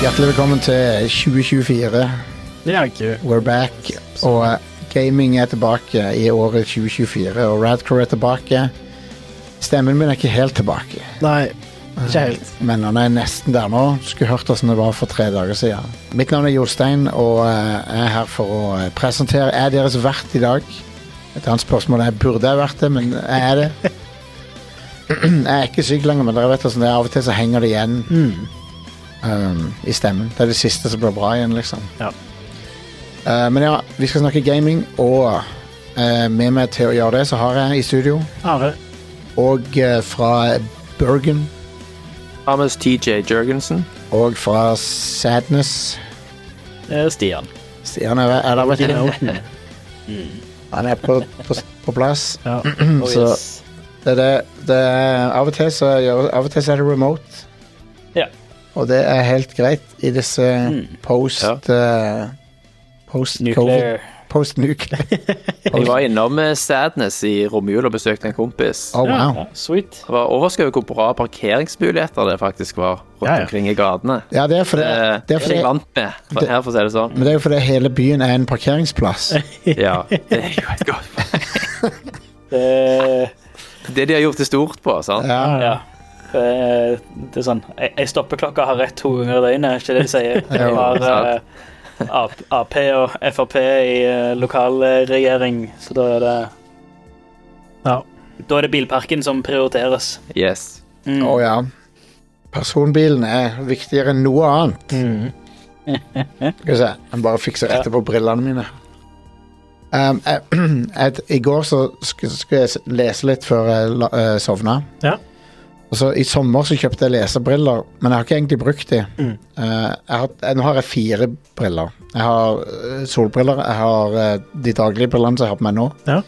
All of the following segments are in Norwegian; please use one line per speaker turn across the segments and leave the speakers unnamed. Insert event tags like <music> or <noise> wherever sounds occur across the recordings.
Hjertelig velkommen til 2024.
Det er ikke
We're back. Og eh, gaming er tilbake i året 2024. Og Radcrow er tilbake. Stemmen min er ikke helt tilbake,
Nei, ikke helt.
men han er nesten der nå. Skulle hørt hvordan det var for tre dager siden. Mitt navn er Jostein, og eh, jeg er her for å eh, presentere Jeg er deres vert i dag. Et annet spørsmål er burde jeg vært det, men jeg er det. <clears throat> Jeg er ikke syk lenger, men dere vet hvordan det er. Av og til så henger det igjen um, i stemmen. Det er det siste som blir bra igjen, liksom.
Ja.
Eh, men ja, vi skal snakke gaming, og eh, med meg til å gjøre det, så har jeg i studio
Are.
Og eh, fra Bergen,
Thomas TJ Jørgensen.
og fra Sadness
Det er Stian.
Stian er, er der, vet du.
Kinoten.
Han er på, på, på plass.
Ja.
<clears throat>
Så det
Oh,
er det, det er, av, og til så gjør, av og til så er det remote,
ja.
og det er helt greit i disse post eh, Post-covid.
Nuclear.
Post-nuclear.
Jeg var innom eh, Sadness i romjula og besøkte en kompis.
Oh,
Ja,
wow.
ja, sweet.
Jeg var overrasket over hvor bra parkeringsmuligheter det faktisk var rundt
Ja, ja.
omkring i gatene.
Ja, det er fordi,
Eh,
det er
jeg
fordi
vant med for, her, for å si det sånn.
Men det er jo fordi hele byen er en parkeringsplass.
Ja, det er jo et godt
Det,
Det de har gjort det stort på, sant?
Ja,
ja. Det, det er sånn Jeg, jeg stopper klokka har rett to ganger i døgnet, er ikke det de
<laughs>
sier? Jeg har eh, Ap Ap og Frp i eh, lokalregjering, så da er det Ja. Da er det bilparken som prioriteres. Mm.
Yes.
Mm.
Å ja. Personbilen er viktigere enn noe annet.
Mm.
Skal vi se, jeg bare fikser rette på brillene mine. Um, jeg, <clears throat> jeg, I går så sk- skulle jeg s- lese litt før jeg la, eh, sovna.
Ja.
Og så I sommer så kjøpte jeg lesebriller, men jeg har ikke egentlig brukt de.
Mm.
Eh, jeg har, jeg, nå har jeg fire briller. Jeg har eh, solbriller, jeg har eh, de daglige brillene som jeg har på meg nå.
Ja.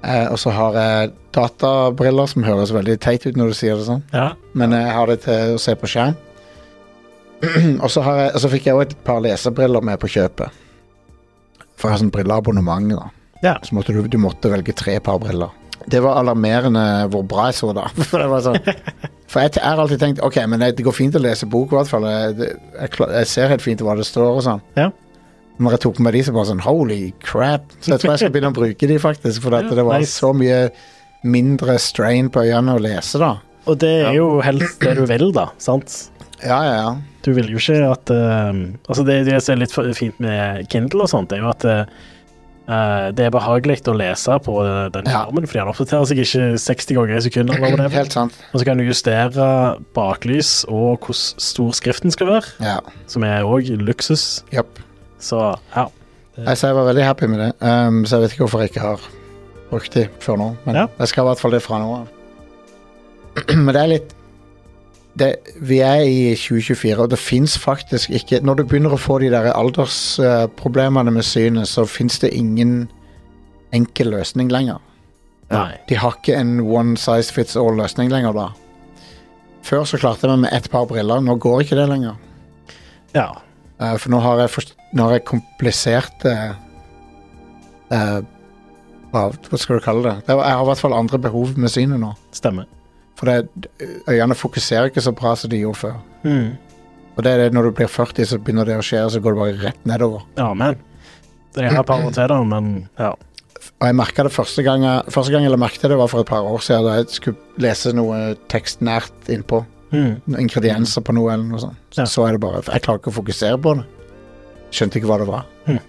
Eh, og så har jeg databriller, som høres veldig teit ut når du sier det sånn
Ja.
men jeg har det til å se på skjerm. <clears throat> og så, har jeg, og så fikk jeg òg et par lesebriller med på kjøpet. For jeg har sånn brilleabonnement, da.
Ja.
Så måtte du, du måtte velge tre par briller. Det var alarmerende hvor bra jeg så da. For det <laughs> var sånn For jeg t- jeg har alltid tenkt ok, men det det går fint å lese bok, i hvert fall. Jeg, det- jeg, kla- jeg ser helt fint hva det står og sånn.
Ja.
Når jeg tok på meg de, så bare sånn holy crap. Så jeg tror jeg skal begynne å bruke de, faktisk. For at det var
nice.
så mye mindre strain på øynene å lese, da.
Og det er jo helst det du vil, da. sant?
Ja, ja, ja.
Du vil jo ikke at eh, Altså, det, det som er litt for- fint med Kindle og sånt, det er jo at eh, eh, det er behagelig å lese på den
Ja.
skjermen, fordi den oppdaterer seg ikke 60 ganger i sekundet. Eller hva det er.
<clears throat> Helt sant.
og så kan du justere baklys og hvor stor skriften skal være,
Ja.
som er òg luksus.
Japp.
Så ja.
Nei, så jeg var veldig happy med det. Ehm, så jeg vet ikke hvorfor jeg ikke har brukt de før nå. Men
Ja.
jeg skal i hvert fall det fra nå av. <clears throat> men det er litt det, Vi er i 2024, og det fins faktisk ikke Når du begynner å få de der aldersproblemene med synet, så fins det ingen enkel løsning lenger.
Nei.
De har ikke en one size fits all-løsning lenger da. Før så klarte jeg meg med ett par briller, nå går ikke det lenger.
Ja.
Eh, for nå har jeg, forst- nå har jeg kompliserte eh, hva, hva skal du kalle det? det er, jeg har i hvert fall andre behov med synet nå.
Stemmer.
For det, øynene fokuserer ikke så bra som de gjorde før.
Mm.
Og det er det når du blir 40, så begynner det å skje, og så går det bare rett nedover.
Ja, men Jeg har et par år til, da, men ja.
Og jeg merket det første gang jeg, første gang jeg merket det, var for et par år siden, da jeg skulle lese noe tekst nært innpå.
Mm.
Ingredienser på noe eller noe sånt. Så,
Ja.
så er det bare Jeg klarer ikke å fokusere på det. Skjønte ikke hva det var.
Mhm.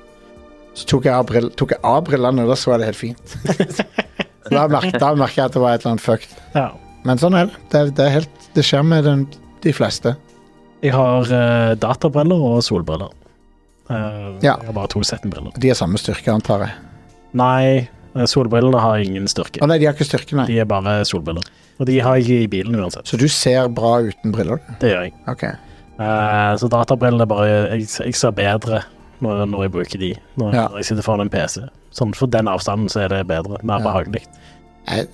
Så tok jeg av brill- tok jeg av brillene, og da så jeg det helt fint. da merket da merket jeg at det var et eller annet fucked.
<laughs> ja.
Men sånn er det. Det, er- det, er helt, det skjer med den, de fleste.
Jeg har eh, databriller og solbriller. Eh,
Ja.
Jeg har bare to sett med briller.
De er samme styrke, antar jeg.
Nei, eh, solbrillene har ingen styrke.
Å nei, de har ikke styrke, nei.
De er bare solbriller. Og de har jeg i bilen uansett.
Så du ser bra uten briller? du?
Det gjør jeg.
Ok.
Eh, så databrillene bare Jeg, jeg ser bedre når, når jeg bruker de. Når,
Ja.
når jeg sitter foran en PC. Sånn For den avstanden så er det bedre. Mer behagelig. <laughs>
Jeg,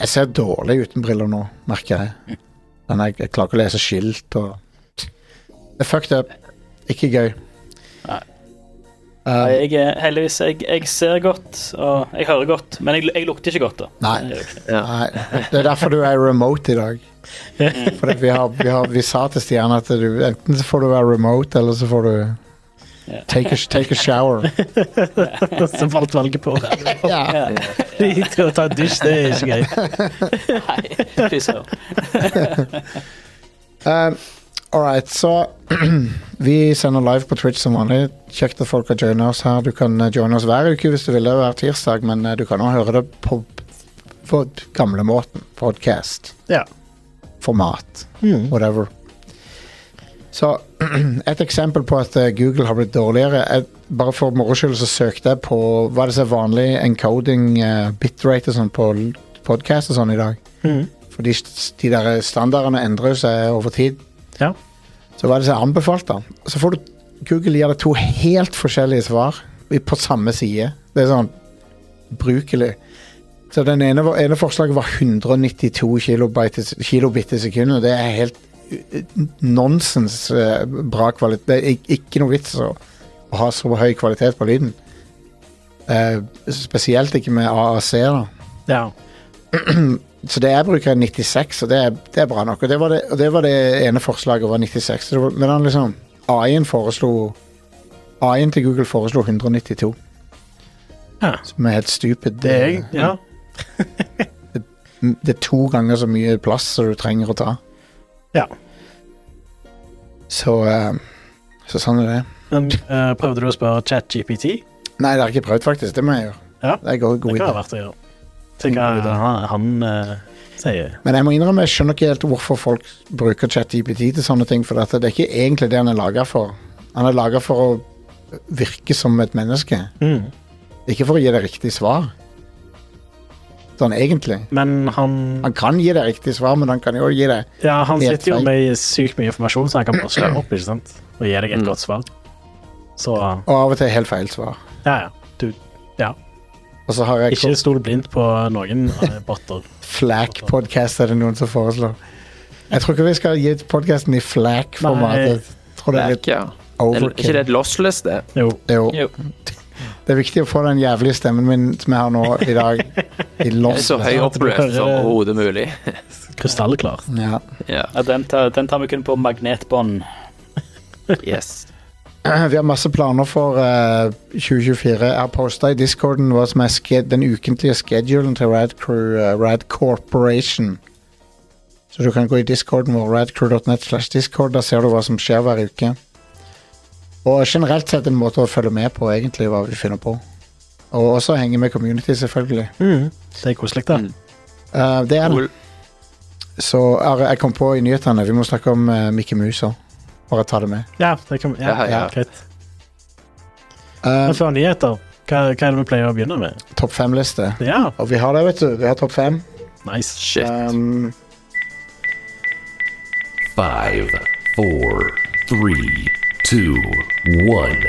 jeg ser dårlig uten briller nå, merker jeg. Men jeg, jeg klarer ikke å lese skilt og Det er fucked up. Ikke gøy.
Nei.
Um,
Jeg er heldigvis jeg, jeg ser godt, og jeg hører godt, men jeg, jeg lukter ikke godt, da.
Nei.
Det gjør jeg ikke.
Ja.
Nei. Det er derfor du er remote i dag. For at vi, har, vi, har, vi sa til Stian at du, enten så får du være remote, eller så får du
Ja.
take a, take a shower.
Så falt valget på. <laughs>
Ja.
Ja.
Til å ta en dusj, det er ikke greit.
Nei, fy søren.
Um, All right, så <clears throat> vi sender live på Twitch som vanlig. Kjekt at folk har joina oss her. Du kan eh, joine oss hver uke hvis du vil, det, hver tirsdag, men eh, du kan også høre det på, på gamlemåten. Podcast.
Ja.
Format.
Mm.
Whatever. Så <clears throat> et eksempel på at eh, Google har blitt dårligere jeg, Bare for moro skyld så søkte jeg på hva er det som er vanlig encoding, eh, bitrate og sånn på l- podcast og sånn i dag.
Mm.
Fordi st- de der standardene endrer seg over tid.
Ja.
Så hva er det som er anbefalt, da? Så får du Google gir deg to helt forskjellige svar i- på samme side. Det er sånn brukelig. Så den ene, var- ene forslaget var 192 kilobit, i- kilobit i sekundet. Det er helt eh, nonsens eh, bra kvalitet. Det er ik- ikke noe vits å å ha så høy kvalitet på lyden. Eh, spesielt ikke med AAC, da.
ja.
Så det jeg bruker er 96, og det er, det er bra nok. Og det var det, og det var det ene forslaget var 96. Så det var, men han liksom AI-en foreslo AI-en til Google foreslo 192.
Ja.
Som er helt stupid.
Det er
Mm.
jeg. Ja.
det er to ganger så mye plass som du trenger å ta.
Ja.
Så, eh, så sånn er det.
Men, eh, prøvde du å spørre ChatGPT?
Nei, det har jeg ikke prøvd, faktisk. Det må jeg gjøre.
Ja.
Det er en god,
Det
god
kan
idé.
ha vært å gjøre. Til hva han, han eh, sier.
Men jeg må innrømme, jeg skjønner ikke helt hvorfor folk bruker ChatGPT til sånne ting, for dette. det er ikke egentlig det han er laga for. Han er laga for å virke som et menneske,
Mm.
ikke for å gi deg riktig svar. Sånn egentlig.
Men han
Han kan gi deg riktig svar, men han kan jo også gi deg
Ja, han
Helt
sitter
feil.
jo med sykt mye informasjon, så han kan bare slå opp ikke sant? og gi deg et
Mm.
godt svar. Så
Og av og til helt feil svar.
ja, ja. Du,
Og så har jeg
ikke stol blindt på noen eh, botter.
Flack-podkast, er det noen som foreslår. Jeg tror ikke vi skal gi podkasten i
Nei.
Flack-formatet. Jeg tror det er
Black,
litt
ja. Er er ikke
overkill.
det et lossless, det?
Jo.
Jo.
<laughs>
Jo.
Det er viktig å få den jævlige stemmen min som jeg har nå i dag, i
Det er
loss.
så høy oppløst som overhodet mulig. <laughs>
Krystallklar.
liksom. Ja. <clears throat>
Ja,
Ja, den, tar, den tar vi kun på magnetbånd.
yes.
Vi har masse planer for eh, 2024. Jeg har posta i discorden hva som er ske- den ukentlige schedulen til Rad, Crew, eh, Rad Corporation. Så du kan gå i discorden vår, radcrew.net slash discord. Der ser du hva som skjer hver uke. Og generelt sett en måte å følge med på, egentlig, hva vi finner på. Og også henge med community, selvfølgelig.
Mm. Det er koselig, da.
Mm.
Eh, det er det.
Cool.
Så Are, jeg kom på i nyhetene, vi må snakke om uh, Mikke Mus òg. Bare ta det med.
Ja, det kan, ja,
Ja, ja.
greit.
Eh,
Men før nyheter, hva, hva er det vi pleier å begynne med?
topp fem-liste.
Ja,
Og vi har det, vet du. Vi har topp fem.
nice.
Shit.
Um,
Five, four, three, two, one.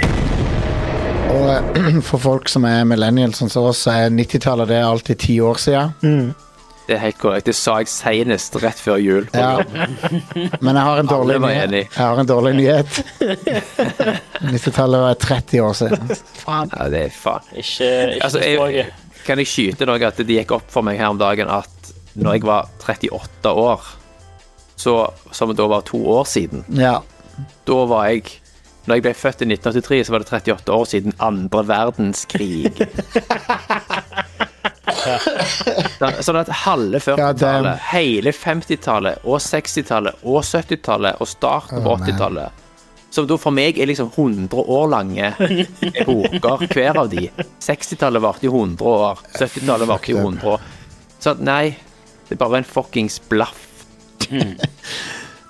Og <clears throat> eh, for folk som er millennials sånn som oss, så er 90-tallet det er alltid ti år siden.
Det er helt korrekt. Det sa jeg senest rett før jul.
Ja. Men jeg har en dårlig
Alle var
nyhet.
enig.
Jeg har en dårlig nyhet. 90-tallet var 30 år siden.
Ja, det er faen.
Ikke, ikke
Altså, jeg-
språket.
Kan jeg skyte noe at det gikk opp for meg her om dagen at når jeg var 38 år, så, som da var to år siden,
Ja.
da var jeg Når jeg ble født i 1983, så var det 38 år siden andre
<laughs>
verdenskrig. Sånn- Sånn at halve
Ja,
40-tallet,
damn.
hele 50-tallet og 60-tallet og 70-tallet og starten på
Oh, man.
80-tallet, som da for meg er liksom 100 år lange epoker, hver av de. 60-tallet varte i 100 år, 70-tallet varte i 100 år. Så at nei, det er bare en fuckings blaff.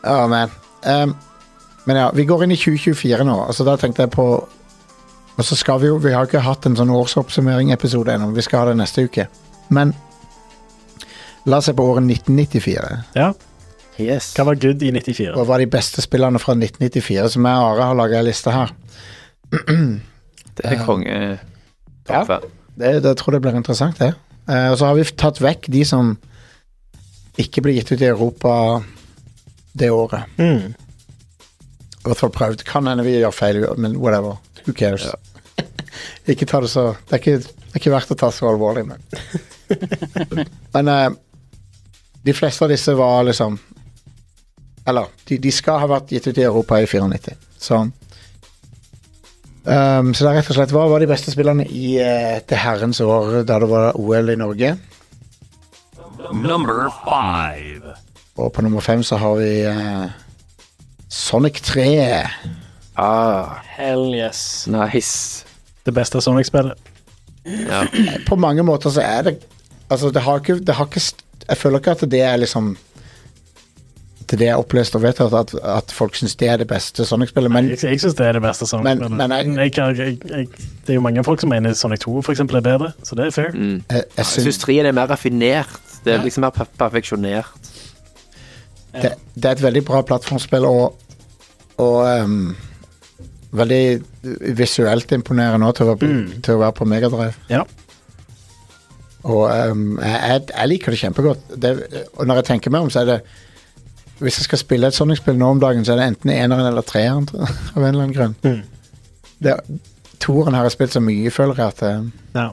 Å, man. Um, men ja, vi går inn i 2024 nå, og så da tenkte jeg på Og så skal vi jo Vi har ikke hatt en sånn årsoppsummering-episode ennå, vi skal ha det neste uke. Men la oss se på året 1994.
Ja,
Yes.
hva var good i 94?
Og hva er de beste spillene fra 1994 som jeg og Are har laga ei liste her.
Det er konge.
Ja.
Ja.
Det, det jeg tror jeg blir interessant, det. Eh, og så har vi f- tatt vekk de som ikke ble gitt ut i Europa det året.
Mm.
I hvert fall prøvd. Kan hende vi gjør feil, men whatever. Who cares? <laughs> ikke ta det så Det er ikke, det er ikke verdt å ta så alvorlig, men Men eh, de fleste av disse var liksom Eller, de, de skal ha vært gitt ut i Europa i 94. Så um, Så det er rett og slett Hva var de beste spillerne i eh, det herrens år da det var OL i Norge?
Number five.
Og på nummer fem så har vi eh, Sonic 3.
Ah,
Hell yes.
Sånn nice.
Det beste Sonic-spillet.
<clears throat> Ja.
På mange måter så er det Altså, det har ikke, det har ikke st- Jeg føler ikke at det er liksom At det er opplest og vedtatt at, at folk syns det er det beste Sonic-spillet, men
Jeg, jeg syns det er det beste Sonic-spillet.
Men- men jeg-
jeg kan- jeg- jeg- det er jo mange folk som mener Sonic 2 for eksempel, er bedre, så det er fair.
jeg, jeg
Jeg syns
syns
trien er mer raffinert. Det er liksom mer per- perfeksjonert.
det, det er et veldig bra plattformspill og, og ehm, veldig visuelt imponerende også til, å være på- til å være på Megadrive.
Ja.
Og ehm, jeg, jeg- jeg liker det kjempegodt. Det, og når jeg tenker meg om, så er det Hvis jeg skal spille et Sonic-spill nå om dagen, så er det enten eneren eller treeren tror jeg, <laughs> av en eller annen grunn.
Mm.
Det, toeren har jeg spilt så mye, føler jeg at eh,
ja.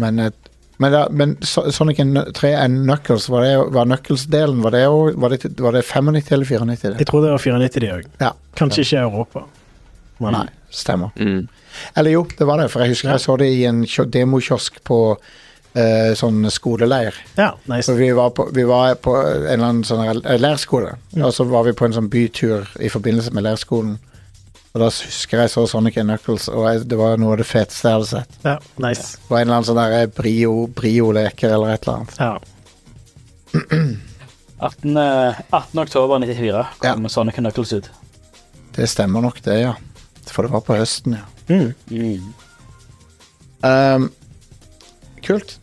Men, eh, men, da- men So- Sonic en- 3 and Knuckles, var, det, var Knuckles-delen Var det, jo- var, det, var det 95 eller 94? Det?
Jeg tror det var 94 de òg.
Ja.
Kanskje ikke i Europa. Men
Nei, stemmer.
Mm.
Eller jo, det var det, for jeg husker jeg så det i en kio- demokiosk på eh, sånn skoleleir.
ja,
Så
nice.
vi var på, vi var på en eller annen sånn her- eh, leirskole, og så var vi på en sånn bytur i forbindelse med leirskolen. Og da husker jeg så Sonic and Knuckles, og jeg, det var noe av det feteste jeg hadde sett.
Ja, nice.
Det var en eller annen sånn der eh, brio- brio-leker eller et eller annet.
Ja.
18. eh, 18. oktober 94 kom
Ja.
Sonic Knuckles ut.
Det stemmer nok det, ja. For det var på høsten, ja.
Mm.
Ehm, kult.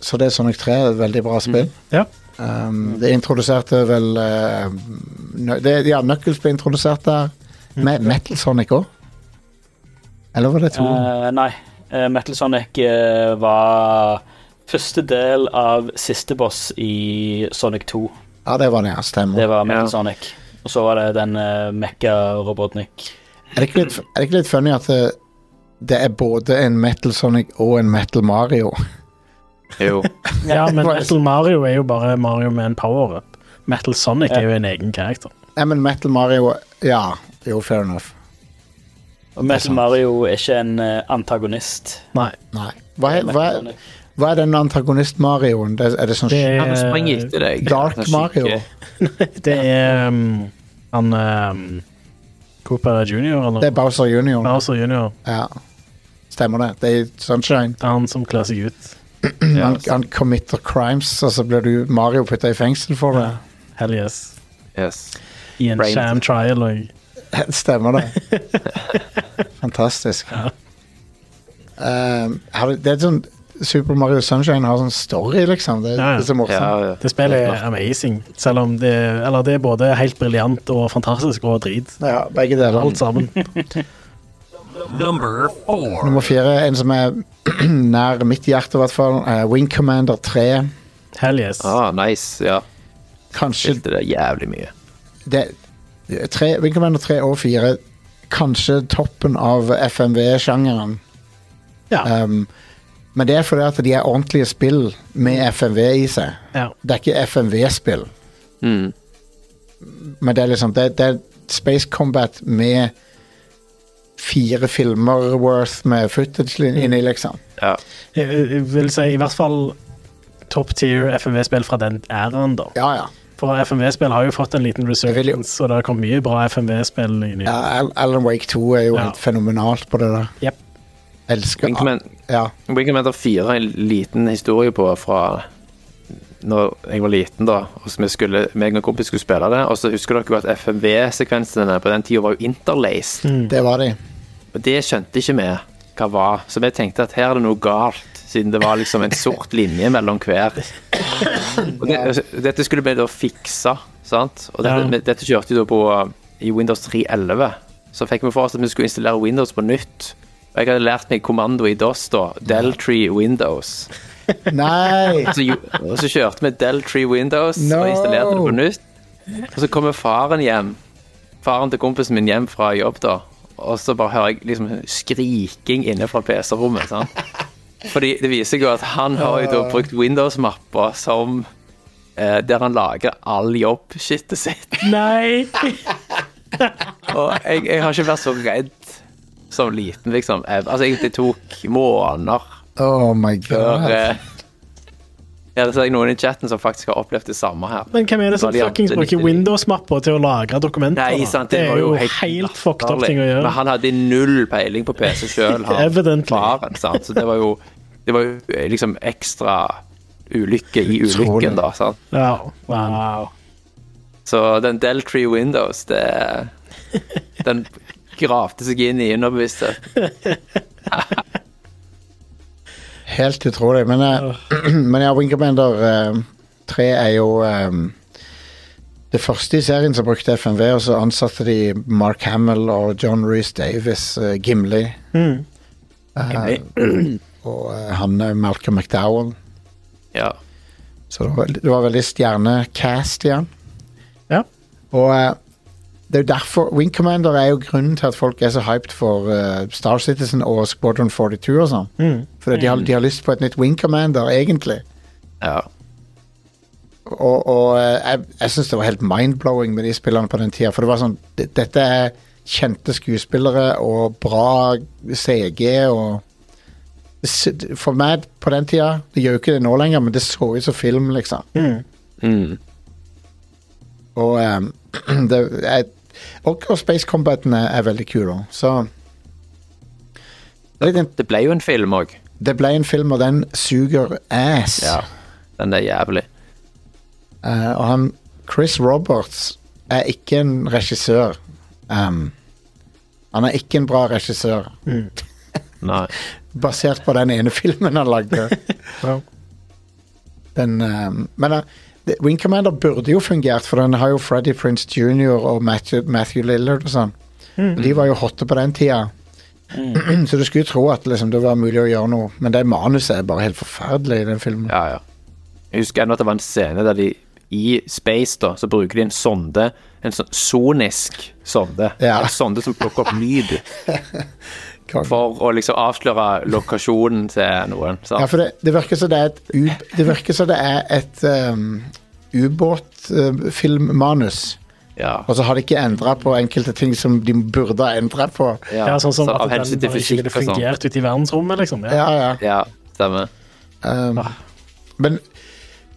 Så det er Sonic 3 er et veldig
Mhm.
bra spill.
ja.
Ehm, det introduserte vel eh, nø- det, Ja, Knuckles ble introdusert der.
Mhm.
Med Metal Sonic òg. Eller var det to?
Eh, nei. eh, Metal Sonic eh, var første del av siste boss i Sonic 2.
ja, det var det, ja.
Det
Stemmer.
var Metal
Ja.
Sonic. Og så var det den uh, Mekka Robotnik.
Er, det ikke litt, er det ikke litt funny at det, det er både en Metal Sonic og en Metal Mario?
Jo.
ja,
<laughs>
men Metal Mario er jo bare Mario med en power-up. Metal Sonic er jo en egen karakter.
Nei, men Metal Mario Ja, jo, fair enough.
Og Metal Mario er ikke en eh, antagonist.
Nei.
Nei. Hva, er- hva,
Metal
er-
Sonic.
hva er den antagonist-Marioen? Det- Er det sånn
Det
Han springer
er,
etter deg.
Dark
Han er eh.
Mario.
skikkelig-
det er um, han um, Cooper junior, eller?
Det er Bowser Junior.
Bowser junior.
Ja. Stemmer det. Det er Sunshine.
Det er han som kler seg ut.
han, han committer crimes, og så blir du Mario putta i fengsel for det.
Hell yes.
Yes.
I en
Brains.
sham trial og
<laughs> Stemmer det.
<laughs>
Fantastisk. Um, har du- det er sånn Super Mario Sunshine har sånn story, liksom. Det,
Ja, ja.
det er så morsomt.
Ja, ja.
Det spillet er amazing, selv om det, eller det er både helt briljant og fantastisk og drit.
Ja, begge deler.
Alt sammen.
Number four.
Nummer fire, en som er <clears throat> nær mitt hjerte, i hvert fall. eh, Wing Commander 3.
Hell yes.
Ah, nice. Ja.
Kanskje
Skilte det jævlig mye.
det, tre, Wing Commander 3 og 4 Kanskje toppen av FMV-sjangeren
Ja.
um, Men det er fordi at de er ordentlige spill Med FMV i seg
ja.
Det er ikke FMV-spill
Mm.
Men det er liksom Det, det er Space Combat med Fire filmer worth Med footage lin- inni liksom
Ja.
Jeg, jeg vil si i hvert fall top tier FMV-spill fra den æraen, da.
Ja, ja
For FMV-spill har jo fått en liten
vil jo-
resurgence, og det har kommet mye bra FMV-spill inn i
Ja, Al- Alan Wake 2 er jo
Ja.
helt fenomenalt på det der
Jep.
Elsker
Wing Command-
Ja,
Wing Commander 4 har en liten historie på fra når jeg var liten, da. Og så vi skulle, meg og en kompis skulle spille det. Og så husker dere jo at FMV-sekvensene på den tida var jo interlaced.
det var de
Mm.
Og det skjønte ikke vi hva var. Så vi tenkte at her er det noe galt, siden det var liksom en sort linje mellom hver. Og det, dette skulle vi da fikse, sant. Og dette,
Ja.
vi- dette kjørte jo da på eh, i Windows 3.11. Så fikk vi for oss at vi skulle installere Windows på nytt. Og jeg hadde lært meg kommando i DOS, da. Deltree Windows.
<laughs>
Nei
Så, jo- og så kjørte vi Deltree Windows
No.
og installerte det på nytt. Og så kommer faren hjem. Faren til kompisen min hjem fra jobb, da. Og så bare hører jeg liksom skriking inne fra PC-rommet. sant? Fordi det viser seg jo at han har jo da brukt Windows-mappa som eh, der han lager all jobb-shitet sitt.
Nei!
Og jeg, jeg har ikke vært så redd som liten, liksom. Jeg, altså, jeg, det tok måneder
Oh my
før
god.
eh, Ja, det ser jeg noen i chatten som faktisk har opplevd det samme her.
Men hvem er det som
Variant
fuckings bruker
99?
Windows-mapper til å lagre dokumenter?
Nei,
da?
sant,
Ah, det, er jo helt, fucked up
latterlig.
ting å
Men
gjøre.
han hadde null peiling på PC sjøl, han
Evidently.
faren, sant. Så det var jo Det var jo eh, liksom ekstra ulykke i ulykken,
Utrolig.
da. sant?
Ja, wow.
Så den Deltree Windows, det Den gravde seg inn i underbevisstheten.
Helt utrolig. Men, eh, <clears throat> men ja, Wingerbander 3 er jo eh, det første i serien som brukte FMV, og så ansatte de Mark Hamill og John Reece Davis, eh, Gimli, Eh,
Mm.
<clears throat> og eh, han eh, Malcolm McDowell.
Ja.
Så det var, veldig- det var veldig stjernecast igjen.
Ja.
Og eh, det er jo derfor Wing Commander er jo grunnen til at folk er så hyped for eh, Star Citizen og Squadron 42 og sånn.
Mm.
For de, har- de har lyst på et nytt Wing Commander, egentlig.
ja.
Og, og eh, jeg, jeg syns det var helt mind-blowing med de spillerne på den tida. For det var sånn d- Dette er kjente skuespillere og bra CG og det s- For meg på den tida Det gjør jo ikke det nå lenger, men det så ut som film, liksom.
Mm.
Mm.
Og ehm, <clears throat> det er, Og, og Space Combaten er, er veldig kul òg, så det, er litt-
Det ble jo en film òg.
det ble en film, og den suger ass.
Ja. Den er jævlig.
Eh, og han Chris Roberts er ikke en regissør. Ehm, han er ikke en bra regissør,
Nei.
basert på den ene <laughs> filmen han lagde.
Wow.
Den, ehm, men eh, det- Wing Commander burde jo fungert, for den har jo Freddy Prince Jr. og Matthew, Matthew Lillard og sånn. Og De var jo hotte på den tida. <clears throat> Så du skulle jo tro at liksom, det var mulig å gjøre noe, men det manuset er bare helt forferdelig i den filmen.
Ja, ja. Jeg husker ennå at det var en scene der de i Space da, så bruker de en sonde. En sånn sonisk sonde.
Ja.
En sonde som plukker opp lyd
Kong.
for å liksom avsløre lokasjonen til noen.
Ja,
Sant?
for det, det virker som det er et u- Det virker som det er et um, ubåtfilmmanus.
Ja.
og så har de ikke endra på enkelte ting som de burde ha endra på.
ja.
Ja, sånn som
Så
at
av
den
hensyn til
bare ikke
fysikk
ville
og sånn.
fungert ute i verdensrommet, liksom. Ja.
Ja, ja.
Ja, stemmer.
Um, Men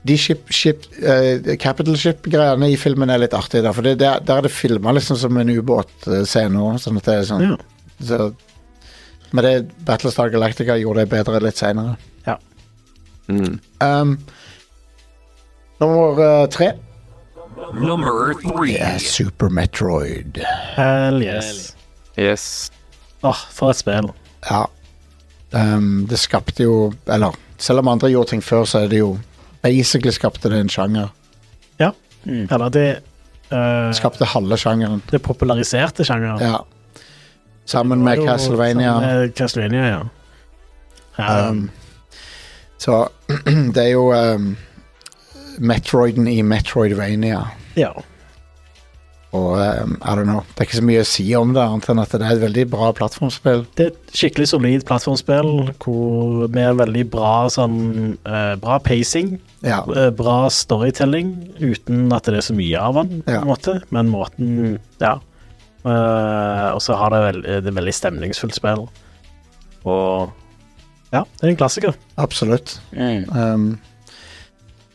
de ship, ship, eh, Capital Ship-greiene i filmen er litt artige, da, for det, der, der er det filma liksom som en ubåtscene òg. Sånn at det er sånn
Ja.
så, Men det Battlestar Galactica gjorde det bedre litt seinere.
Ja.
Mm.
Um, nummer eh, tre
Number three.
er Super Metroid.
Hell yes.
Yes.
Åh, for et spill.
Ja. Ehm, det skapte jo Eller selv om andre gjorde ting før, så er det jo Basically skapte det en sjanger.
Ja. Eller det eh,
Skapte halve sjangeren.
Det populariserte sjangeren.
Ja. Sammen med
Det var jo sammen
Castlevania.
med Castlevania, ja. Eh, ja
Um, så <clears throat> det er jo ehm, Metroiden i Metroidvania.
ja.
Og ehm, I don't know. Det er ikke så mye å si om det, annet enn at det er et veldig bra plattformspill.
Det er et skikkelig solid plattformspill hvor med veldig bra sånn eh, Bra pacing,
Ja.
eh, bra storytelling, uten at det er så mye av den, på
Ja.
en måte. Men måten Ja. Eh, og så har det, vel, det er veldig stemningsfullt spill. Og ja, det er en klassiker.
Absolutt.
Mm.
Um,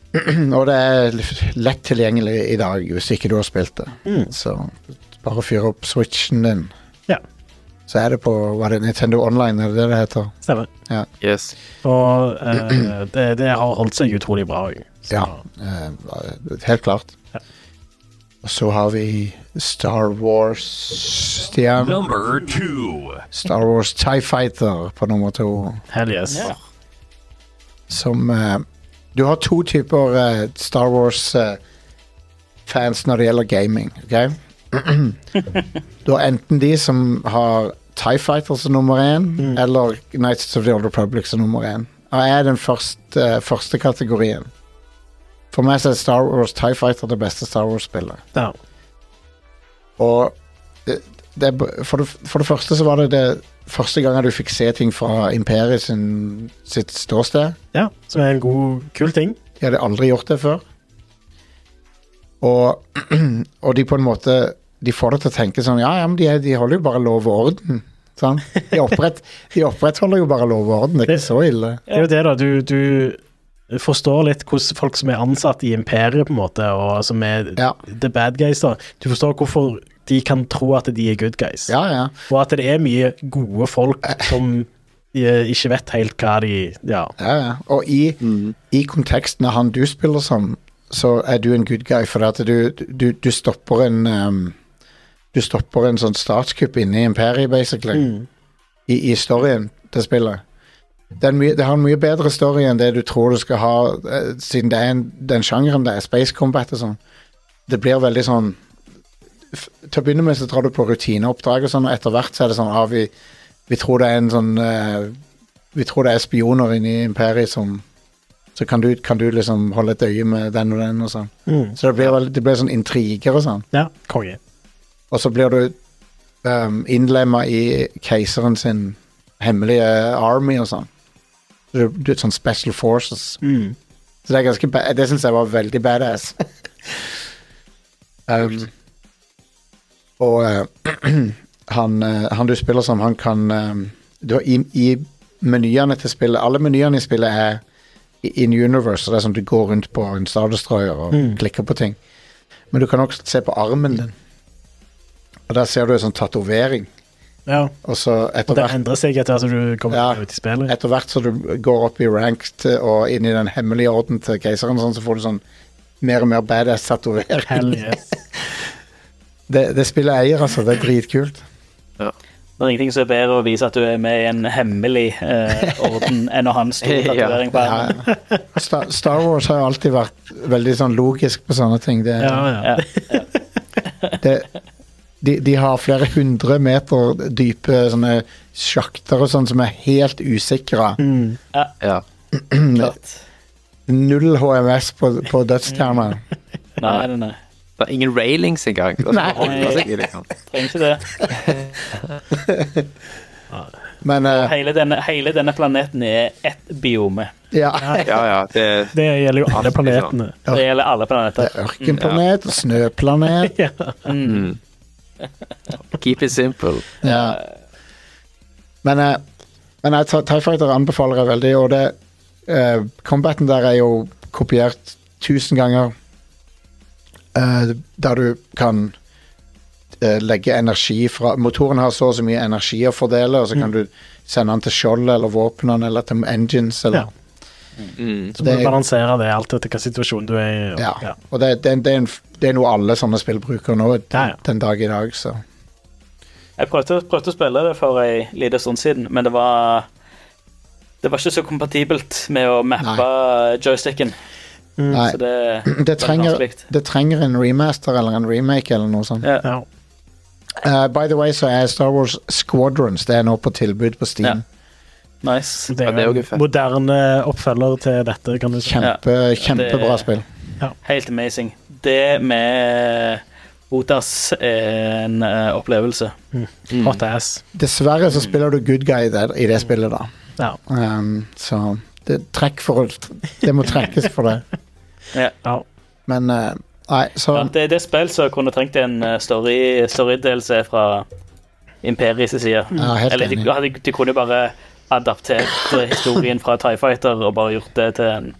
<clears throat> og det er l- lett tilgjengelig i dag hvis ikke du har spilt det.
Mm.
Så bare fyr opp switchen din.
Ja.
Så er det på hva er det, Nintendo Online, er det det det heter?
Stemmer.
Yes.
Og eh, det, det har holdt seg utrolig bra òg.
Ja. Eh, helt klart. Og så har vi Star Wars Stian.
Number two.
Star Wars Tie Fighter på nummer to.
Hell yes.
Ja.
Som eh, Du har to typer eh, Star Wars-fans når det gjelder gaming, OK? <clears throat> du har enten de som har Tie Fighter som nummer én, eller Knights of the Old Republic som nummer én. Og jeg er den første, første kategorien. For meg så er Star Wars Tie Fighter det beste Star Wars-spillet.
Ja.
Og det, det, er b- for, det, for det første så var det det første gangen du fikk se ting fra Imperiet sin, sitt ståsted.
ja, som er en god, kul ting.
De hadde aldri gjort det før. Og, <clears throat> og de på en måte De får det til å tenke sånn Ja, ja, men de, er- de holder jo bare lov og orden. Sant? De, opprett, de opprettholder jo bare lov og orden. Det er ikke så ille.
Det er jo det, da. Du, du forstår litt hvordan folk som er ansatt i imperiet, på en måte, og som er
Ja.
the bad guys, da. Du forstår hvorfor de kan tro at de er good guys.
Ja, ja.
Og at det er mye gode folk som eh, ikke vet helt hva de Ja.
ja, ja. Og i,
Mm.
i konteksten av han du spiller som, så er du en good guy, for at du, du, du stopper en ehm, Du stopper en sånn statskupp inne i imperiet, basically, i, i storyen til spillet. Det, er en mye, det har en mye bedre story enn det du tror du skal ha, eh, siden det er en, den sjangeren det er, space combat og sånn. Det blir veldig sånn f- Til å begynne med så drar du på rutineoppdrag og sånn, og etter hvert så er det sånn ah, vi, vi tror det er en sånn eh, vi tror det er spioner inne i imperiet som Så kan du, kan du liksom holde et øye med den og den og sånn. Så det blir, vel- det blir sånn intriger og sånn.
Mm. ja konge.
Og så blir du um, innlemma i keiseren sin hemmelige army og sånn. Så Du, du er sånn special forces. Så det er ganske ba Det syns jeg var veldig
<laughs>
badass. um, og eh, <clears throat> han, eh, han du spiller som, han kan eh, du, har- I, i menyene til spillet Alle menyene i spillet er i- in universe, så det er sånn du går rundt på en Star Destroyer og
Mm.
klikker på ting. Men du kan også se på armen din, og der ser du en sånn tatovering.
Ja.
Og så etter
Og det
hvert
endrer seg etter hvert som du kommer
Ja.
ut i spillet.
etter hvert som du går opp i rank til, og inn i den hemmelige orden til keiseren, og sånn, så får du sånn mer og mer badass tatovering.
Hell
<laughs>
yes.
Det, det spillet eier, altså. Det er dritkult.
Det er ingenting som er bedre å vise at du er med i en hemmelig eh, orden enn å ha en stor
Ja.
tatovering på armen.
Ja. Star, Star Wars har jo alltid vært veldig sånn logisk på sånne ting. Det,
Ja, <laughs> ja.
det, de, de har flere hundre meter dype sånne sjakter og sånn som er helt usikra.
Mm.
Ja.
Klart.
Null HMS på, på dødsstjerna.
Nei, nei, nei.
Det er ingen railings engang. Det er sånn å holde seg i det, kan.
Trenger ikke det.
Men eh,
Hele denne, hele denne planeten er ett biome.
ja.
Ja, ja. Det,
Det gjelder jo alle planetene.
Det gjelder alle planeter.
Ørkenplanet, snøplanet
Ja.
keep it simple.
Ja. Men, eh, men eh, Tie- TIE Fighter anbefaler jeg veldig, og det eh, Combaten der er jo kopiert tusen ganger. eh, der du kan eh, legge energi fra Motoren har så og så mye energi å fordele, og så kan du sende den til skjoldet eller våpnene eller til engines eller
Ja.
Mm.
Så må
Det-
du balansere det alt etter hvilken situasjon du er i. og-
Ja. Og det, det, det, er en, f- det er noe alle sånne spill bruker nå
Ja, ja.
den dag i dag, så
Jeg prøvde, prøvde å spille det for ei liten stund siden, men det var Det var ikke så kompatibelt med å mappe joysticken.
Nei.
Så det,
Det trenger,
vanskelig.
det trenger en remaster eller en remake eller noe sånt.
Ja.
Ja.
Eh, by the way, så er Star Wars Squadrons Det er nå på tilbud på Steam.
Nice.
Det
Ja, det
er
er
jo
jo
en
ikke fett.
moderne oppfølger til dette, kan du si.
Kjempe, Kjempebra
det-
spill.
Helt amazing. Det med Otas er en eh, opplevelse.
Mm.
Hot ass.
Dessverre så spiller du good guy der, i det spillet, da.
Ja.
Um, så det, trekk for å, det må trekkes for det.
ja.
Men eh, Nei, så
Ja, det, det er spill som kunne trengt en eh, story- story-delelse fra Imperiets side.
Mm.
Ja, helt
Eller de,
enig.
hadde- de kunne jo bare adaptert eh, historien fra TIE Fighter og bare gjort det til en,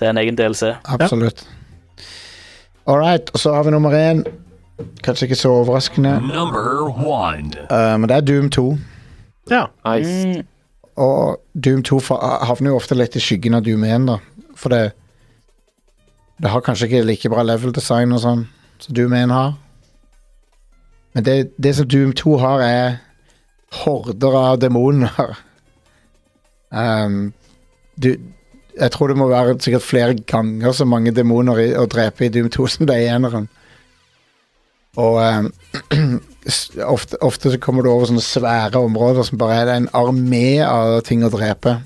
til en egen DLC.
Absolutt. All right, og så har vi nummer én. Kanskje ikke så overraskende,
Number one.
eh, men det er Doom 2.
ja.
Nice.
Mm.
Og Doom 2 fa- havner jo ofte litt i skyggen av Doom 1, da. For det Det har kanskje ikke like bra level design og sånn som Doom 1 har. Men det, det som Doom 2 har, er horder av demoner. <laughs> Um, du Jeg tror det må være sikkert flere ganger så mange demoner i, å drepe i Doom 2 <laughs> som det er i eneren. Og um, s- ofte, ofte så kommer du over sånne svære områder som bare er en armé av ting å drepe.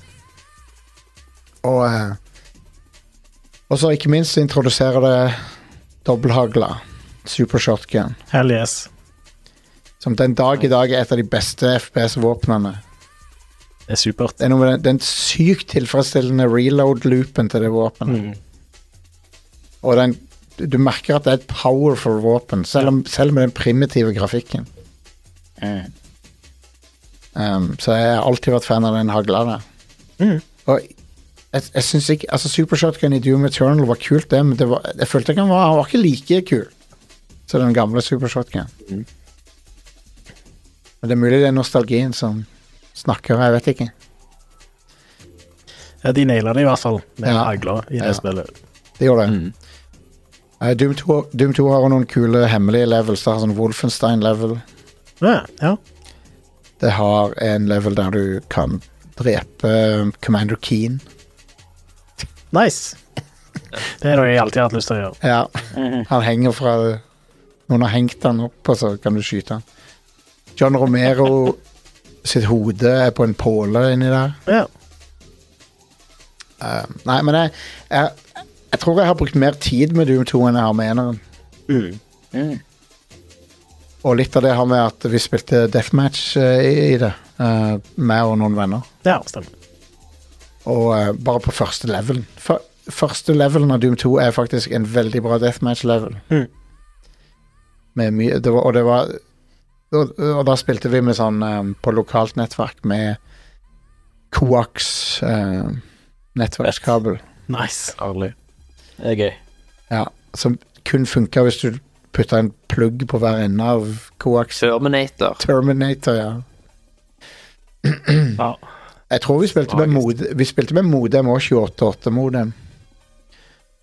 Og eh, Og så ikke minst så introduserer det dobbelthagla, super shotgun,
Hell yes.
som den dag i dag er et av de beste FPS-våpnene.
Det er supert.
Det er noe med den, den sykt tilfredsstillende reload-loopen til det våpenet. Og den du, du merker at det er et powerful våpen, selv, om, selv med den primitive grafikken. Eh. Um, så jeg har alltid vært fan av den hagla der. Og jeg, jeg syns ikke Altså, Super Shotgun i Doom Eternal var kult, det, men det var, jeg følte ikke han var, han var ikke like kul som den gamle Super Shotgun. Men det er mulig det er nostalgien som snakker, jeg vet ikke.
Ja, de naila det i hvert fall med
Ja.
hagler i det
Ja.
spillet.
Det gjorde det. Eh, Doom, 2, Doom 2 har jo noen kule hemmelige levels. Det har sånn Wolfenstein-level.
Ja, ja.
Det har en level der du kan drepe eh, Commander Keen.
Nice. Det er noe jeg alltid har hatt lyst til å gjøre.
Ja. Han henger fra Noen har hengt han opp, og så kan du skyte han. John Romero sitt hode er på en påle inni der.
Ja.
Eh, nei, men jeg, jeg, jeg tror jeg har brukt mer tid med Doom 2 enn jeg har med eneren.
Mm.
Og litt av det har med at vi spilte deathmatch eh, i, i det. eh, meg og noen venner.
ja, stemmer.
Og eh, bare på første levelen. Fø- første levelen av Doom 2 er faktisk en veldig bra deathmatch-level.
Mhm.
Med mye det var, Og det var og, og da spilte vi med sånn eh, på lokalt nettverk med Coax eh, nettverkskabel.
Nice.
Ærlig.
Det er gøy.
Ja, som kun funka hvis du putta en plugg på hver ende av Coax.
Terminator.
Terminator, ja.
Ja.
Jeg tror vi spilte med, mod, vi spilte med modem og 28.8-modem.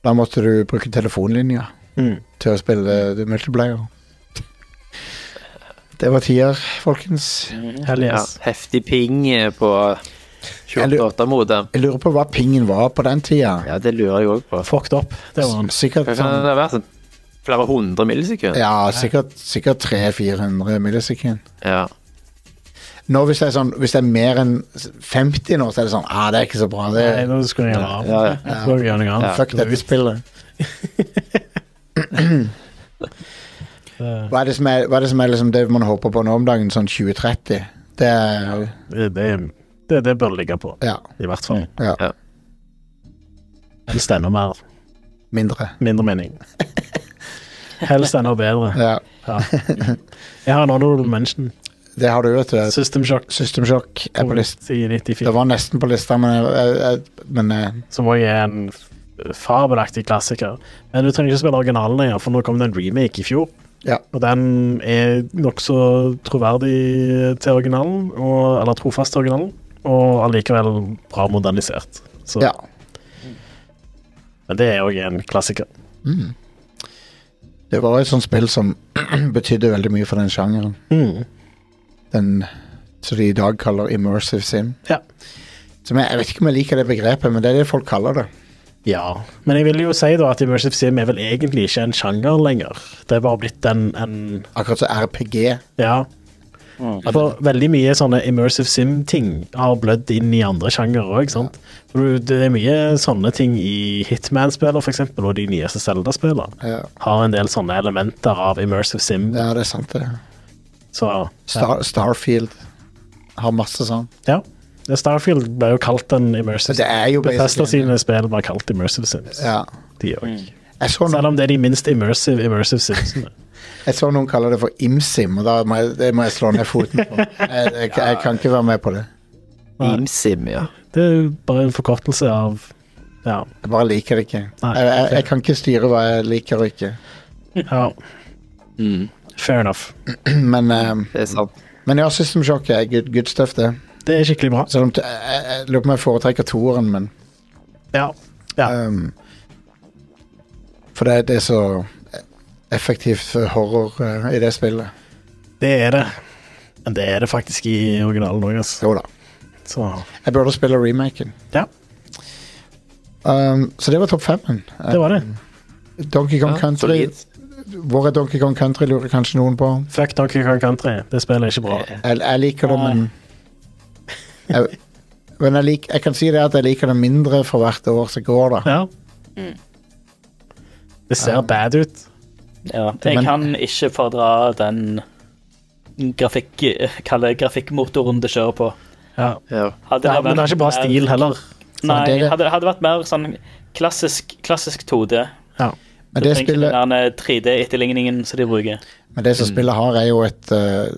Da måtte du bruke telefonlinja
Mm.
til å spille the multiplayer. Det var tider, folkens.
Hell
Ja,
yes.
heftig ping eh, på
Jeg lurer-
28-modem.
Jeg lurer på hva pingen var på den tida.
Ja, det lurer jeg òg på.
Fucked up. Det var han.
Sikkert
Hva kan
sånn
det være? Sånn flere hundre millisekunder?
Ja, sikkert, sikkert 300-400 millisekunder.
Ja.
Nå hvis det er sånn Hvis det er mer enn 50 nå, så er det sånn Ah, det er ikke så bra. Det
Nei, da skulle jeg gjøre av.
Ja, ja.
Da skulle jeg gjøre noe annet.
Fuck dette spillet.
Det-
Hva er det som er, hva er, det, som er liksom det man håper på nå om dagen, sånn 2030? Det er
Det, det, det, det bør det ligge på,
Ja.
i hvert fall.
ja.
Helst enda mer.
Mindre.
Mindre mening. Helst enda bedre.
Ja.
Ja. Jeg har en honorable mention.
Det har du, vet du.
System Shock
System Shock er på listen.
i
Det
94,
var nesten på lista, men, jeg, jeg, jeg, men eh,
som også er en fabelaktig klassiker. Men du trenger ikke spille originalen lenger, for nå kom det en remake i fjor.
ja.
Og den er nokså troverdig til originalen, og, eller trofast til originalen, og allikevel bra modernisert. Så,
ja.
Men det er òg en klassiker.
Mm. Det var et sånt spill som <clears throat> betydde veldig mye for den sjangeren.
Mm.
Den som de i dag kaller immersive sim.
Ja.
Som jeg, jeg vet ikke om jeg liker det begrepet, men det er det folk kaller det.
Ja, men jeg vil jo si da at immersive sim er vel egentlig ikke en sjanger lenger. Det er bare blitt en, en
Akkurat som RPG.
ja.
Mm.
For veldig mye sånne immersive sim-ting har blødd inn i andre sjangere òg. Det er mye sånne ting i Hitman-spiller, f.eks., og de nyeste Zelda-spillene.
Ja,
Har en del sånne elementer av immersive sim.
ja det er sant, det.
Så ja.
Star, Starfield har masse sånn.
ja. Starfield ble jo kalt en immersive
Det er jo
Bethesda
basically-
sine spill var kalt immersive sims,
Ja. Mm.
de òg.
Jeg så,
Selv
noen,
om det er de minst immersive
<laughs>
immersive simsene.
jeg så noen kaller det for ImSim, og da må jeg, det må jeg slå ned foten <laughs> på. Jeg, jeg, jeg kan ikke være med på det.
Imsim, ja.
Det er jo bare en forkortelse av Ja.
Jeg bare liker det ikke.
Nei.
jeg, jeg, jeg kan ikke styre hva jeg liker og ikke. <clears throat>
ja.
Mm.
Fair enough.
Men, ehm,
Det er sant.
men ja, System Shock er good, good stuff, det.
Det er skikkelig bra.
Selv om t- jeg, jeg- jeg lurer på om jeg foretrekker toeren, men
Ja. ja.
ehm, For det, det er så effektivt horror eh, i det spillet.
Det er det. Men det er det faktisk i originalen òg, altså.
Jo da.
Så
Jeg burde spille remaken.
ja,
Ehm, så det var topp femmen. Eh,
det var det.
Donkey Kong
Ja,
Country.
solid.
Hvor er Donkey Kong Country, lurer kanskje noen på.
Fuck Donkey Kong Country. Det spillet er ikke bra.
Jeg, jeg liker det,
Nei.
men jeg, men jeg, lik, jeg kan si det at jeg liker det mindre for hvert år som går, da.
Ja. Det ser bad ut.
Ja. Jeg
Men-
kan ikke fordra den grafikk, kall det grafikkmotoren det kjører på.
Ja.
Ja.
Hadde
Ja, men det er ikke bra
mer-
stil heller.
Nei,
det er det.
hadde, hadde vært mer sånn klassisk, klassisk 2D.
Ja.
Men
Du
det
trenger ikke
spillet-
den der eh, 3D-etterligningen som de bruker.
Men det som
Mm.
spillet har, er jo et eh,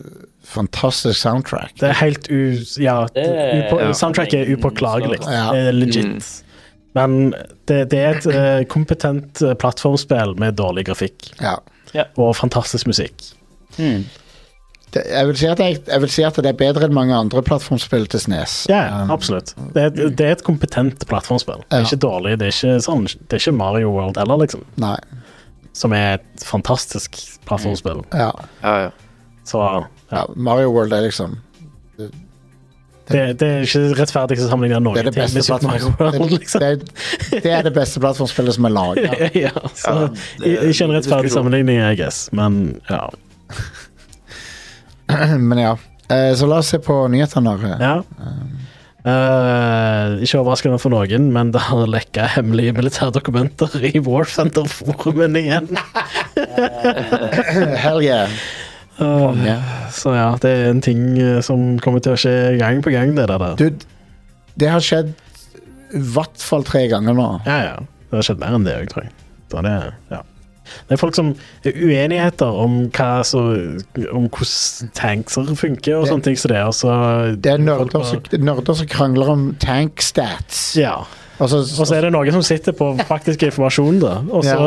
fantastisk soundtrack.
Det er helt u... Ja,
Det er-
upå,
ja.
soundtracket er upåklagelig.
Ja.
Det er legit. Men det, det er et eh, kompetent eh, plattformspill med dårlig grafikk
Ja.
og fantastisk musikk.
Hmm. Det, jeg, vil si at jeg, jeg vil si at det er bedre enn mange andre plattformspill til Snes.
Ja,
Um,
absolutt. Det er, det er et kompetent plattformspill. Det
Ja.
er ikke dårlig, det er ikke, sånn, det er ikke Mario World heller, liksom.
nei.
Som er et fantastisk plattformspill.
Ja.
Ja, ja.
Mm.
Så ja.
ja. Mario World er liksom
det, det er ikke rettferdig å sammenligne noen
Det er det
ting
beste
med Super Mario World,
plattformspillet
liksom.
det, det, det er det beste plattformspillet som er
<laughs>
laget.
ja, så
Ja, det-
Ikke en rettferdig
diskusjon.
sammenligning, I guess, men ja.
Men ja. Eh, så la oss se på nyhetene. her.
ja. Eh, ikke overraskende for noen, men det har lekka hemmelige militærdokumenter i Warfenter-forumen igjen.
<laughs> Hell yeah.
Eh,
Ja.
så ja, det er en ting eh, som kommer til å skje gang på gang, det der. da.
Dude, det har skjedd i hvert fall tre ganger nå.
Ja, ja. Det har skjedd mer enn det òg, tror jeg. Så det, ja. det er folk som er uenigheter om hva så, om hvordan tankser funker og
Det-
sånne ting som det, og så
Det er nerder som, nerder som krangler om tank stats. Altså,
Ja.
Og så,
Og så er det noen som sitter på faktisk informasjon, da. Og så,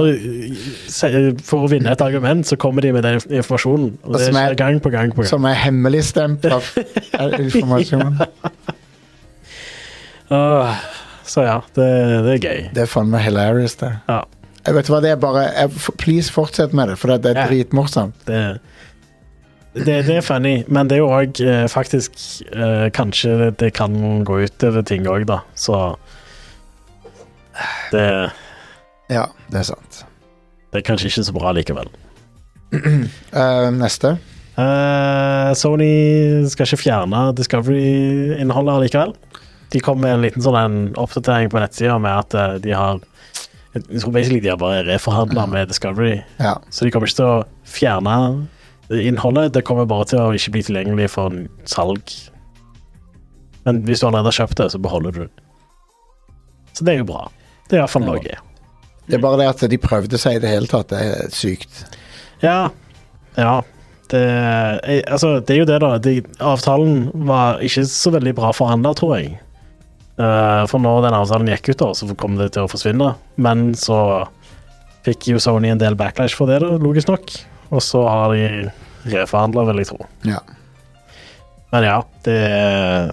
se- for å vinne et argument, så kommer de med den informasjonen. Og det
som er-
skjer gang på gang på gang.
som er hemmeligstemt
<laughs>
av av informasjon.
Åh, så ja, det, det er gøy.
Det er faen meg hilarious, det.
Ja,
Jeg vet hva, det er bare jeg, f- Please, fortsett med det, for det, det er
Ja.
dritmorsomt.
det, det, det er funny, men det er jo òg eh, faktisk eh, Kanskje det, det kan gå ut over ting òg, da. Så eh, det,
Ja, det er sant.
det er kanskje ikke så bra likevel.
Eh, neste.
Eh, Sony skal ikke fjerne Discovery-innholdet allikevel. De kom med en liten sånn en oppdatering på nettsida med at eh, de har jeg tror basically de har bare reforhandla med Discovery.
Ja.
Så de kommer ikke til å fjerne innholdet. Det kommer bare til å ikke bli tilgjengelig for salg. Men hvis du allerede har kjøpt det, så beholder du det. Så det er jo bra. Det er iallfall noe.
Det er bare det at de prøvde seg i det hele tatt. Det er sykt.
Ja. ja. Det, eh, altså, det er jo det, da. De, avtalen var ikke så veldig bra forhandla, tror jeg. Eh, for når den avtalen gikk ut, da, så kom det til å forsvinne. Men så fikk jo Sony en del backlash for det, da, logisk nok. Og så har de reforhandla, vil jeg tro.
Ja.
Men ja, det er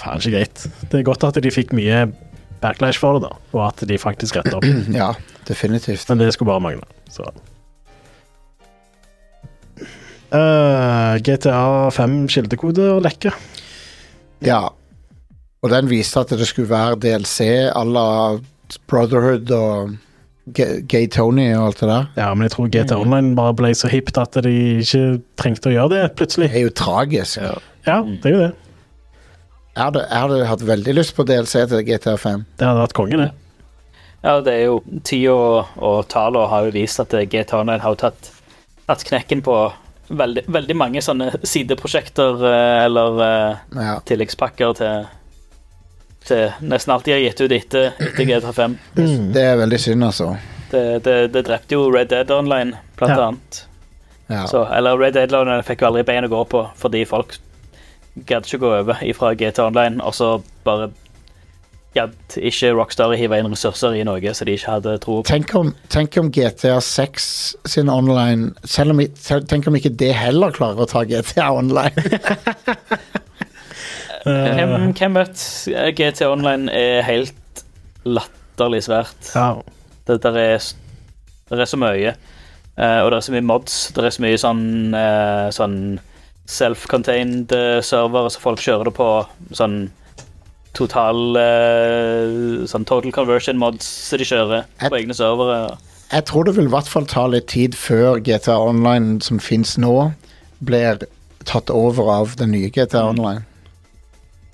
faen ikke greit. Det er godt at de fikk mye backlash for det, da. Og at de faktisk retter opp.
ja, definitivt.
Men det skulle bare mangle. Så. Eh, GTA 5 kildekode og lekke.
Ja. Og den viste at det skulle være DLC à la Brotherhood og Ga- Gay Tony og alt det der.
Ja, men jeg tror GTA Online bare ble så hipt at de ikke trengte å gjøre det
Det
plutselig.
er jo tragisk.
Ja, det er jo det.
Jeg hadde, jeg hadde hatt veldig lyst på DLC til GTA 5.
Det hadde vært konge, det.
Ja, det er jo Tida og, og tallene har jo vist at eh, GTA Online har jo tatt, tatt knekken på veldig, veldig mange sånne sideprosjekter eh, eller eh,
Ja.
tilleggspakker til, til nesten alt de har gitt ut etter, etter GTA 5.
Det er veldig synd, altså.
Det, det, det drepte jo Red Dead Online, blant
Ja.
annet.
Ja.
Så, eller Red Dead Online fikk jo aldri bein å gå på fordi folk gadd ikke gå over ifra GTA Online, og så bare gadd ikke Rockstar hive inn ressurser i Norge så de ikke hadde tro på.
Tenk om, tenk om GTA 6 sin online selv om, i- selv- Tenk om ikke det heller klarer å ta GTA online. <laughs>
Eh,
Hvem, hvem vet? GTA Online er helt latterlig svært.
Ja.
Det der er, s- der er så mye. Eh, og det er så mye mods. Det er så mye sånn, eh, sånn self-contained uh, server som folk kjører det på. Sånn total eh, Sånn total conversion mods som de kjører på egne servere.
Jeg tror det vil i hvert fall ta litt tid før GTA online, som fins nå, blir tatt over av den nye GTA online.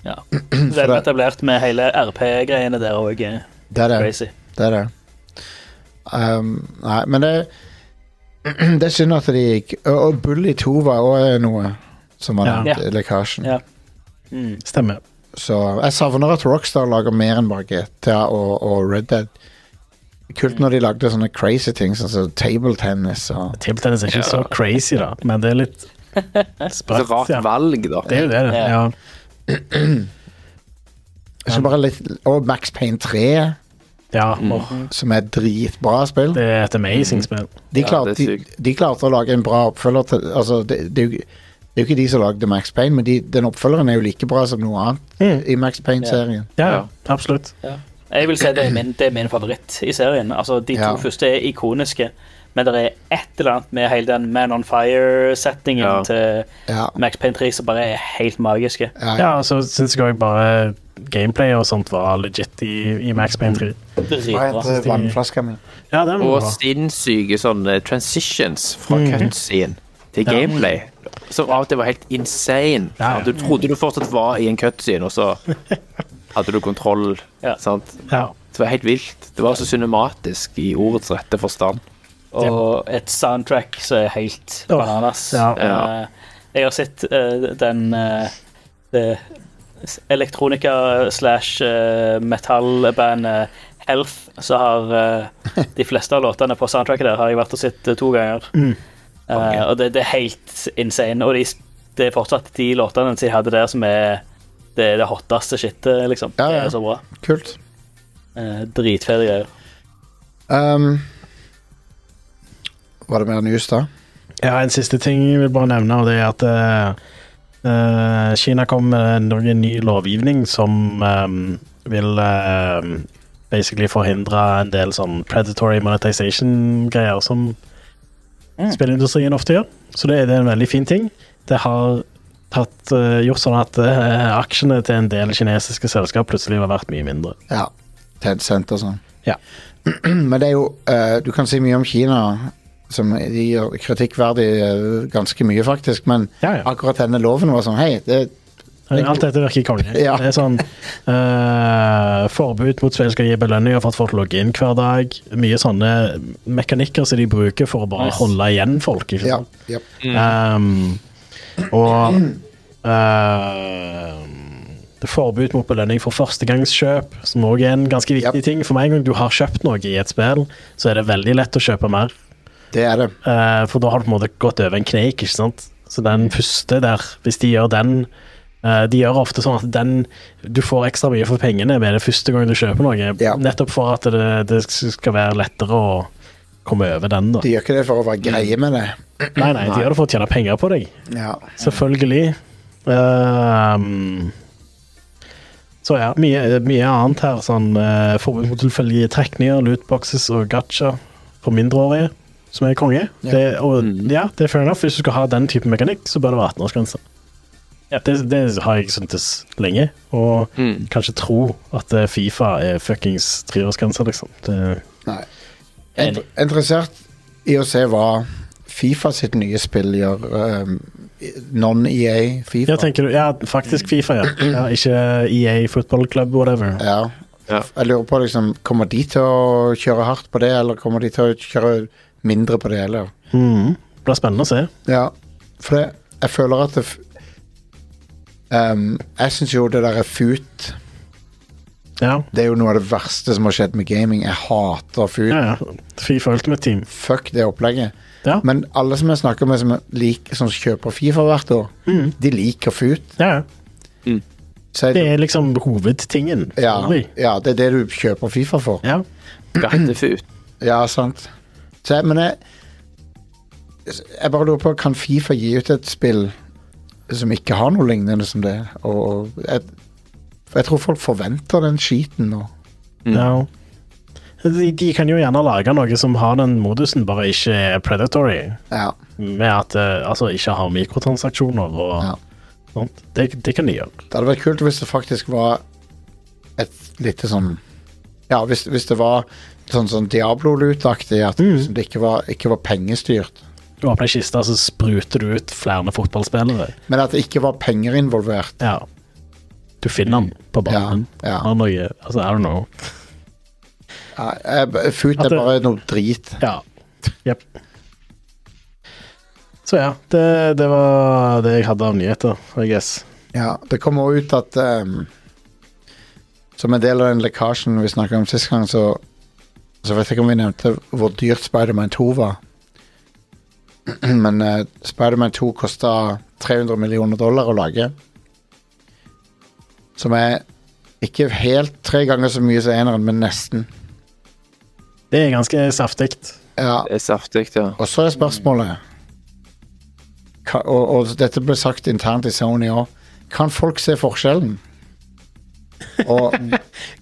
Ja. Vel etablert med hele RP-greiene der òg.
Det er det.
Crazy.
det, er det. Um, nei, men det <clears throat> Det er synd at de gikk Og- Og Bully 2 var òg noe som var
Ja.
nevnt i lekkasjen.
Ja. Mm.
Stemmer.
Så jeg savner at Rockstar lager mer enn bare GTA og, og Red Dead. Kult når de lagde sånne crazy ting, sånn som table tennis og
Table tennis er ikke så crazy, da, men det er litt
Så
sprøtt.
rart
ja.
valg, da.
Det er jo det, det.
Ja.
Ja.
Jeg synes bare litt, Og Max Payne 3,
ja åh,
som er et dritbra spill.
det er et amazing spill.
De
Ja,
klarte,
det er
de, de klarte å lage en bra oppfølger til altså, det, det, er jo, det er jo ikke de som lagde Max Payne, men de, den oppfølgeren er jo like bra som noe annet
Mm.
i Max Payne-serien.
Ja,
Ja.
absolutt.
Jeg vil si det er min, det er min favoritt i serien. Altså, De to
Ja.
første er ikoniske, men det er et eller annet med hele den Man on Fire-settingen
Ja.
til
Ja.
Max Payne 3 som bare er helt magiske.
Ja, ja.
Ja, og så syns jeg òg bare gameplay og sånt var legit i, i Max Payne 3.
Hva
Dritbra.
heter vannflaska mi?
Ja, den var
Og
bra.
sinnssyke sånne transitions fra
Mhm.
cutscene til
Ja.
gameplay. Som av og til var helt insane.
Ja, ja.
Du trodde du fortsatt var i en cutscene, og så hadde du kontroll.
Ja.
Sant?
Ja.
Det var helt vilt. Det var så cinematisk i ordets rette forstand.
Og et soundtrack som er helt
Åh,
bananas.
ja.
Ja.
Eh, Jeg har sett eh, den eh, det s- elektronika slash eh, metallbandet Health, så har eh, de fleste av låtene på soundtracket der har jeg vært og sett eh, to ganger.
Mm.
Eh,
Konge.
og det, det er helt insane. Og de, s- det er fortsatt de låtene som de hadde der, som er det, er det hotteste shitet, liksom.
Ja, ja.
Det er så bra.
Kult.
Uh, Dritfete greier.
Um, var det mer news, da?
Jeg har en siste ting jeg vil bare nevne, og det er at eh, eh, Kina kom med noe ny lovgivning som eh, vil eh, basically forhindre en del sånn predatory monetization-greier som spillindustrien ofte gjør. Så det, er- det er en veldig fin ting. Det har tatt, eh, gjort sånn at eh, aksjene til en del kinesiske selskap plutselig har vært mye mindre.
Ja. Tencent og sånn.
Ja.
<clears throat> Men det er jo eh, Du kan si mye om Kina, som de gjør kritikkverdig eh, ganske mye, faktisk, men
Ja, ja.
akkurat denne loven var sånn Hei, det
Alt dette virker konge.
Ja.
Det er sånn eh, Forbud mot spill skal gi belønninger for at folk logger inn hver dag. Mye sånne mekanikker som de bruker for å bare
Nice.
holde igjen folk. Ikke
Ja.
sant?
ja.
Um, og um, det er forbud mot belønning for førstegangskjøp, som òg er en ganske viktig
Yep.
ting. For meg en gang du har kjøpt noe i et spill, så er det veldig lett å kjøpe mer.
Det er det.
Eh, for da har du på en måte gått over en kneik, ikke sant? Så
Mm.
den første der, hvis de gjør den eh, De gjør ofte sånn at den Du får ekstra mye for pengene med det første gang du kjøper noe,
Ja.
nettopp for at det, det skal være lettere å komme over den, da.
De gjør ikke det for å være greie
Mm.
med det.
Nei, nei, de gjør det for å tjene penger på deg.
Ja.
Selvfølgelig. Ehm, så ja, mye, mye annet her. Sånn, eh, forbud mot tilfeldige trekninger, lootboxes og gacha for mindreårige, som er konge.
Ja. Mm.
Det, og, ja, det er fair enough. Hvis du skal ha den type mekanikk, så bør det være 18-årsgrense.
Ja.
Det, det har jeg syntes lenge, og
Mm.
kanskje tro at eh, Fifa er fuckings treårsgrense, liksom. Det,
Nei. Int- Interessert i å se hva Fifa sitt nye spill gjør. ehm, Non-EA Fifa.
ja, tenker du, ja, faktisk Fifa, ja. ja ikke EA Football Club, whatever.
Ja.
Ja.
Jeg lurer på liksom, Kommer de til å kjøre hardt på det, eller kommer de til å kjøre mindre på det? Eller?
Mhm. Det blir spennende å se.
Ja, for det, jeg føler at det, f- ehm, Jeg syns jo det der er fut.
Ja.
Det er jo noe av det verste som har skjedd med gaming. Jeg hater fut.
Ja, ja. Fifa Ultimate Team.
Fuck det opplegget.
Ja.
Sånn. Men alle som jeg snakker med som, lik, som kjøper Fifa hvert år, de liker fut.
Ja, ja.
Så
Det
jeg,
er liksom hovedtingen.
ja,
Aldri.
ja, det er det du kjøper Fifa for.
Ja.
Gattefut.
Ja, sant. Så jeg, men jeg Jeg bare lurer på, kan Fifa gi ut et spill som ikke har noe lignende som det? Og, og jeg, for jeg tror folk forventer den skiten nå. Mm.
ja. De, de kan jo gjerne lage noe som har den modusen, bare ikke er predatory.
Ja.
Med at eh, altså ikke har mikrotransaksjoner og
Ja.
sånt. Det, det kan de gjøre.
Det hadde vært kult hvis det faktisk var et lite sånn Ja, hvis, hvis det var sånn, sånn Diablo-lut-aktig, at
Mm.
liksom det ikke var, ikke var pengestyrt.
Du åpner ei kiste, så spruter du ut flere fotballspillere.
Men at det ikke var penger involvert.
Ja. Du finner den på banen.
Ja, ja.
Har noe Altså, I don't know.
Ja, jeg- Fut
At
er
det-
bare noe drit.
Ja. Jepp. Så ja, det, det var det jeg hadde av nyheter, I guess.
Ja, det kommer også ut at ehm, Som en del av den lekkasjen vi snakket om sist gang, så Så vet jeg ikke om vi nevnte hvor dyrt Spiderman 2 var. <clears throat> Men eh, Spiderman 2 kosta 300 millioner dollar å lage. Som er ikke helt tre ganger så mye som eneren, men nesten.
Det er ganske saftig.
Ja,
Det er saftig, ja.
og så er spørsmålet Ka- og, og dette ble sagt internt i Sony òg. Kan folk se
<laughs>
forskjellen? Og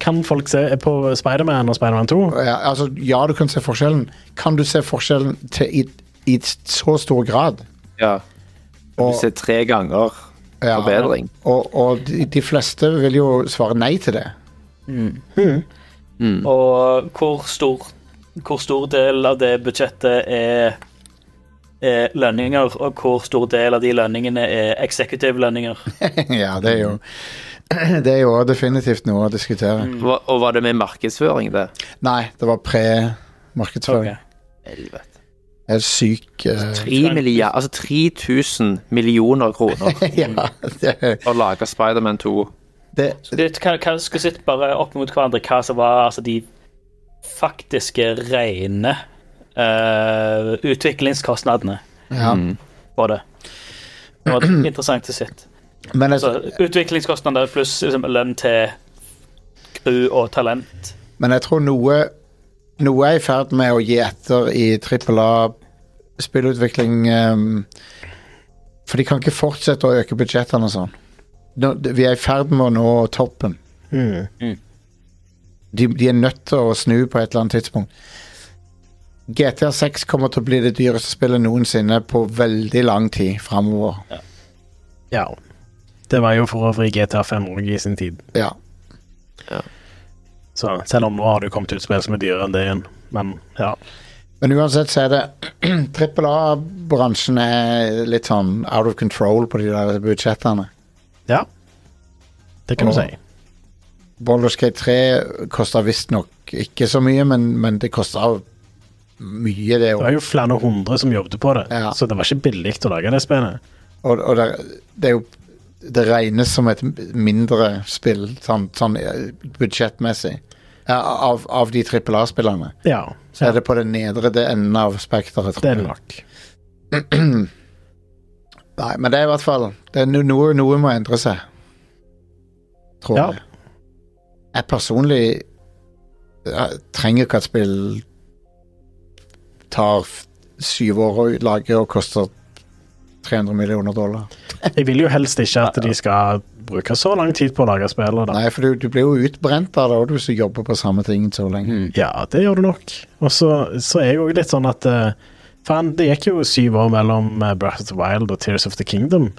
Kan folk se på Spiderman og Spiderman 2?
ja, altså, ja, du kan se forskjellen. Kan du se forskjellen til, i, i så stor grad?
ja. Du
Og,
ser tre ganger
ja,
forbedring.
og, og de, de fleste vil jo svare nei til det. <laughs> Mm.
Mm.
Mm.
Og hvor stor, hvor stor del av det budsjettet er, er lønninger, og hvor stor del av de lønningene er executive lønninger.
ja, det er jo <clears throat> Det er jo definitivt noe å diskutere.
Hva- Og var det med markedsføring, det?
Nei, det var pre-markedsføring.
Mm. Ok.
Helvete.
Jeg er syk eh,
3 milliard, altså 3000 millioner kroner
<laughs> Ja, det,
for å lage Spiderman 2.
det,
Det kan, kan skulle sitte bare opp mot hverandre hva som var altså, de faktiske rene eh, utviklingskostnadene
ja.
Mm. på det. Det var interessant å sitte.
Men jeg,
Så utviklingskostnader pluss liksom, lønn til crew og talent.
Men jeg tror noe Noe er i ferd med å gi etter i trippel A spillutvikling ehm, For de kan ikke fortsette å øke budsjettene og sånn. Nå, d- vi er i ferd med å nå toppen. De, de er nødt til å snu på et eller annet tidspunkt. GTA 6 kommer til å bli det dyreste spillet noensinne på veldig lang tid framover.
Ja. Det var jo for øvrig GTA 5 også i sin tid.
Ja.
Så selv om nå har det jo kommet ut spill som er dyrere enn det igjen. Men ja.
Men uansett så er det <clears throat> Trippel A-bransjen er litt sånn out of control på de der budsjettene.
ja. Det kan du
Og-
si.
Baldur's Gate 3 kosta visstnok ikke så mye, men, men det kosta mye, det
Det var
òg.
jo flere hundre som jobbet på det,
Ja.
så det var ikke billig å lage det spillet.
Og, og det, det er jo Det regnes som et mindre spill, sånn, sånn eh, budsjettmessig. Ja, Av, av de trippel A-spillerne.
Ja,
Så er det på den nedre det enden av spekteret. tror
det er
jeg.
det nok.
<clears throat> Nei, men det er i hvert fall det er no, noe, noe må endre seg. Tror
Ja.
jeg. Jeg personlig jeg trenger ikke at spill tar f- syv år å lage og koster 300 millioner dollar.
Jeg vil jo helst ikke at de skal bruke så lang tid på å lage spillet. Da.
Nei, for du, du blir jo utbrent av det og du som jobber på samme ting så lenge.
Ja, det gjør du nok. Og så, så er jeg òg litt sånn at eh, Faen, det gikk jo syv år mellom eh, Breath of the Wild og Tears of the Kingdom.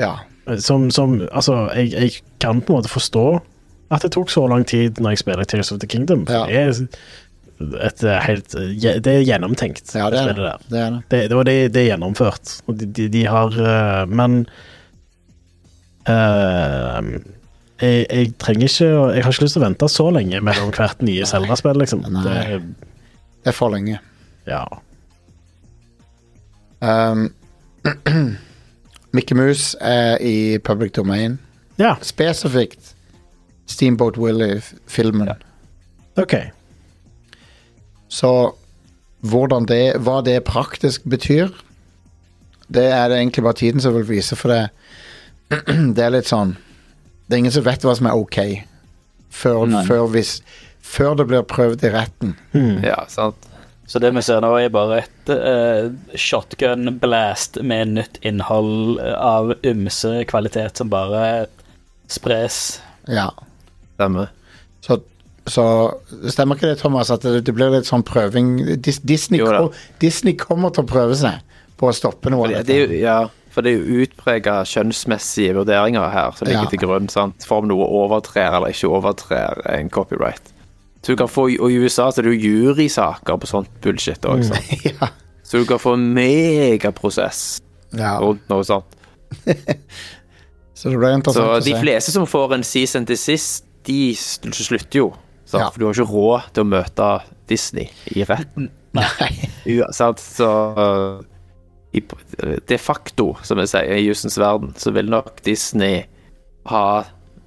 eh,
Ja.
Som, som Altså, jeg, jeg kan på en måte forstå at det tok så lang tid når jeg spiller Tears of the Kingdom. for
Ja.
Det er et eh, helt eh, gje- Det er gjennomtenkt.
ja, det er
spillet
det.
der.
det, er det.
Det, det, var det, det er gjennomført, og de, de, de har eh, Men eh, jeg, jeg trenger ikke å- Jeg har ikke lyst til å vente så lenge mellom hvert nye Zelda-spill, liksom.
Nei.
Det,
Det er for lenge.
ja.
Um, <clears throat> Mickey Mouse er i public domain.
ja,
Spesifikt Steamboat Willie-filmen.
OK.
Så hvordan det, hva det praktisk betyr, det er det egentlig bare tiden som vil vise, for det, det <clears throat> er litt sånn Det er ingen som vet hva som er ok, før, før, hvis, før det blir prøvd i retten.
Ja, sant.
Så det vi ser nå, er bare et eh, shotgun-blast med nytt innhold eh, av ymse kvalitet som bare spres.
Ja.
Stemmer.
Så, så stemmer ikke det, Thomas, at det, det blir litt sånn prøving Dis, Disney,
Jo da.
kom, Disney kommer til å prøve seg på å stoppe noe.
For
av
det, det
dette.
er jo, ja, for det er jo utprega kjønnsmessige vurderinger her som ligger
Ja.
til grunn sant? for om noe overtrer eller ikke overtrer en copyright. Så du kan få, og I USA så er det jo jurysaker på sånt bullshit
Mm.
òg.
<laughs> ja.
Så du kan få en megaprosess
Ja.
rundt noe sånt.
Så det blir
Så
interessant
de
å se.
fleste som får en cease and desist, de sl- slutter jo. Sant?
Ja.
For du har ikke råd til å møte Disney i retten. Nei. Sant? Så øh, i, de facto, som jeg sier, i jussens verden, så vil nok Disney ha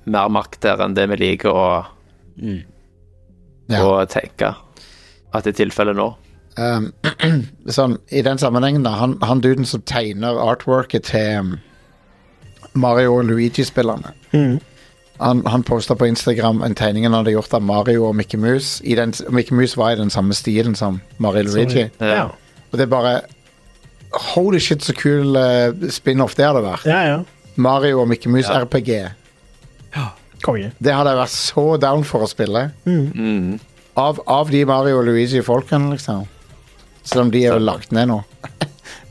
mer makt der enn det vi liker å,
Mm. Ja.
å tenke. at det er tilfellet nå.
Um, <clears throat> sånn, I den sammenhengen, da. Han, han duden som tegner artworket til um, Mario og Luigi-spillerne. Han, han posta på Instagram en tegning han hadde gjort av Mario og Mickey Mouse. I den, Mickey Mouse var i den samme stilen som Mario og Luigi.
Ja,
Og det er bare Holy shit, så kul eh, spin-off det hadde vært.
ja. ja.
Mario og Mickey Mouse
Ja.
RPG.
Konge.
Det hadde jeg vært så down for å spille. Av, av de Mario og Luigi-folkene, liksom. Selv om de er jo lagt ned nå.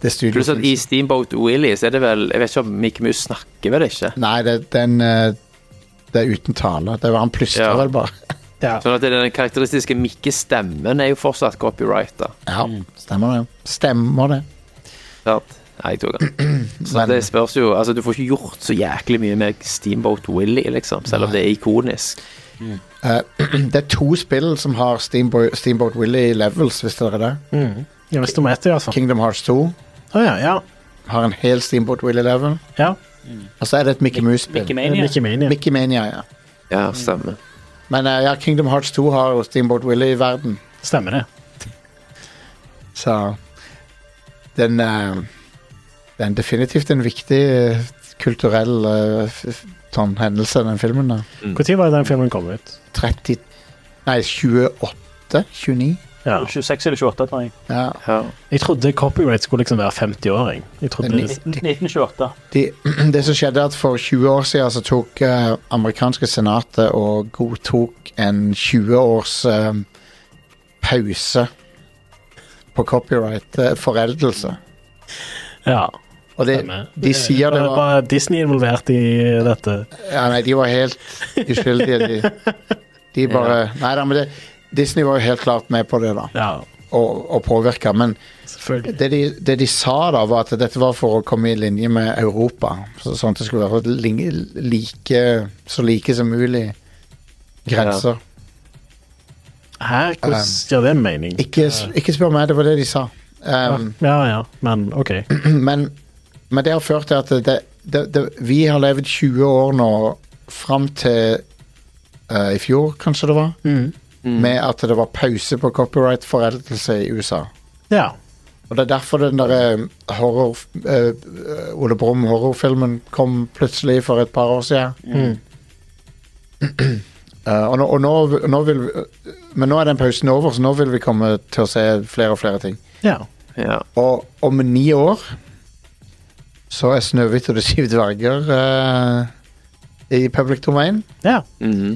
det studioet
Pluss at i
finnes.
Steamboat Willy så er det vel Jeg vet ikke om Mickey Mouse snakker vel ikke?
Nei, det, den, eh, det er uten tale. Det var Han plystrer
Ja.
vel bare. <laughs>
Ja.
Sånn at den karakteristiske Mikke-stemmen er jo fortsatt copyrighta.
Ja, stemmer det. Stemmer det. <clears throat>
Sant? Nei, jeg tok den. Så
Men
det spørs jo Altså, du får ikke gjort så jæklig mye med Steamboat Willy, liksom, selv om det er ikonisk.
det er to spill som har Steamboat, Steamboat Willy levels, hvis dere er det.
Jeg visste om ett, i hvert fall.
Kingdom Hearts 2
altså. Å ja, ja.
har en hel Steamboat Willy level.
ja.
Og så Altså, er det et Mickey Mouse-spill.
Mickey Mania.
Mickey Mania.
Mickey Mania, ja.
Ja, stemmer.
Men eh, ja, Kingdom Hearts 2 har jo Steamboat Willy i verden.
Stemmer det.
Så den eh, Den er definitivt en viktig eh, kulturell eh, f- f- sånn hendelse, den filmen. da
Når var det den filmen kom ut?
30 Nei, 28? 29?
Ja.
26 eller 28, tror jeg.
Ja.
Ja.
Jeg trodde copyright skulle liksom være 50-åring. Jeg trodde
Ni-
det-
1928.
De, <clears throat> det som skjedde, er at for 20 år siden så tok eh, amerikanske senatet og godtok en 20 års eh, pause på copyright eh, foreldelse.
Ja.
Og det,
stemmer.
de sier det
Bare-
var
Bare Disney involvert i dette.
Ja, nei, de var helt uskyldige. De, de bare Nei da, men det, Disney var jo helt klart med på det, da.
Ja,
Og, og påvirka. Men
selvfølgelig.
det de, det de sa, da, var at dette var for å komme i linje med Europa. Så, sånn at det skulle være ling- like, så like som mulig grenser. Um,
Her, hvordan gjør det mening?
Ikke, s- ikke spør meg, det var det de sa. Um, <clears throat>
Ja, ja, men OK.
men, men det har ført til at det, det, det, vi har levd 20 år nå fram til eh, i fjor, kanskje det var, med at det var pause på copyright-foreldelse i USA.
Ja.
Og det er derfor den derre horror eh, Ole Brumm horrorfilmen kom plutselig for et par år siden. Eh, og nå, og nå, nå vil vi, eh, Men nå er den pausen over, så nå vil vi komme til å se flere og flere ting.
ja.
ja.
Og om ni år så er Snøhvit og de syv dverger eh, i public domain.
Ja.
Mhm.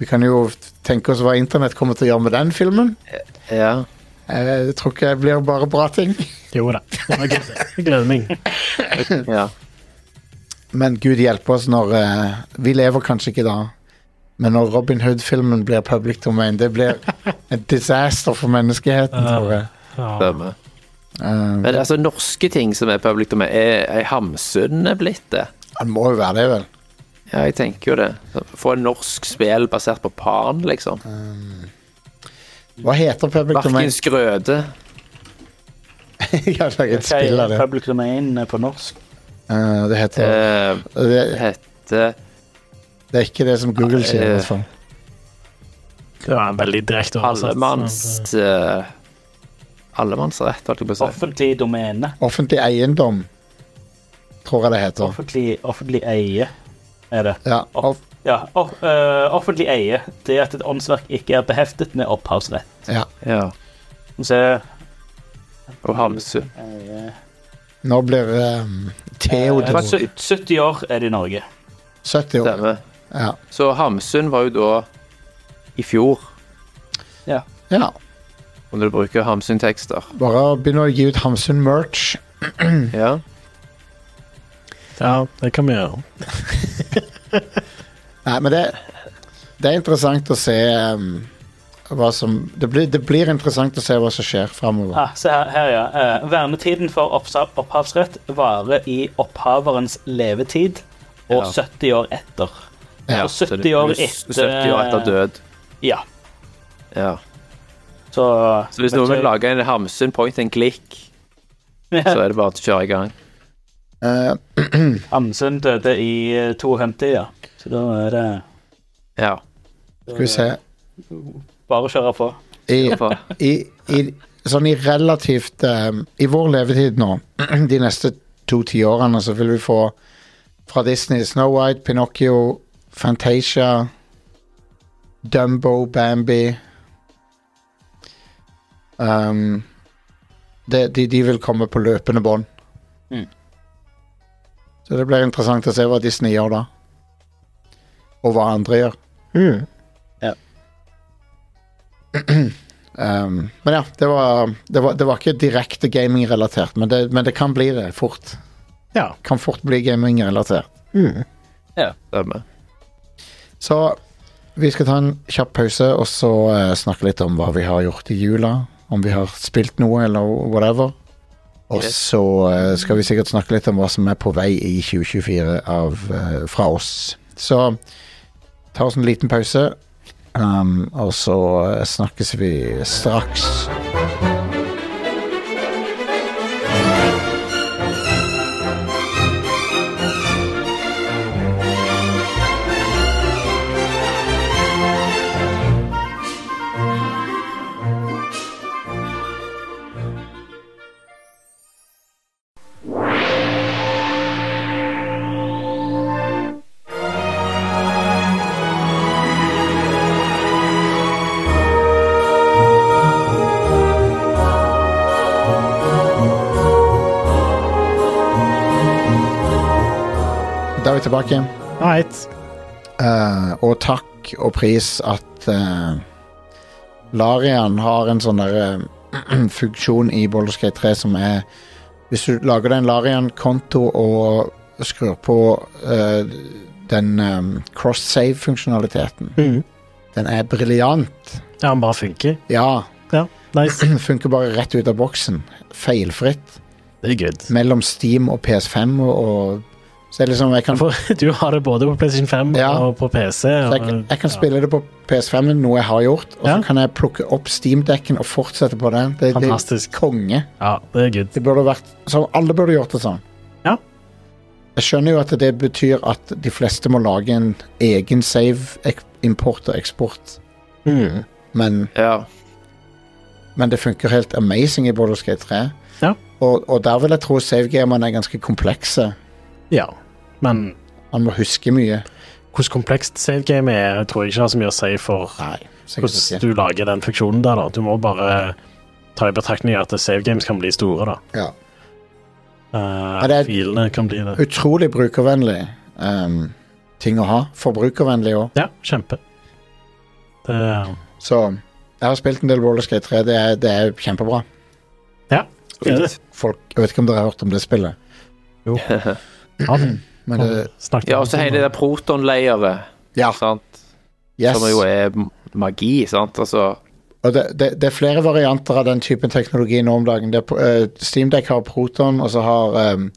Vi kan jo tenke oss hva internett kommer til å gjøre med den filmen. Eh,
ja.
Jeg tror ikke det blir bare bra ting.
Jo da. Jeg gleder- jeg gleder meg.
<laughs> ja.
Men gud hjelpe oss når eh, Vi lever kanskje ikke da, men når Robin Hood-filmen blir public domain, det blir en disaster for menneskeheten, tror jeg.
Ja.
Stemmer.
Eh,
Men altså, norske ting som er public domain, er, er Hamsun blitt det?
han må jo være det, vel.
Ja, jeg tenker jo det. Få en norsk spill basert på Pan, liksom.
Hva heter public domain? <laughs>
Barken Skrøde.
Jeg har laget et
Hva
spill av
er
det.
Public Domain på norsk?
Eh, det heter
eh,
det,
Hette
det er ikke det som Google sier, i
Eh,
hvert fall.
Det var en veldig altså. direkte
Allemanns... eh, allemannsrett, holdt jeg på å si.
Offentlig domene.
Offentlig eiendom, tror jeg det heter.
Offentlig, offentlig eie er det.
Ja, off,
Ja, off, eh, offentlig eie. Det at et åndsverk ikke er beheftet med opphavsrett.
ja.
Ja.
Så er
Og Hamsun.
det eie.
Nå blir
Eh,
um,
eh, Det var
Theodor
sy- 70 år er det i Norge.
70 år.
Stemmer.
Ja.
Så Hamsun var jo da i fjor,
ja.
om du bruker Hamsun-tekster.
Bare begynne å gi ut Hamsun-merch.
Mhm.
Ja.
Ja, det kan vi gjøre.
Nei, men det, det er interessant å se um, hva som det blir, det blir interessant å se hva som skjer framover.
Ah, se her, her ja. Eh, vernetiden for oppsa- opphavsrett varer i opphaverens levetid og
Ja. 70
70 år etter.
Ja,
og 70 år etter eh,
70 år etter død.
Ja.
Ja.
Så,
Så hvis noen vil lage en Hamsun point and click, så
<laughs>
er det bare å kjøre i gang.
Eh,
Hamsun døde i eh, 52, ja. Så da er det
Ja.
skal vi se
bare å kjøre på.
I,
Hvorfor?
i, i, sånn i relativt eh, I vår levetid nå, <clears throat> de neste to tiårene, så vil vi få fra Disney Snow White, Pinocchio, Fantasia, Dumbo, Bambi um, det, de, de vil komme på løpende bånd.
Mm.
Så det blir interessant å se hva Disney gjør da. Og hva andre gjør.
Mm.
Um, men ja, det var, det var, det var ikke direkte gaming-relatert, men, det- men det kan bli det fort.
Ja.
Kan fort bli gaming-relatert.
Mm.
Ja, stemmer.
Så vi skal ta en kjapp pause, og så eh, snakke litt om hva vi har gjort i jula. Om vi har spilt noe, eller whatever. Og
Yes.
så eh, skal vi sikkert snakke litt om hva som er på vei i 2024 av, eh, fra oss. Så ta oss en liten pause, um, og så eh, snakkes vi straks. Da er vi tilbake.
Alright.
Eh, og takk og pris at eh, Larian har en sånn der eh, <clears throat> funksjon i Baldur's Gate 3 som er Hvis du lager deg en Larian-konto og skrur på eh, den eh, cross-save-funksjonaliteten
Mm.
Den er briljant.
Ja, han bare funker.
Ja.
Ja, nice.
<clears throat> Funker bare rett ut av boksen. Feilfritt.
Det er good.
Mellom Steam og PS5 og, og Så det er liksom Jeg kan,
For <laughs> du har det både på PlayStation 5
Ja.
og på PC.
Så jeg,
og-
jeg kan spille det på PS5, noe jeg har gjort, og så
Ja.
kan jeg plukke opp Steam-dekken og fortsette på den. Det, det er
Fantastisk.
konge.
Ja, det er good.
Det burde vært, så alle burde gjort det sånn.
Ja.
Jeg skjønner jo at det betyr at de fleste må lage en egen save, ek- import og eksport,
Mm.
men,
Ja.
men det funker helt amazing i Baldur's Gate 3.
Ja.
Og, og der vil jeg tro savegamerne er ganske komplekse.
Ja. Men
Man må huske mye.
hvordan komplekst savegame er, tror jeg ikke har så mye å si for
Nei, sikkert
hvordan
ikke.
du lager den funksjonen der. da. Du må bare ta i betraktning at savegames kan bli store. da.
Ja.
Eh,
Ja, det er-
Filene kan bli det.
Utrolig brukervennlig ehm, ting å ha. Forbrukervennlig òg.
Ja, kjempe. Det,
Så jeg har spilt en del Baldur's Gate 3. Det er, det er kjempebra.
det er det.
Folk, jeg vet ikke om dere har hørt om det spillet.
Ja,
<clears throat> Men det,
snakket
ja
om
og så hele det der proton-layeret,
ja,
sant?
yes.
som jo er m- magi, sant? Altså
Og det, det, det er flere varianter av den typen teknologi nå om dagen. Det er, pro- eh, Steamdeck har Proton, og så har um,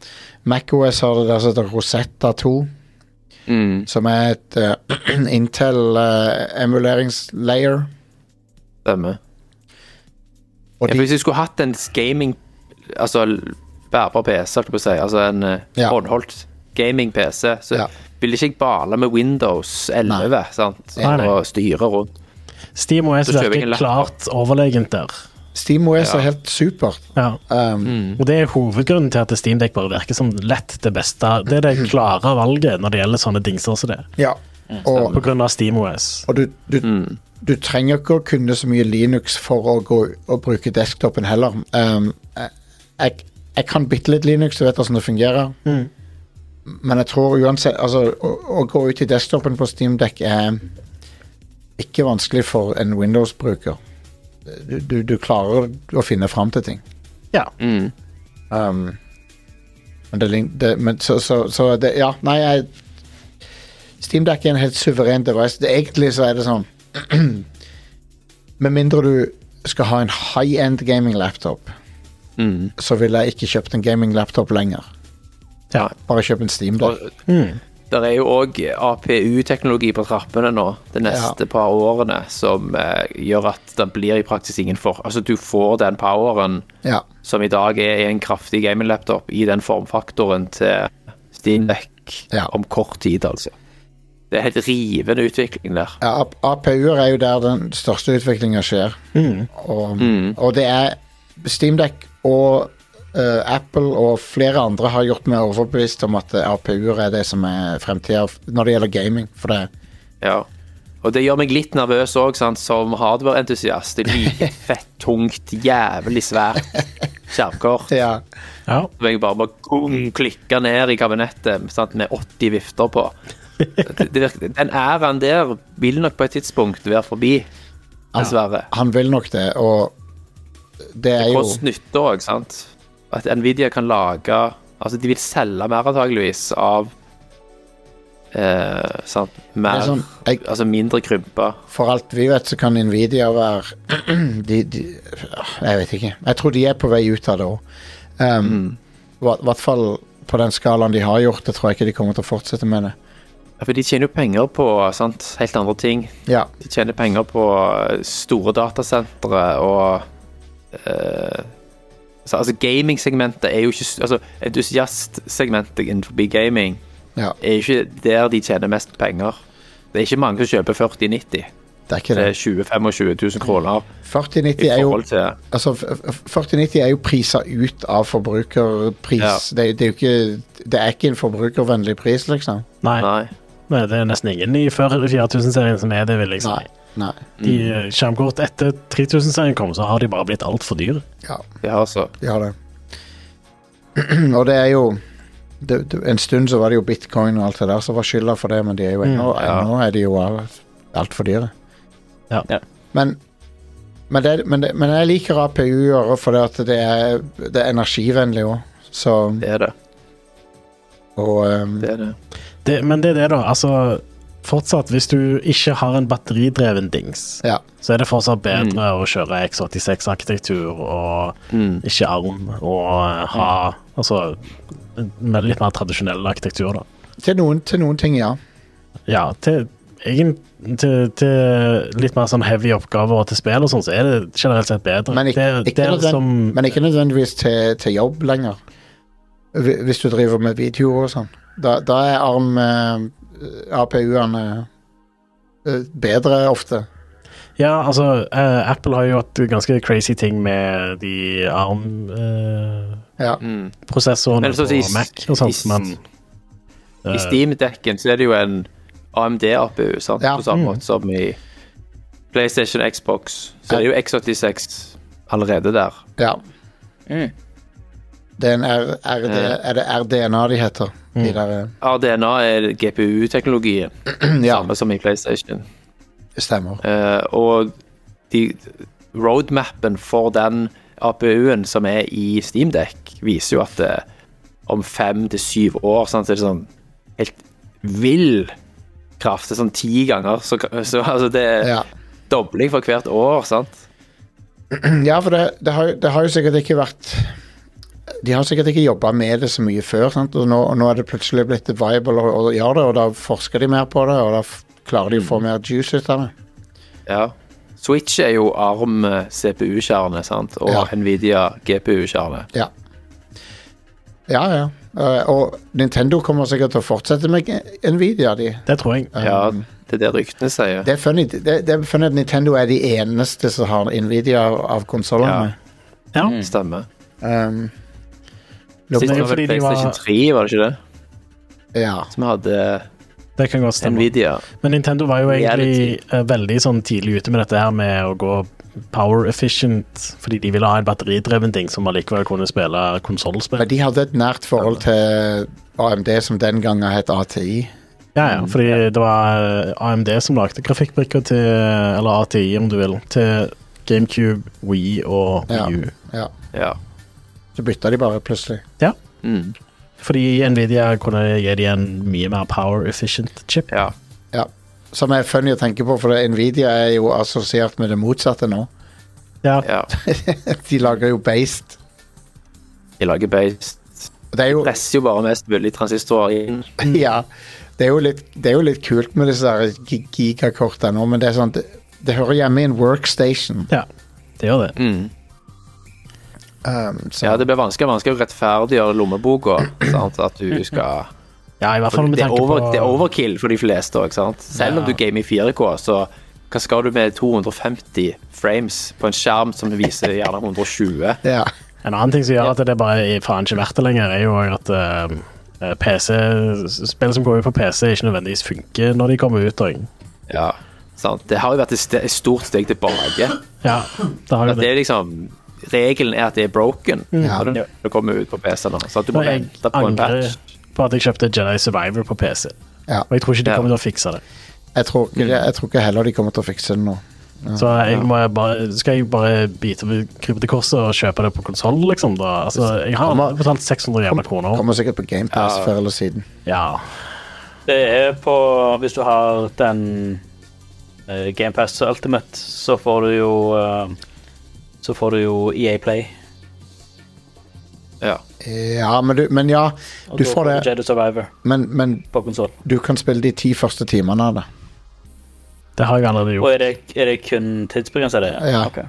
MacOS har det der som heter Rosetta 2,
mm,
som er et eh, <clears throat> Intel-emuleringslayer.
Stemmer.
og
Ja, for
de,
hvis jeg skulle hatt en gaming Altså l- bærbar PC, holdt jeg på å si, altså en eh,
Ja.
håndholdt gaming-PC, så
Ja.
ville ikke jeg bale med Windows 11 sant?
Nei, nei.
og styre rundt.
SteamOS
Så kjøper jeg en
virker klart overlegent der.
SteamOS
Ja. Mm.
er helt supert.
Ja.
Um,
Og det er hovedgrunnen til at Steamdeck bare virker som lett det beste. Det er det klare valget når det gjelder sånne dingser som det.
Ja.
Mm,
Og,
På grunn av SteamOS.
Og du, du, du trenger ikke å kunne så mye Linux for å gå og bruke desktopen heller. Um, jeg- jeg, jeg kan bitte litt Linux, du vet hvordan det fungerer. Men jeg tror uansett altså, å, å gå ut i desktopen på SteamDeck er ikke vanskelig for en Windows-bruker. Du, du, du klarer å finne fram til ting.
Ja.
Mm. Um, men det, lign- det, men så, så, så det, ja, nei, jeg Steamdeck er en helt suveren device. Det, egentlig så er det sånn <clears throat> Med mindre du skal ha en high-end gaming-laptop,
Mm.
så ville jeg ikke kjøpt en gaming-laptop lenger.
ja.
Bare kjøp en Steamdeck.
Og der er jo òg APU-teknologi på trappene nå de neste par årene, som eh, gjør at det blir i praksis ingen for... Altså, du får den poweren
Ja.
som i dag er i en kraftig gaming-laptop, i den formfaktoren til Steam Deck
Ja.
om kort tid, altså. Det er helt rivende utvikling der.
Ja, A- APU-er er jo der den største utviklinga skjer. Og, og det er Steamdeck og eh, Apple og flere andre har gjort meg overbevist om at eh, APU-er er det som er fremtida f- når det gjelder gaming. For det,
Ja. Og det gjør meg litt nervøs òg, som hardware-entusiast. Det liker fett, tungt, jævlig svært skjermkort.
ja,
Ja.
Som jeg bare må kung, klikke ned i kabinettet sant, med 80 vifter på. Det, det virker, den æraen der vil nok på et tidspunkt være forbi, dessverre.
han vil nok det, og det er jo
Kost nytte òg, sant. At Nvidia kan lage Altså, de vil selge mer antageligvis av eh, sant, mer
det er sånn, jeg,
Altså mindre krympa.
For alt vi vet, så kan Nvidia være <clears throat> de, de, Jeg vet ikke. Jeg tror de er på vei ut av det òg. Um, hva- hvert fall på den skalaen de har gjort det, tror jeg ikke de kommer til å fortsette med det.
Ja, For de tjener jo penger på sant? helt andre ting.
Ja,
De tjener penger på eh, store datasentre og eh, så, Altså, gamingsegmentet er jo ikke s- Altså, entusiastsegmentet innenfor gaming
ja
er ikke der de tjener mest penger. Det er ikke mange som kjøper 40-90.
det er ikke
Det
det.
er 20 25 000 kroner i
4090 er jo,
forhold til
altså, f- f- 4090 er jo prisa ut av forbrukerpris.
Ja.
Det, det er jo ikke Det er ikke en forbrukervennlig pris, liksom.
Nei,
Nei.
Nei, det er nesten ingen i 4000-serien som er det, vil jeg si.
Nei. Nei.
De eh, Skjermkort etter 3000-serien kom, så har de bare blitt altfor dyre.
Ja.
Ja, altså.
De har det. <clears throat> og det er jo det, det, En stund så var det jo bitcoin og alt det der som var skylda for det, men de er jo ennå,
Mm. ja.
ennå er de jo alt- altfor dyre.
Ja.
Ja.
Men men, det, men, det, men jeg liker APU-er fordi at det er, det er energivennlig òg. Så
Det er det.
Og ehm,
Det er det.
Det, men det er det, da. Altså, fortsatt, hvis du ikke har en batteridreven dings,
ja.
så er det fortsatt bedre å kjøre X86-arkitektur og
Mm.
ikke arm, og eh, ha altså med litt mer tradisjonell arkitektur, da.
Til noen, til noen ting, ja.
Ja, til, egen- til, til litt mer sånn heavy oppgaver og til spill og sånn, så er det generelt sett bedre.
Men ikke,
det,
ikke,
det er liksom-
nødvendig,
som,
men ikke nødvendigvis til, til jobb lenger. Hvi- Hvis du driver med videoer og sånn. Da, da er ARM eh, APU-ene eh, bedre ofte.
Ja, altså, eh, Apple har jo gjort ganske crazy ting med de
Ja.
ARM-prosessorene
Mm. Men
eh, på
sånn i-
Mac og sånt,
i-
men
I
Eh,
Steam-dekken så er det jo en AMD-APU, sant?
Ja. Mm.
På samme måte som i PlayStation, Xbox. Så er det jo X86 allerede der.
ja.
Mm.
Det er, en R, RD,
Eh.
er det RDNA de heter? De der, eh,
RDNA er GPU-teknologien,
<clears throat> ja,
samme som i PlayStation.
det stemmer.
Eh, og de, roadmappen for den APU-en som er i Steamdekk, viser jo at eh, om fem til syv år sant, så er det sånn helt vill kraft. Det er sånn ti ganger. Så, så altså det er
Ja,
dobling for hvert år, sant?
ja for det, det, har, det har jo sikkert ikke vært De har sikkert ikke jobba med det så mye før, sant? og nå, og nå er det plutselig blitt viable å å gjøre det, og da forsker de mer på det, og da f- klarer de å få mer juice ut av det.
Ja. Switch er jo ARM eh, CPU-kjerne, sant? Og
Ja.
Nvidia GPU-kjerne.
Ja. Ja, ja. Eh, og Nintendo kommer sikkert til å fortsette med Nvidia, de.
det tror jeg.
Eh,
Ja, det er det ryktene sier.
Det er funny det, det er funny at Nintendo er de eneste som har Nvidia av konsollene.
Ja,
Mm.
Stemmer.
Um,
Sist
det er jo
var
fordi
vel
de var-
PlayStation 3, var det ikke det?
ja.
Som hadde
det kan godt stemme.
Nvidia.
Men Nintendo var jo egentlig eh, veldig sånn tidlig ute med dette her med å gå power efficient, fordi de ville ha en batteridreven ting som allikevel kunne spille konsollspill.
Men de hadde et nært forhold til AMD, som den gangen het ATI.
Ja, ja, fordi det var eh, AMD som lagde grafikkbrikker til, eller ATI om du vil, til GameCube, Wii og
Ja.
Wii U.
Ja.
Ja.
Så bytta de bare plutselig.
Mm.
Fordi Nvidia kunne gi dem en mye mer power efficient chip.
ja.
Ja. Som er funny å tenke på, for Nvidia er jo assosiert med det motsatte nå. <laughs>
Ja,
Ja.
De lager jo based.
De lager based.
Det er jo
Presser jo bare mest mulig transistorer inn.
<laughs> Ja, det er jo litt, det er jo litt kult med disse der gi- gigakortene nå, men det er sånn det, det hører hjemme i en workstation.
ja det gjør det.
Mm.
Um, så, Um,
Ja, det blir vanskeligere og vanskeligere å rettferdiggjøre lommeboka. sant? At du skal
Ja, i hvert fall
For
Sånn med
det, er
tanke
over,
på
det er overkill for de fleste òg, sant. Selv om du gamer i 4K, så hva skal du med 250 frames på en skjerm som viser gjerne 120?
Ja.
En annen ting som gjør at det bare er faen ikke verdt det lenger, er jo at eh, PC, spill som går ut på PC, ikke nødvendigvis funker når de kommer ut. Og,
Ja, sant? Det har jo vært et, ste et stort steg tilbake.
ja, det har jo
At det
det.
er liksom Regelen er at det er broken
Ja.
når det- det kommer ut på PC. nå Så at du må
Og jeg
vente på en
angrer
patch.
på at jeg kjøpte Jedi Survivor på PC.
ja.
Og jeg tror ikke de
Ja.
kommer til å fikse det.
Jeg, tror ikke, det- jeg tror ikke heller de kommer til å fikse det nå.
Så jeg må bare, skal jeg bare bite ved krypet til korset og kjøpe det på konsoll, liksom? Da? Altså, jeg har
Kommer-
betalt 600 jævla kroner.
Kommer sikkert på GamePass
Ja.
før eller siden.
Ja.
Det er på Hvis du har den eh, Game GamePass Ultimate, så får du jo eh, Så får du jo EA Play.
Ja.
Ja, men du, men ja,
Og
du
da
får
du
det,
Jedi Survivor
men, men
på konsoll.
du kan spille de ti første timene av det. <clears throat>
Det har jeg allerede
Og
gjort.
er det, er det kun tidsbegrensa, det?
Ja.
Ok.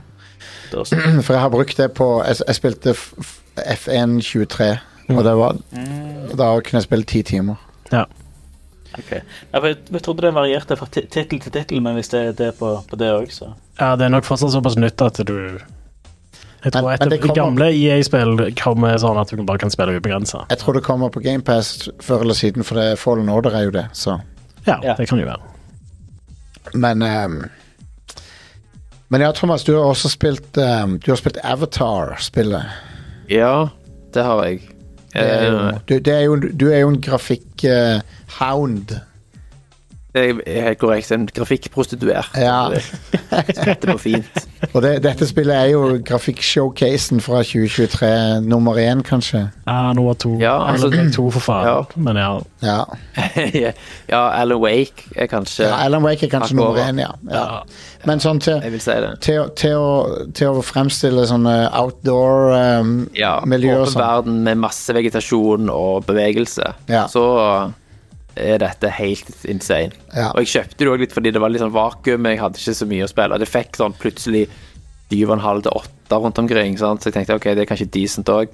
Da så.
For jeg har brukt det på Jeg, jeg spilte f- f- F1 23,
Mm.
og det var Da kunne jeg spille ti timer.
Ja.
ok. Ja, for jeg, jeg trodde det varierte fra ti- tittel til tittel, men hvis det er det på, på det òg, så
ja, det er nok fortsatt såpass nytt at du Jeg tror
Men-
at
men
de
det kommer-
gamle E EA-spill kommer sånn at du bare kan spille ubegrensa.
Jeg tror det kommer på GamePass før eller siden, for det, Fallen Order er jo det. Så.
Ja,
Ja.
det kan jo være.
Men ehm, Men ja, Thomas, du har også spilt ehm, Du har spilt Avatar-spillet.
ja, det har jeg.
Det er jo-
Eh,
Du, det er jo, du er jo en eh, grafikk-hound.
Det Eh, er helt korrekt. En grafikkprostituert. <laughs>
Ja.
Det går fint. <laughs>
og det, dette spillet er jo grafikk-showcasen fra 2023, nummer én, kanskje.
Ja, nummer to.
Ja, altså-
Alan Wake 2, for faen.
Ja.
Men ja.
Ja.
ja, Alan Wake er kanskje
ja Alan Wake er kanskje
Akkurat.
nummer én, ja. ja. Men sånn til
Jeg vil si det.
til, å- til, å, til å fremstille sånne ehm,
Ja,
outdoor-miljøer
åpen verden med masse vegetasjon og bevegelse.
sånn. Ja.
Så er dette helt insane.
Ja.
Og jeg kjøpte det òg litt fordi det var litt sånn vakuum, jeg hadde ikke så mye å spille. Det fikk sånn plutselig 7,5 til 8 rundt omkring, sant? så jeg tenkte ok, det er kanskje decent òg.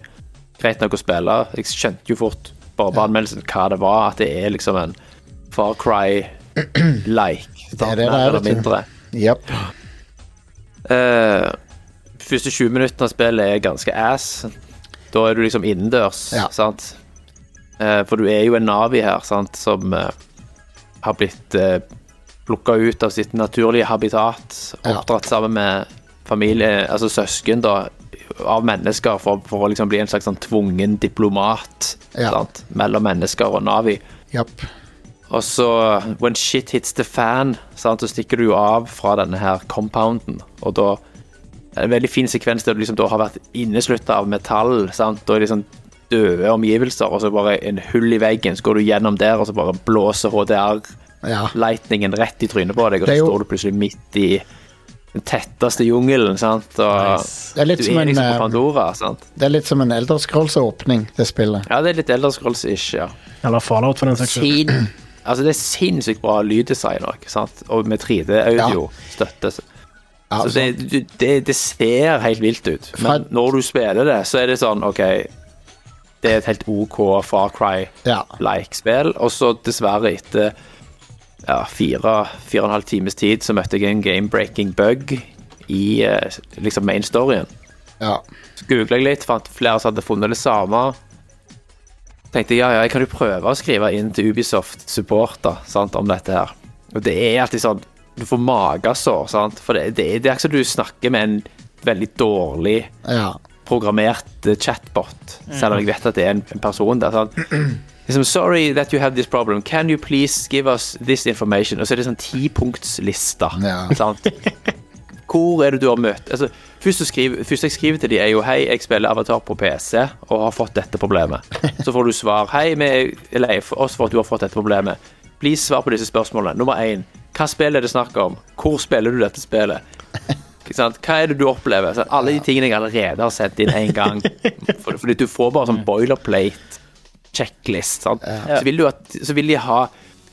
Greit nok å spille. Jeg skjønte jo fort bare på anmeldelsen hva det var, at det er liksom en Far Cry-like.
det det er, vet du. Yep.
Eh, første 20 minuttene av spillet er ganske ass. Da er du liksom innendørs,
Ja.
sant? Eh, for du er jo en Navi her, sant, som eh, har blitt uh, plukka ut av sitt naturlige habitat.
Ja.
Oppdratt sammen med familie, altså søsken, da, av mennesker, for, for å liksom bli en slags sånn tvungen diplomat
Ja.
sant? mellom mennesker og Navi.
Yep.
Og så, when shit hits the fan, sant, så stikker du jo av fra denne her compounden. Og da er det en veldig fin sekvens der du liksom da har vært inneslutta av metall. sant, Da er det liksom døde omgivelser, og så bare en hull i veggen, så går du gjennom der, og så bare blåser HDR-lightningen
Ja.
rett i trynet på deg, og
Det
så
er jo-
står du plutselig midt i den tetteste jungelen, sant, og
Nice.
Det er litt
du
som
er
en,
liksom på
eh,
Pandora, sant.
Det er litt som en Elderscrolls-åpning, det spillet.
Ja, det er litt Elderscrolls-ish, ja.
Eller Fallout, for den saks skyld.
sin, altså det er sinnssykt bra lyddesign også, sant? og med 3D-audio-støtte.
Ja, altså-
så det, du- det, det ser helt vilt ut,
Fra-
men når du spiller det, så er det sånn OK, det er et helt OK
Ja.
Far Cry-like-spill, og så dessverre etter ja, fire, fire og en halv times tid så møtte jeg en game-breaking bug i eh, liksom main-storyen.
Ja.
Googlet jeg litt, fant flere som hadde funnet det samme. Tenkte ja, ja, jeg kan jo prøve å skrive inn til Ubisoft Support da, sant, om dette her. Og det er alltid sånn Du får magesår, sant. For det, det, er- det er ikke som du snakker med en veldig dårlig
ja.
programmert eh, chatbot, selv om jeg vet at det er en, en person der. sant? Liksom, Sorry that you have this problem. Can you please give us this information? Og så er det sånn tipunktslista.
Ja.
sant? Hvor er det du har møtt altså, først, så skriver, først jeg skriver til dem, er jo Hei, jeg spiller Avatar på PC og har fått dette problemet. Så får du svar. Hei, vi er lei for- oss for at du har fått dette problemet. Please svar på disse spørsmålene. Nummer én. Hva spill er det snakk om? Hvor spiller du dette spillet? Ikke sant? Hva er det du opplever? Så alle de tingene jeg allerede har sendt inn én gang. For- Fordi du får bare sånn boilerplate checklist. Sant? Så, vil du at, så vil de ha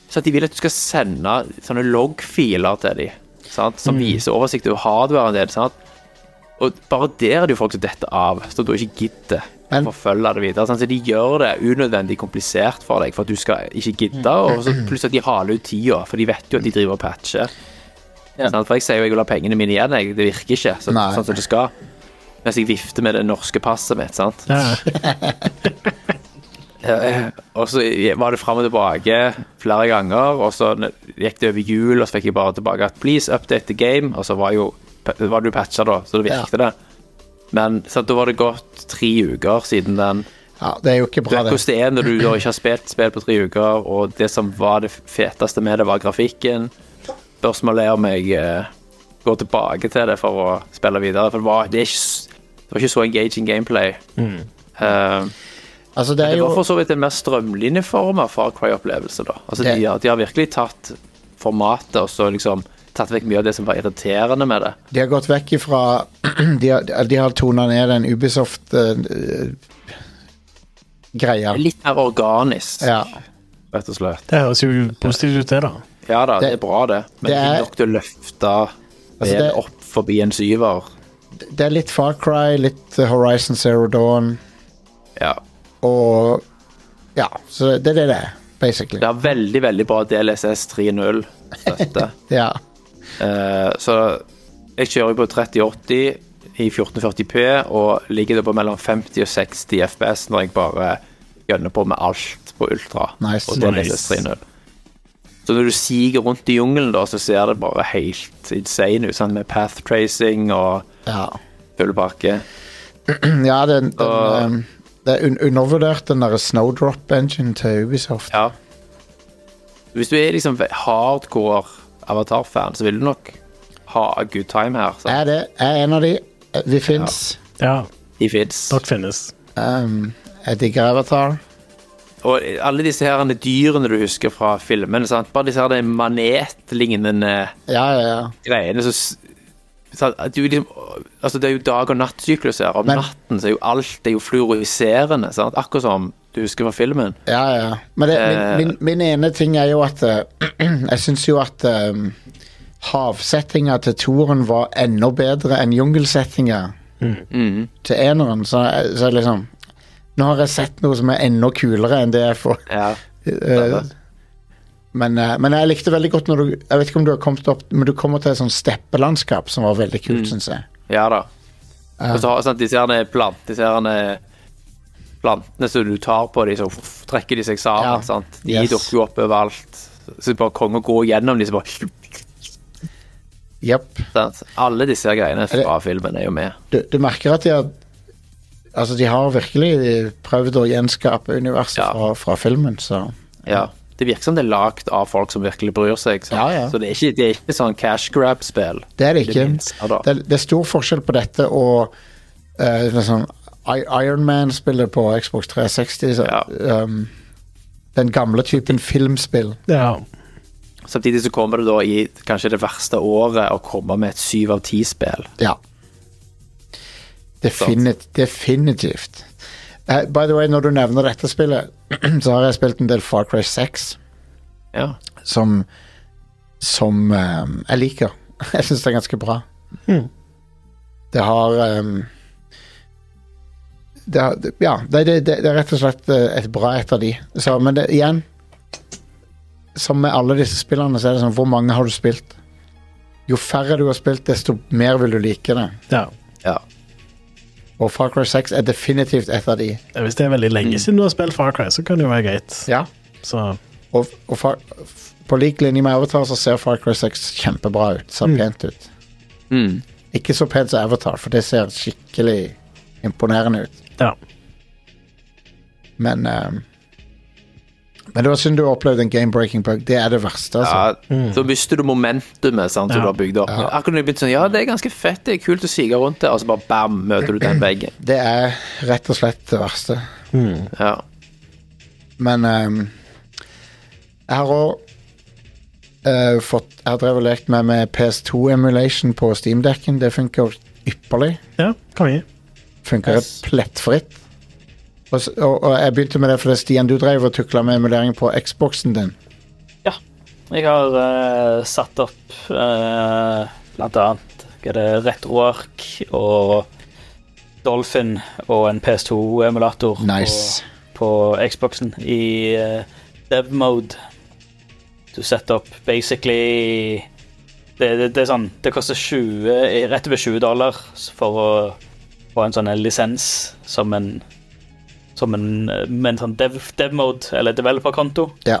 Så at de vil at du skal sende sånne loggfiler til dem, sant? som viser oversikt over hardwaren din. Sant? Og bare der er det jo folk som detter av, så du ikke gidder.
Men-
og forfølge det videre. Sånn, så de gjør det unødvendig komplisert for deg, for at du skal ikke gidde, og så pluss at de haler ut tida, for de vet jo at de driver og patcher.
Ja.
Sant? for jeg sier jo jeg vil ha pengene mine igjen, jeg. det virker ikke så,
Nei.
sånn som det skal. Mens jeg vifter med det norske passet mitt, sant.
Ja,
Eh, Og så var det fram og tilbake flere ganger, og så gikk det over jul, og så fikk jeg bare tilbake at 'please update the game', og så var jo var det jo patcha, da, så det virket det. Men så da var det gått tre uker siden den.
Ja, det er jo ikke
Du
bra,
vet
det.
hvordan det er når du da ikke har spilt spill på tre uker, og det som var det feteste med det, var grafikken. Spørsmålet er om jeg eh, går tilbake til det for å spille videre, for det var, det er ikke, s- det var ikke så engaging gameplay.
Mm.
Eh,
Altså, det er
det var
jo
for så vidt en mer strømlinjeform av Far Cry-opplevelse. da. Altså,
Det-
de, har, de har virkelig tatt formatet og så liksom tatt vekk mye av det som var irriterende med det.
De har gått vekk ifra <clears throat> De har, de har tona ned eh, den Ubisoft-greia.
Litt mer organisk,
ja.
rett og slett.
det høres jo positivt ut, det, da.
Ja da, det,
Det-
er bra, det, men
det
det er
er-
ikke nok til å løfte
Altså,
det
det-
opp forbi en syver.
Det er litt Far Cry, litt eh, Horizon Zero Dawn
Ja.
og Ja, så det er det det er, basically.
Det har veldig, veldig bra DLSS
<laughs>
3.0-støtte.
Ja.
Eh, så jeg kjører jo på 3080 i 1440p og ligger da på mellom 50 og 60 FPS når jeg bare gønner på med alt på ultra.
Nice.
Og det er DLSS 3.0. Så når du siger rundt i jungelen, da, så ser det bare helt insane ut. Sant? Med path tracing og
Ja,
full pakke.
ja den, den,
Og-
ehm, det er un undervurdert, den derre Snowdrop-engine til Ubisoft.
Ja. Hvis du er liksom hardcore Avatar-fan, så vil du nok ha a good time her. Så.
Er det jeg er en av de. Eh, Vi fins.
Ja,
De fins.
dere finnes.
Ehm, jeg digger Avatar.
Og alle disse her dyrene du husker fra filmen, sant? bare disse her de manetlignende
Ja, ja, ja.
greiene så, s- sant? At du liksom, altså Det er jo dag- og nattsyklus her. Om
Men-
natten så er jo alt det er jo fluoriserende. Sant? Akkurat som du husker fra filmen.
Ja, ja. Men det,
Eh.
min, min, min ene ting er jo at eh, <clears throat> Jeg syns jo at um, havsettinga til toren var enda bedre enn jungelsettinga til eneren. Så, jeg- så jeg liksom Nå har jeg sett noe som er enda kulere enn det jeg får.
Ja.
eh, men, eh, men jeg likte veldig godt når du Jeg vet ikke om du har kommet opp Men du kommer til et sånt steppelandskap som var veldig kult,
Mm.
synes syns jeg.
Ja da. Og så har sant, disse her plant, disse her plantene som du tar på dem, så f- trekker de seg sammen.
Ja.
Sant? De
Yes.
dukker jo opp overalt. Så det er bare konge å gå gjennom disse bare,
Jepp.
sant? Alle disse her greiene
det-
fra filmen er jo med.
Du, du merker at de har Altså, de har virkelig prøvd å gjenskape universet
Ja.
fra, fra filmen, så
Ja. Det virker som det er lagd av folk som virkelig bryr seg. sant?
Ja, ja.
Så det er ikke, det er ikke sånn cash grab-spill.
Det er det ikke.
Det minste, da.
Det, det er stor forskjell på dette og eh, liksom, Ironman-spillet på Xbox 360. Så,
Ja.
um, den gamle typen filmspill.
Ja.
Samtidig så kommer det da i kanskje det verste året å komme med et syv av ti-spill.
Ja. Definit, definitivt. Eh, by the way, når du nevner dette spillet, <clears throat> så har jeg spilt en del Far Cry 6
Ja.
som Som eh, jeg liker. <laughs> Jeg syns det er ganske bra. Det har eh, det, har- det- Ja, det, det, det er rett og slett eh, et bra et av de. Så, men det, igjen Som med alle disse spillene, så er det sånn Hvor mange har du spilt? Jo færre du har spilt, desto mer vil du like det.
ja.
ja.
Og Far Cry 6 er definitivt et av de.
Hvis det er veldig lenge siden du har spilt Far Cry, så kan det jo være greit.
Ja.
Så
Og, og Far, på lik linje med Avatar så ser Far Cry 6 kjempebra ut. Ser pent ut.
Mm.
Ikke så pent som Avatar, for det ser skikkelig imponerende ut.
ja.
Men ehm, Men det var synd du opplevde en game-breaking bug. Det er det verste, altså.
Ja, Så mister du momentumet sant,
Ja.
som du har bygd opp. Akkurat når du begynte sånn Ja, det er ganske fett, det er kult å sige rundt det, og så bare bam, møter du den veggen.
Det er rett og slett det verste.
Ja.
Men ehm, jeg har òg fått Jeg har drevet og lekt meg med PS2-emulation på Steamdekken. Det funker ypperlig.
ja konge.
Funker
Yes.
plettfritt. Og, s- og, og jeg begynte med det fordi Stian, du drev og tukla med emulering på Xboxen din.
Ja. Jeg har eh, satt opp eh, blant annet hva er det, RetroArk og Dolphin og en PS2-emulator
Nice.
på, på Xboxen i eh, dev mode. Du setter opp basically det, det, det er sånn Det koster 20, eh, rett over 20 dollar for å få en sånn en lisens som en som en, eh, med en sånn dev, dev mode, eller developer-konto.
Ja.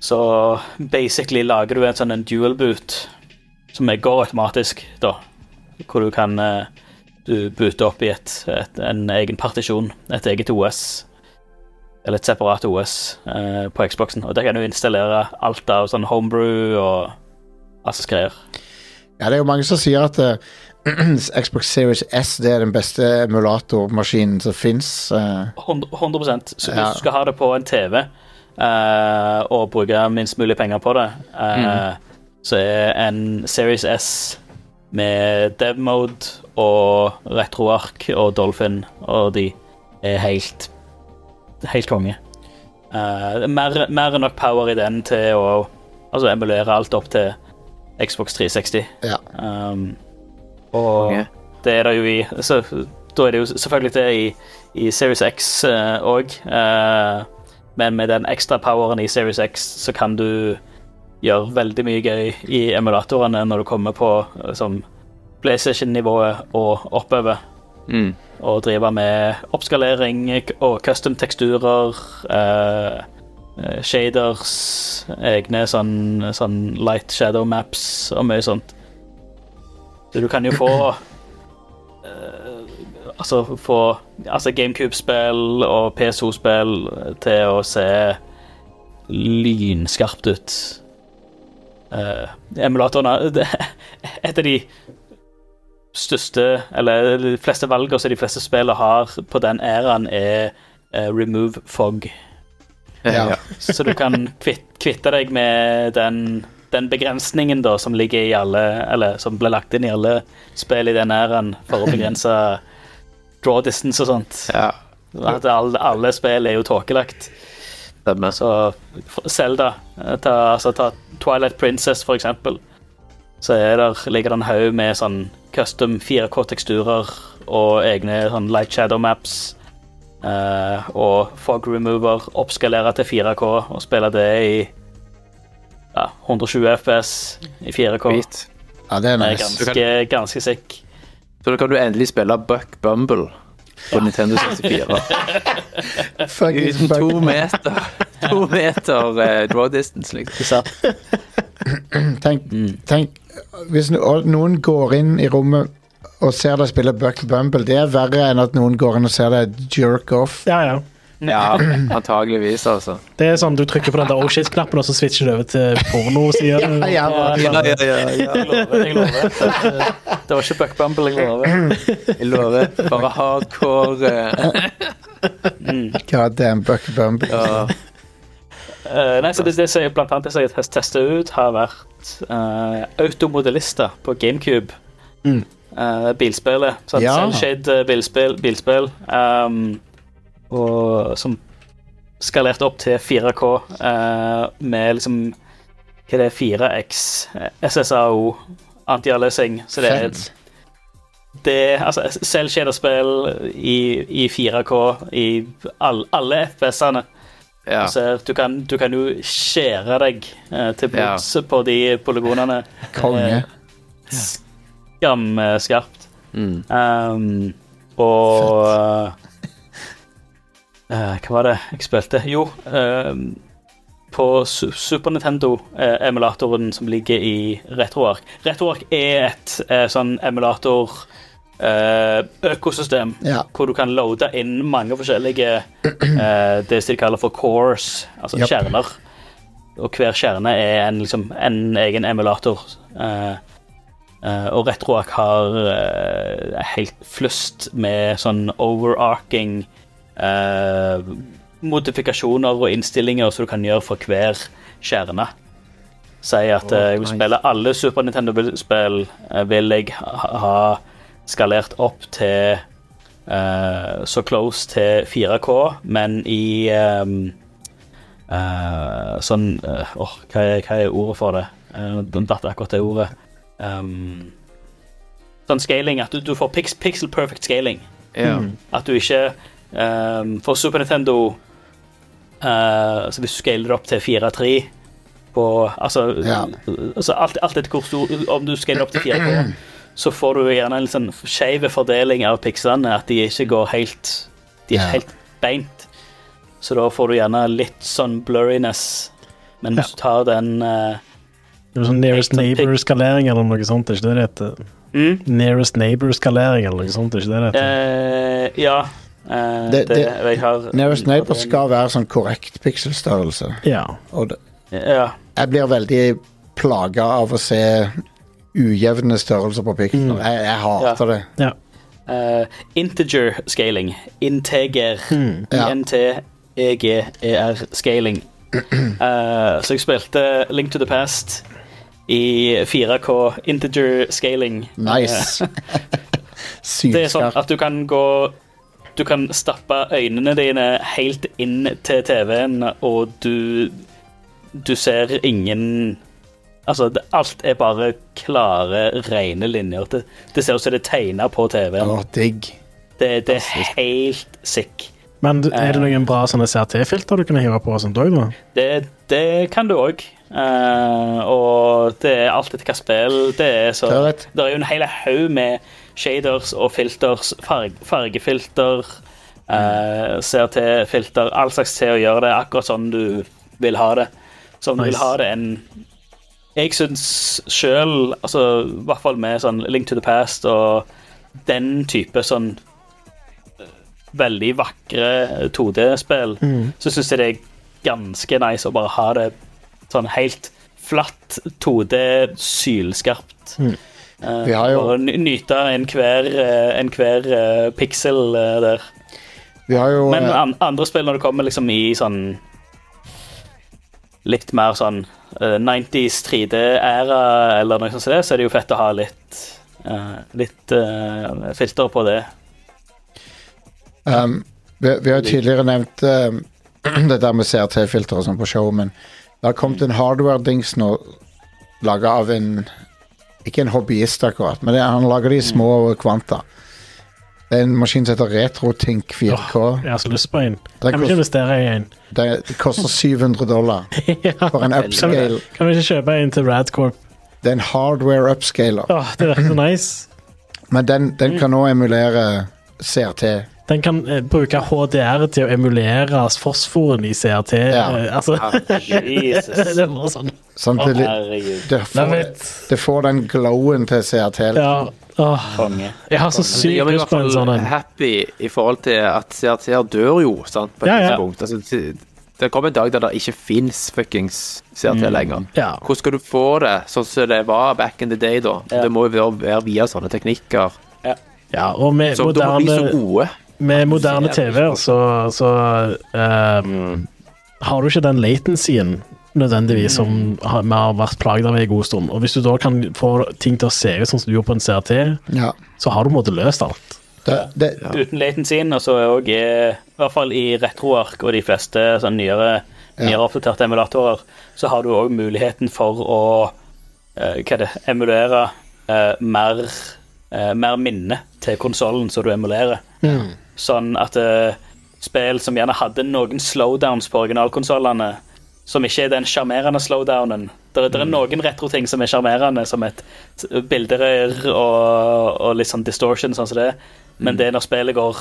Så basically lager du en sånn en dual boot som er- går automatisk, da. Hvor du kan eh, du booter opp i et, et, en egen partisjon, et eget OS. Eller et separat OS eh, på Xboxen. Og der kan du installere alt av sånn homebrew og alt som greier.
Ja, det er jo mange som sier at eh, <clears throat> Xbox Series S det er den beste emulatormaskinen som eh, fins.
100, 100 Så hvis
Ja.
du skal ha det på en TV eh, og bruke minst mulig penger på det, eh, så er en Series S med dev mode og retroark og Dolphin og de er helt helt konge. Eh, det er mer, mer enn nok power i den til å altså, emulere alt opp til Xbox 360.
ja.
Um, og
Konge.
det er det jo i så, Da er det jo selvfølgelig det i, i Series X òg. men med den ekstra poweren i Series X så kan du gjøre veldig mye gøy i emulatorene når du kommer på eh, som PlayStation-nivået og oppover.
Mm.
Og drive med oppskalering og custom teksturer, eh, eh, shaders, egne sånn, sånn light shadow maps og mye sånt. Så du kan jo få eh, Altså få altså GameCube-spill og PS2-spill til å se lynskarpt ut. Uh, emulatorene <laughs> det, Et av de største, eller de fleste valgene som de fleste spillene har på den æraen, er eh, remove fog.
Ja.
Så du kan kvitt, kvitte deg med den, den begrensningen da, som ligger i alle Eller som ble lagt inn i alle spill i den æraen for å begrense draw distance og sånt.
ja.
At alle, alle spill er jo tåkelagt.
Stemmer.
Så for- Zelda eh, ta, altså, ta Twilight Princess, for eksempel. Så er der, ligger det en haug med sånn custom 4K-teksturer og egne sånn light shadow maps. eh, og fog remover, oppskalere til 4K og spille det i ja, 120 FPS i 4K.
Sweet.
ja, det er
Det er
nice.
ganske, ganske sick.
Så da kan du endelig spille Buck Bumble på Nintendo 64.
Fucking
Uten
fuck.
to meter, to meter eh, draw distance, liksom.
<clears throat> Tenk, tenk Hvis no- og noen går inn i rommet og ser deg spille Buck Bumble, det er verre enn at noen går inn og ser deg jerk off.
Ja, ja.
Ja, antageligvis, altså.
Det er sånn du trykker på den der oh shit-knappen, og så switcher du over til porno. Sier du.
<laughs> Ja, ja,
<laughs> Ja, ja, ja, ja.
Jeg lover. Jeg lover. <laughs> Det var ikke Buck Bumble, jeg lover.
Jeg lover. Bare hardcore eh,
Mm.
God damn Buck Bumble.
ja.
Eh, nei, så det, det som jeg blant annet det som jeg test- testet ut, har vært uh, automodelister på GameCube.
Mm.
Eh, bilspillet. Sånn
Ja.
Sunshade eh, bilspill. bilspill ehm, og som skalerte opp til 4K eh, med liksom Hva er det? 4X, eh, SSAO, anti-aliasing. Så det er
Fett.
det, altså, selv shaderspill i, i 4K i all, alle FPS-ene.
ja.
Du, ser, Altså, du, kan, du kan jo skjære deg eh, til
Ja.
blods på de polygonene.
Konge.
Skamskarpt.
Mm.
Um, og eh, Hva var det jeg spilte? Jo, ehm, på Su- Super Nintendo-emulatoren som ligger i RetroArk. RetroArk er et eh, sånn eh, emulator-økosystem
Ja.
hvor du kan loade inn mange forskjellige eh, Det som de kaller for cores, altså
Japp.
kjerner. Og hver kjerne er en, liksom, en egen emulator. Eh, eh, og RetroArk har eh, helt flust med sånn overarching eh, modifikasjoner og innstillinger som du kan gjøre for hver kjerne. Si at eh, jeg vil spille alle Super Nintendo-spill, eh, vil jeg ha ha skalert opp til eh, så close til 4K, men i ehm, eh, sånn eh, Åh, hva, er- hva er ordet for det? Eh, Nå datt akkurat det ordet. Ehm, sånn scaling at du, du får pix, pixel perfect scaling.
Ja.
At du ikke ehm, For Super Nintendo eh, Så hvis du scaler det opp til 4-3 på Altså,
Ja.
altså alt, alt etter hvor stor Om du scaler opp til 4K, så får du gjerne en litt sånn skeiv fordeling av pikslene. At de ikke går helt De er ikke
Ja.
helt beint. Så da får du gjerne litt sånn blurriness. Men hvis du tar den eh,
Det er sånn Nearest
Sånn pic-
neighbor-skalering eller noe sånt. Er ikke det det heter?
mm,
Nearest neighbor-skalering eller noe sånt. Er ikke det det heter?
eh, Ja. eh,
Det-
det,
det-
jeg har
Nearest Neighbor skal være sånn korrekt pikselstørrelse.
Ja.
Og det,
Ja.
jeg blir veldig plaga av å se ujevne størrelser på piksler.
Mm.
Jeg, jeg hater det.
ja.
Eh, integer scaling. Integer.
Hmm, Ja.
E INT-EGER-scaling. Eh, så jeg spilte Link to the Past i 4K integer scaling.
Nice.
Eh, det er sånn
Sylskarp.
at du kan gå Du kan stappe øynene dine helt inn til TV-en, og du Du ser ingen Altså, det- alt er bare klare, rene linjer. Det, det ser ut som det er tegna på TV-en.
Å, digg.
Det, det er helt sick.
Men du- er det noen bra sånne CRT-filter du kan hive på og sånt òg, da?
Det, det kan du òg. og det er alt etter hva spill det er. Så
Det er rett.
det er jo en hel haug med shaders og filters, farg, fargefilter,
Mm.
eh, CRT-filter, all slags til å gjøre det akkurat sånn du vil ha det. Så om du
Nice.
vil ha det en Jeg syns sjøl, altså, i hvert fall med sånn Link to the Past og den type sånn eh, veldig vakre 2D-spill, så syns jeg det er ganske nice å bare ha det sånn helt flatt 2D, sylskarpt. Eh,
Mm. Vi har jo-
Bare ny- nyte enhver eh, enhver, eh, piksel eh, der.
Vi har jo
Men
eh,
an andre spill, når det kommer liksom i sånn Litt mer sånn eh, 90s 3D-æra eller noe sånt, som det, så er det jo fett å ha litt eh, Litt eh, filter på det.
Um, vi, vi har jo tidligere nevnt um, <clears throat> det der med CRT-filter og sånn på show, men det har kommet en hardware-dings nå laga av en Ikke en hobbyist, akkurat, men det, han lager de i små kvanta. Det er en maskin som heter RetroTink 4K.
Jeg har så lyst på en.
Det,
Kan vi
kost,
ikke investere i en? <laughs>
det, det koster 700 dollar
Ja.
for en
Kan vi,
upscale.
kan vi ikke kjøpe en til Radcorp?
Det er en hardware upscaler,
Åh, det virker så nice.
men den, den kan nå emulere CRT.
Den kan eh, bruke HDR til å emulere fosforen i CRT.
Ja.
Eh, altså, <laughs>
Jesus.
det er bare sånn.
Sånn at det,
Herregud.
det,
Love
får,
it.
det får den glowen til CRT.
Ja. Åh,
Konge.
jeg har så
Det gjør
sykt
meg i
lyst
hvert
på en sånn
fall eh,
en.
happy i forhold til at CRT-er dør jo, sant, på et
Ja, ja.
tidspunkt. Altså, det- det kommer en dag der det ikke fins fuckings CRT lenger.
Ja.
Hvordan skal du få det sånn som det var back in the day, da?
Ja.
Det må jo være, være via sånne teknikker.
ja, og med
Som da må bli så
moderne,
gode.
med moderne
Ja, det er
TV-er så, så eh, har du ikke den latencyen nødvendigvis som har- vi har vært plaget av i en god stund. Og hvis du da kan få ting til å se ut sånn som du gjorde på en CRT,
Ja.
så har du på en måte løst alt.
Det, det,
Uten latencyen, og så er òg I hvert fall i retroark og de fleste sånn nyere,
Ja.
nyere oppdaterte emulatorer, så har du òg muligheten for å eh, hva er det, emulere eh, mer, eh, mer minne til konsollen som du emulerer.
Mm.
Sånn at eh, spill som gjerne hadde noen slowdowns på originalkonsollene, som ikke er den sjarmerende slowdownen Det er, der
Mm.
er noen retroting som er sjarmerende, som et s- bilderør og, og litt sånn distortion, sånn som det, men
Mm.
det er når spillet går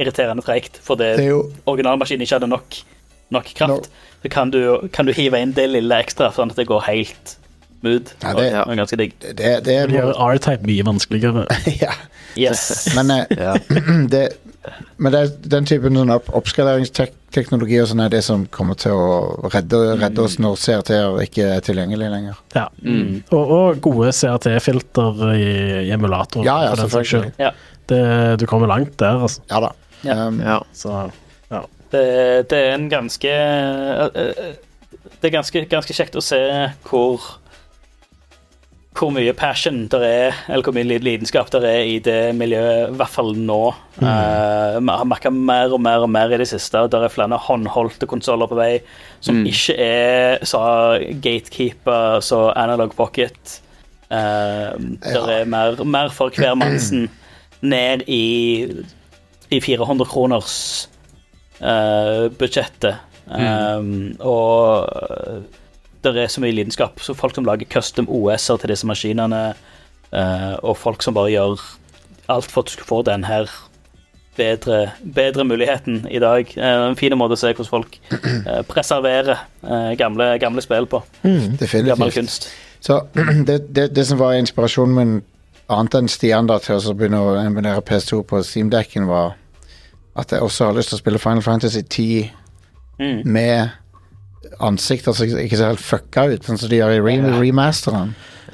irriterende treigt fordi
det er jo
originalmaskinen ikke hadde nok, nok kraft, så kan du, kan du hive inn det lille ekstra, sånn at det går helt smooth.
Ja, det-
og, og ganske digg.
Det, det er
Det gjør R-type mye vanskeligere.
<laughs> ja.
<laughs> Yes.
Men, eh,
Ja.
<clears throat> det, men det er den typen sånn opp, oppskaleringsteknologi og sånn er det som kommer til å redde, redde oss når CRT-er ikke er tilgjengelig lenger.
Ja. Og, og gode CRT-filter i, i emulatoren.
Ja, ja,
for den saks skyld.
selvfølgelig.
Ja.
Det, du kommer langt der, altså.
Ja da.
Ja.
Um,
Ja.
Så, ja.
Det, det er en ganske eh, Det er ganske, ganske kjekt å se hvor hvor mye passion der er, eller hvor mye lid- lidenskap der er i det miljøet, i hvert fall nå. Eh, Vi har merka mer og mer og mer i det siste. og Der er flere håndholdte konsoller på vei som ikke er så gatekeeper, så analog pocket. Eh, Det er mer, mer for hver mansen ned i, i 400 kroners eh, budsjettet. Eh, Og det er så mye lidenskap. Så folk som lager custom OS-er til disse maskinene, eh, og folk som bare gjør alt for at du skal få den her bedre, bedre muligheten i dag. Eh, en fin måte å se hvordan folk eh, preserverer eh, gamle, gamle spill på. Gammel
Definitivt.
kunst.
Så <clears throat> det, det, det som var inspirasjonen min, annet enn Stian da, til å begynne å emulere PS2 på Steamdekken, var at jeg også har lyst til å spille Final Fantasy 10
Mm.
med ansikter som ikke ser helt fucka ut, sånn som de gjør i re remasteren.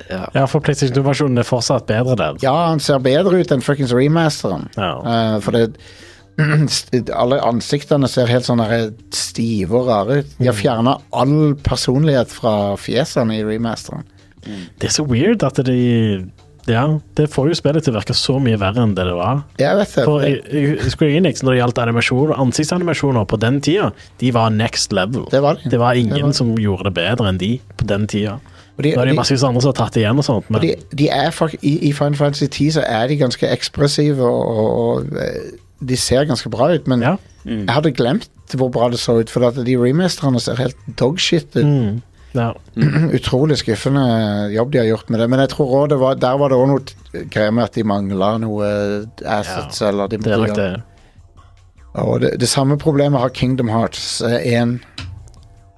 Ja, for PlayStation 2-versjonen er fortsatt bedre der.
Ja, han ser bedre ut enn fuckings remasteren.
Ja.
Eh, for det <clears throat> st- Alle ansiktene ser helt sånn der stive og rare ut. De
Mm.
har fjerna all personlighet fra fjesene i remasteren.
Det er så weird at de Ja, det får jo spillet til å virke så mye verre enn det det var.
Jeg vet det.
For i- i Square Enix, når det gjaldt animasjon, ansiktsanimasjoner på den tida, de var next level.
Det var de.
det var ingen
Det var de.
som gjorde det bedre enn de på den tida.
Og de,
Nå er det
de,
jo massevis andre som har tatt igjen og sånt, men
de, de er faktisk I, I Final Fantasy 10 så er de ganske ekspressive, og, og, og eh, de ser ganske bra ut, men
ja.
jeg hadde glemt hvor bra det så ut, for at de remasterne ser helt dogshit ut.
Mm, ja. Mm.
<clears throat> Utrolig skuffende jobb de har gjort med det. Men jeg tror også det var, der var det òg noe t- greier med at de mangla noe øh, assets. eller de
Det er nok
måtte
det.
gjøre- Og det, det samme problemet har Kingdom Hearts øh, 1.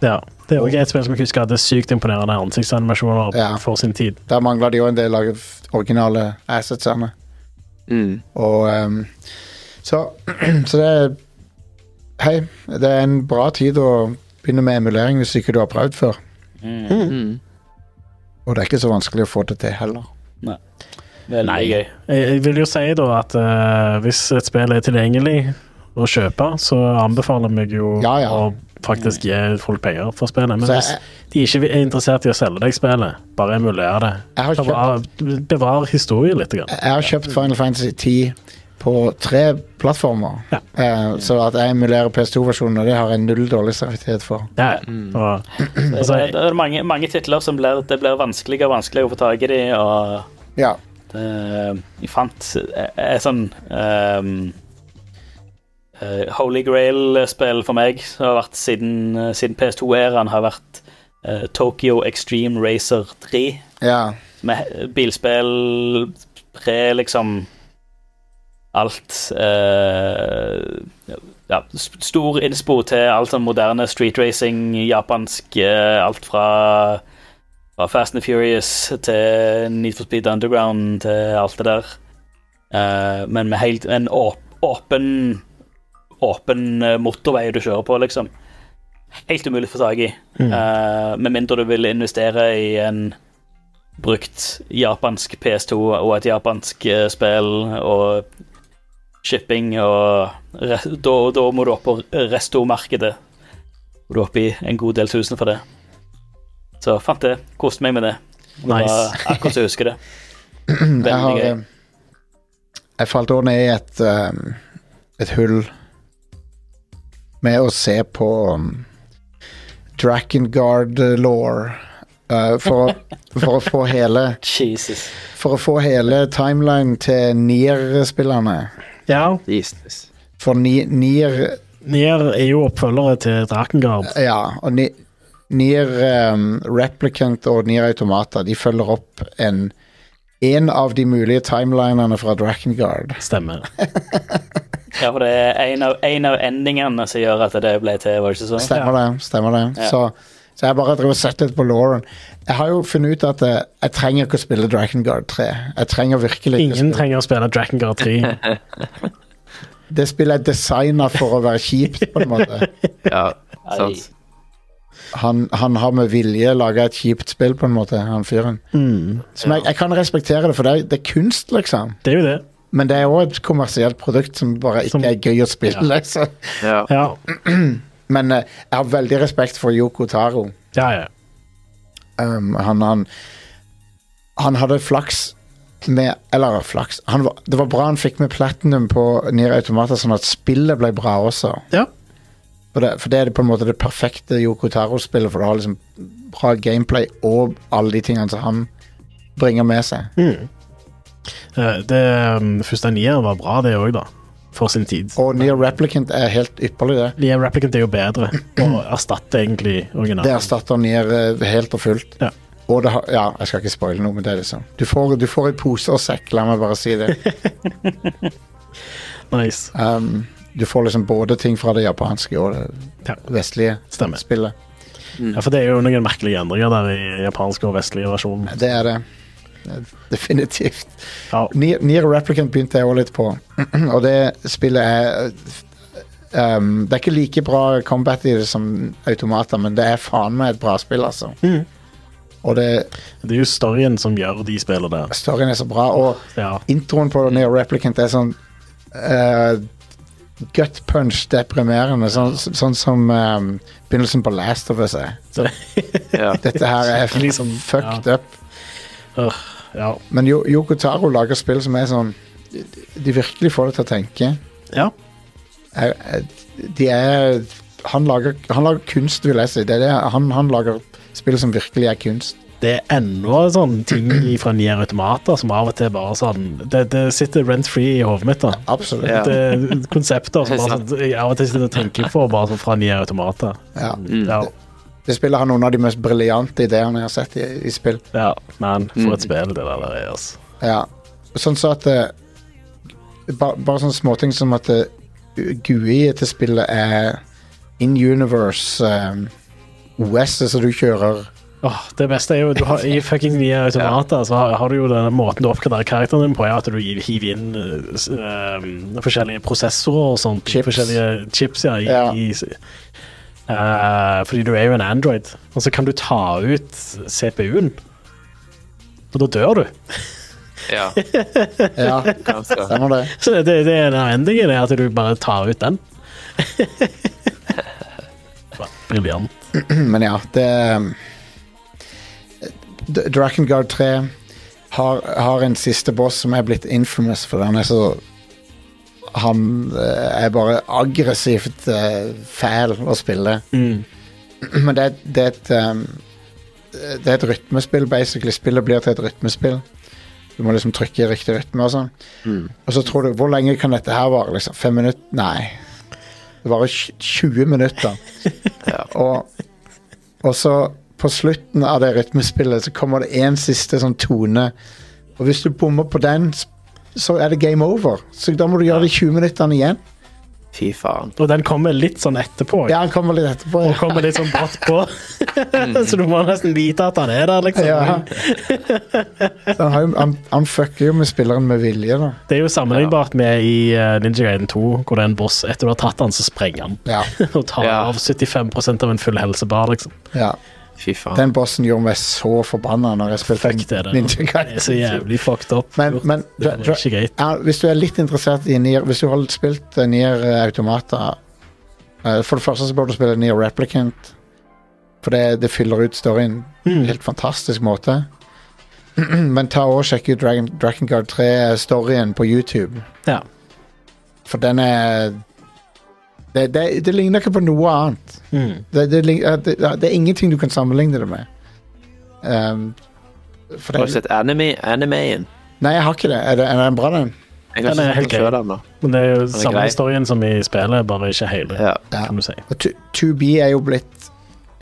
Ja. Det er også et spill som jeg husker hadde sykt imponerende ansiktsanimasjoner
Ja.
for sin tid.
Der mangla de òg en del av f- originale assetsene.
Mm.
Og ehm, så, <clears throat> så det er Hei, det er en bra tid å begynne med emulering hvis ikke du har prøvd før.
Mm.
Og det er ikke så vanskelig å få det til heller.
Veldig gøy.
Jeg, jeg vil jo si da at eh, hvis et spill er tilgjengelig å kjøpe, så anbefaler meg jo
Ja, ja.
å faktisk gi folk penger for spillet. Men
Så
hvis
jeg-
de ikke er interessert i å selge deg spillet, bare emuler det.
Jeg har
Bevar, bevar historien litt. Grann.
Jeg har kjøpt Final Fantasy 10 på tre plattformer.
Ja.
Eh, så at jeg emulerer PS2-versjonen, og det har jeg null dårlig samvittighet for.
Ja,
Mm.
og, altså,
eh, Det, det er mange, mange titler som blir, det blir vanskeligere og vanskeligere å få tak i de, og
Ja.
det, Eh, jeg fant et sånn ehm, eh, Holy Grail-spill for meg som har vært siden, eh, siden PS2-æraen har vært eh, Tokyo Extreme Racer 3,
ja.
med bilspill pre liksom alt eh, ja, s- Stor innspo til alt sånn moderne street racing, japansk eh, Alt fra, fra Fast and Furious til Need for Speed Underground til alt det der. Eh, men med helt en åp, åpen Åpen eh, motorvei du kjører på, liksom. Helt umulig å få tak i. Eh, med mindre du vil investere i en brukt japansk PS2 og et japansk eh, spill og shipping og re- da, da må du opp på restomarkedet. Og du er oppe i en god del tusen for det. Så fant det. Koste meg med det. Det var
Nice.
Akkurat som jeg husker det.
Jeg,
<clears throat>
har,
Veldig gøy.
eh, jeg falt også ned i et, eh, et hull med å se på um, Drakengard-law. eh, for,
<laughs>
for å få hele
Jesus.
For å få hele timeline til Nier-spillerne.
ja,
Jesus.
For Ni- Nier
Nier er jo oppfølgere til Drakengard.
Ja, og Ni- Nier um, Replicant og Nier Automata De følger opp en En av de mulige timelinene fra Drakengard <laughs>
Stemmer.
Ja, for det er en av, en av endingene som gjør at det ble til, var det ikke så?
Stemmer det, stemmer det
Ja.
så, så jeg bare driver og setter litt på Lauren Jeg har jo funnet ut at jeg, jeg trenger ikke å spille Drakengard 3 Jeg trenger virkelig ikke å
Ingen
spille
trenger å spille Drakengard 3.
Det spillet er designet for å være kjipt på en måte
<laughs>
Ja,
Ei.
sant.
han, han har med vilje laget et kjipt spill på en måte Han fyren Som jeg, jeg kan respektere det, for det er, det er kunst liksom
Mm. Det er jo det.
Men det er jo et kommersielt produkt som bare ikke
Som-
er gøy å spille. <laughs> så.
Ja.
Ja,
Men eh, jeg har veldig respekt for Yoko Taro.
ja. ja.
Um, han, han, han hadde flaks med Eller flaks han var, Det var bra han fikk med platinum på Nier Automata, sånn at spillet ble bra også.
Ja.
For det, for det er det på en måte det perfekte Yoko Taro-spillet, for det har liksom bra gameplay og alle de tingene som han bringer med seg.
Eh, Det um, første nier var bra, det òg, da. For sin tid.
Og Near Replicant er helt ypperlig, det.
Nier Replicant er jo bedre, og erstatter egentlig
Det
originalen.
erstatter Nier eh, helt og fullt.
Ja.
Og det har, ja, jeg skal ikke spoile noe, men det er liksom Du får, du får i pose og sekk, la meg bare si det.
Nice.
Um, du får liksom både ting fra det japanske og det
Ja,
vestlige
stemmer.
spillet.
Ja, for det er jo noen merkelige endringer der i japansk og vestlig versjon.
Det er det. Definitivt.
Ja,
Nier, Nier Replicant begynte jeg òg litt på, <clears throat> og det spillet er um, Det er ikke like bra combat i det som automater, men det er faen meg et bra spill, altså.
Mhm.
Og det,
det er jo storyen som gjør de spiller der.
storyen er så bra, og
Ja.
introen på Nier Replicant er sånn uh, gut punch-deprimerende, sånn, sånn som um, begynnelsen på Last of Us er.
Så,
Ja.
Dette her er
Skikkelig sånn,
fucked up.
øh, ja.
Men Yo- Yoko Taro lager spill som er sånn de- De virkelig får deg til å tenke.
ja.
Er- er- De er Han lager, han lager kunst, vil jeg si. Det er det, han, han lager spill som virkelig er kunst.
Det er enda sånne ting fra Nier Automata som av og til bare sånn Det, det sitter rent free i hodet mitt, da.
Absolutt.
Ja.
Det er konsepter som
Det er
bare
sant.
sånn, jeg av og til sitter og tenker på, bare sånn fra Nier Automata.
Ja.
Ja,
Det spillet har noen av de mest briljante ideene jeg har sett i, i spill.
ja, man, for et spill det der er, altså.
Ja. Sånn så at eh, ba, Bare sånne småting som at eh, GUI til spillet er in universe um, OS-et som du kjører.
Åh, det beste er jo du har, I fucking Nier Automata så har, har du jo den måten du oppgraderer karakteren din på, er at du hiver hiver inn eh, s- eh, forskjellige prosessorer og sånt.
Chips.
Forskjellige chips, ja. I,
Ja.
i s- eh, fordi du er jo en Android. Og så kan du ta ut CPU-en. Og da dør du. <laughs>
<laughs> ja.
Ja,
Ganske.
stemmer det.
Så det, det er den endingen, er at du bare tar
<laughs>
ut den. Briljant.
Men ja, det eh, D- Drakengard 3 har, har en siste boss som er blitt infamous, for han er så Han eh, er bare aggressivt eh, fæl å spille. <clears throat> Men det, er- det er et um, Det er et rytmespill, basically. Spillet blir til et rytmespill. Du må liksom trykke i riktig rytme og sånn. Og så tror du Hvor lenge kan dette her vare? Liksom? Fem minutter? Nei. Det varer tj- 20 minutter.
Ja.
Og, og så på slutten av det rytmespillet så kommer det en siste sånn tone. Og hvis du bommer på den, s- så er det game over. Så da må du gjøre de 20 minuttene igjen.
Fy faen.
Og den kommer litt sånn etterpå.
Ja, han kommer litt etterpå.
og kommer litt sånn brått på.
Mm.
<laughs> så du må nesten vite at han er der,
<laughs>
liksom.
Ja. Så han, har jo, han, han fucker jo med spilleren med vilje, da.
Det er jo sammenlignbart med i eh, Ninja Gaiden 2, hvor det er en boss. Etter du har tatt han, så sprenger han. <laughs>
Ja,
Og tar
Ja.
av 75 av en full helsebar, liksom.
ja.
Fy faen.
Den bossen gjorde meg så forbanna når jeg spilte
Fuck det, det.
Ninja
Det er så
Gaiden.
jævlig fucked up.
Men,
gjort.
men
det er ikke greit.
ja, hvis du er litt interessert i Nier Hvis du har spilt eh, Nier eh, Automata eh, For det første så bør du spille Nier Replicant For det, det fyller ut storyen på en Helt fantastisk måte <clears throat> Men ta og sjekk ut Dragon, Dragon Guard 3 eh, Storyen på YouTube
Ja.
For den er det, det, det ligner ikke på noe annet
Mm.
det, det, lign- eh, det, det er ingenting du kan sammenligne det med Ehm, for
Har du
det,
sett anime, animeen?
Nei, jeg har ikke det Er, det, er den bra den?
Jeg har
Den er
ikke
helt
sett den
grei.
før ennå.
Men det er jo
er
samme
grei.
historien som i spillet, bare ikke hele,
Ja.
Ja.
kan du si.
Og Tu- 2B er jo blitt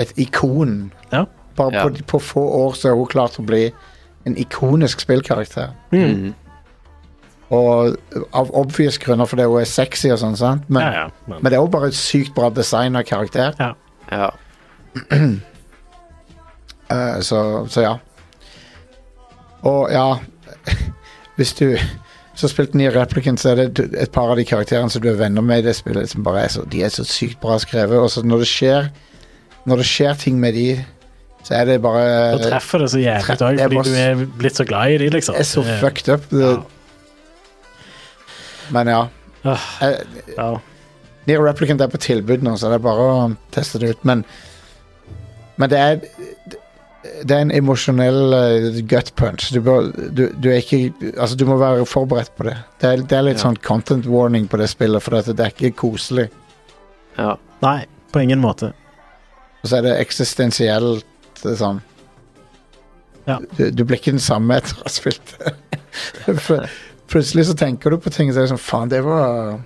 et ikon.
Ja.
Bare
Ja.
På, de- på få år så er hun klart å bli en ikonisk spillkarakter.
Mm.
Og av obvious grunner fordi hun er sexy og sånn, sant? Men,
Ja, ja. Men,
men det er jo bare et sykt bra design av karakter.
ja.
Ja.
Eh, så, så ja. Og ja <laughs> Hvis du så spilte Nier Replicant, så er det et par av de karakterene som du er venner med i det spillet, som bare er så, de er så sykt bra skrevet. Og så når det skjer Når det skjer ting med de, så er det bare
Da treffer det så jævlig
treff-
òg,
eh, det er
fordi
boss.
du er blitt så glad i de, liksom.
er så
Det er-
fucked up. Det,
Ja.
Men ja.
Ah.
Eh,
Ja.
Near Replicant er på tilbud nå, så det er bare å teste det ut. Men, men det er det er en emosjonell eh, gut punch. Du, bør, du, du er ikke Altså, du må være forberedt på det. Det er, det er litt
Ja.
sånn content warning på det spillet, for at det er ikke koselig.
ja.
Nei, på ingen måte.
Og så er det eksistensielt det er sånn.
Ja.
Du, du blir ikke den samme etter å ha spilt det. <laughs> For- Plutselig så tenker du på ting så er det sånn Faen, det var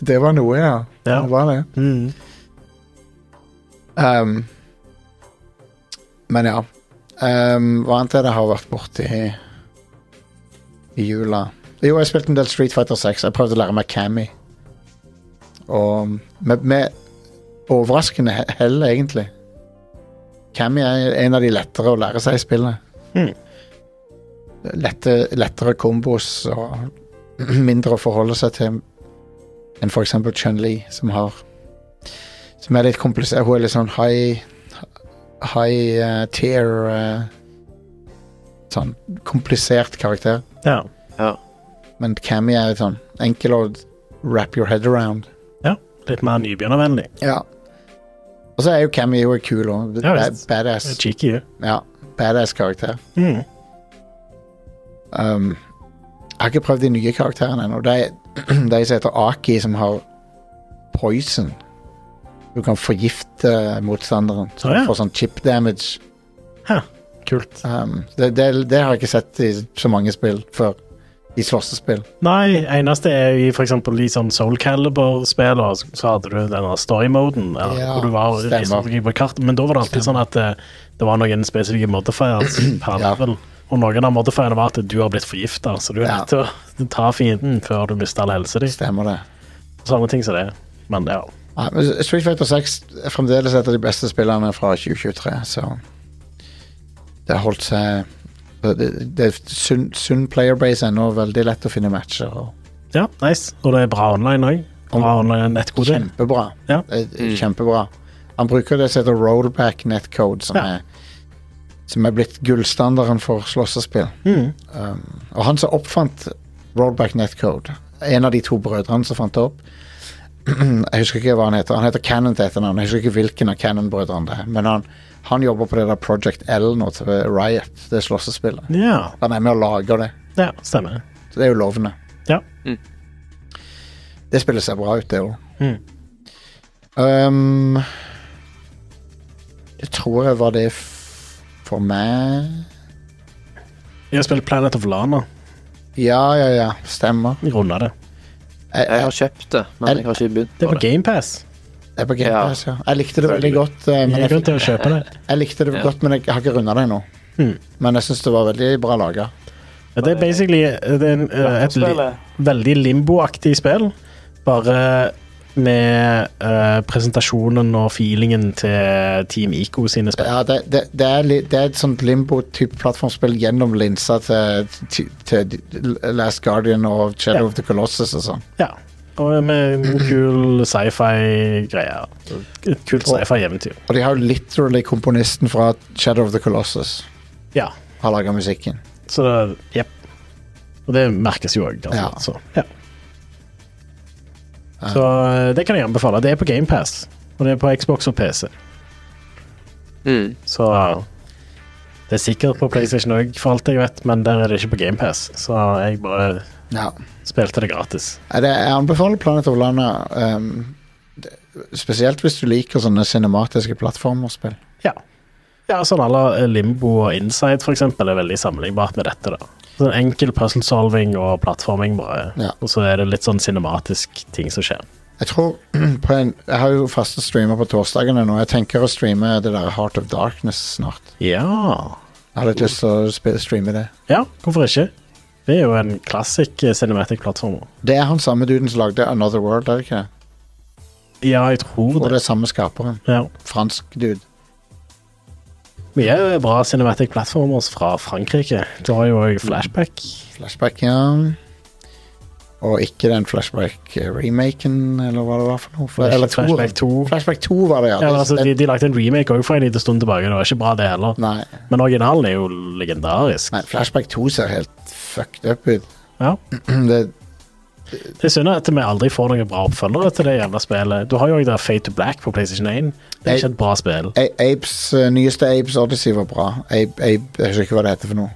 Det var noe, ja.
Ja.
Det var det.
Mm.
Ehm, men ja. Ehm, hva annet er det jeg har vært borti i, i jula? Jo, jeg spilte en del Street Fighter 6. Jeg prøvde å lære meg Cammy. Og med, med overraskende he- hell, egentlig. Cammy er en av de lettere å lære seg i spillet.
Hmm.
Lette, lettere kombos og <clears throat> mindre å forholde seg til enn for eksempel Chun-Li, som har som er litt komplisert. Hun er litt sånn high High eh, tier eh, Sånn komplisert karakter.
ja.
Men Cammy er litt sånn enkel å wrap your head around.
Litt mer nybegynnervennlig.
Ja. Og så er jo Cammy hun er kul òg.
Ja, visst.
Badass.
Cheeky. jo.
Ja, badass karakter.
Mm.
Um, jeg har ikke prøvd de nye karakterene ennå. Det er <clears throat> det er en som heter Aki, som har poison. Du kan forgifte motstanderen, så
Å,
du
ja.
får sånn chip damage.
Kult.
Um, det, det, det har jeg ikke sett i så mange spill før. I slåssespill.
Nei, eneste er i for eksempel i sånn Soul Calibur-spillene, så- så hadde du denne story-moden, ja,
Ja,
hvor du var
stemmer.
reiste deg på kartet, men da var det alltid sånn at eh, det var noen spesifikke modifiers
<clears throat>
per
Ja.
level, og noen av modifierne var at du har blitt forgiftet, så du er
Ja.
nødt til å ta fienden før du mister all helse din.
Stemmer det.
Sånne ting som det. Men ja,
Ja, men Street Fighter 6 er fremdeles et av de beste spillene fra 2023, så Det har holdt seg Det, det- det er sunn, sunn playerbase ennå. Veldig lett å finne matcher. Og
ja nice. Og det er bra online òg. Bra online nettkode.
kjempebra.
Ja.
Det er Kjempebra. Han bruker det som heter rollback netcode, som,
Ja.
er, som er blitt gullstandarden for slåssespill. Um,
Mm.
Og han som oppfant Rollback Netcode, en av de to brødrene som fant det opp <clears throat> Jeg husker ikke hva han heter. Han heter Cannon til etternavn. Jeg husker ikke hvilken av Cannon-brødrene det er. Men han, han jobber på det der Project L nå, til Riot, det slåssespillet.
Ja,
Han er med og lager det.
ja, stemmer.
Så det er jo lovende.
Ja.
Mm.
Det spillet ser bra ut, det òg.
Mm.
Um, jeg tror jeg var det f for meg
Jeg har spilt Planet of Lana.
Ja, ja, ja. Stemmer.
Jeg runda det.
Jeg,
Jeg har kjøpt det, men jeg har ikke begynt
Det
på
er på
det.
GamePass.
Det er på Game
Ja.
Pass, ja. Jeg likte det veldig
Selvfølgelig.
godt, eh, men
Jeg
jeg,
er grunn til å kjøpe det.
jeg likte det
Ja.
godt, men jeg har ikke runda det ennå.
Mm.
Men jeg syns det var veldig bra laga.
Ja, Det er basically det er en, eh, et li
Spillet.
veldig limboaktig spill, bare med eh, presentasjonen og feelingen til Team Ico sine spill.
Ja, det, det, det, er li- det er et sånt limbo-type plattformspill gjennom linsa til, til, til Last Guardian og Shadow
Ja.
of the Colossus og sånn.
Ja. Og med en kul sci-fi-greier. Et kult sci-fi-eventyr.
Og de har jo literally komponisten fra Shadow of the Colossus
Ja.
har laga musikken.
Så det- jepp. Og det merkes jo òg.
Ja.
Så, ja. så eh, det kan jeg anbefale. Det er på GamePass, og det er på Xbox og PC.
Mm.
Så det er sikkert på PlayStation òg, for alt jeg vet, men der er det ikke på GamePass. Så jeg bare
Ja.
spilte det gratis.
Nei, det- Jeg anbefaler Planet of Lana, ehm, det- spesielt hvis du liker sånne cinematiske plattformerspill.
Ja. ja sånn alle Limbo og Inside for eksempel, er veldig sammenlignbart med dette. da. Sånn Enkel puzzle-solving og plattforming, bare.
Ja.
Og så er det litt sånn cinematisk ting som skjer.
Jeg tror <clears throat> på en, Jeg har jo faste streamer på torsdagene nå. Jeg tenker å streame det der Heart of Darkness snart.
Ja.
Jeg har litt lyst til å spe- streame det.
Ja, hvorfor ikke? Det er jo en klassisk eh, cinematic plattform.
Det er han samme duden som lagde Another World, er det ikke? det?
Ja, jeg tror
Og
det.
det er samme skaperen.
Ja.
Fransk dude.
Mye bra cinematic platformers fra Frankrike. Du har jo også flashback.
Flashback, ja. Og ikke den Flashback-remaken, eller hva det var for noe. For, eller to.
Flashback 2.
Flashback 2 var det, ja.
Ja, men altså,
Det-
de, de lagde en remake også for en liten stund tilbake. Det var ikke bra, det heller.
nei,
Men originalen er jo legendarisk.
nei, Flashback 2 ser helt fucked up ut. <clears throat>
Ja.
Det,
Det er synd at vi aldri får noen bra oppfølgere til det jævla spillet. Du har jo også det Fate to Black på PlayStation 1. Det er ikke et bra spill.
A- Apes, eh, nyeste Apes Odyssey var bra. Ape, Ape, jeg husker ikke hva det heter for noe.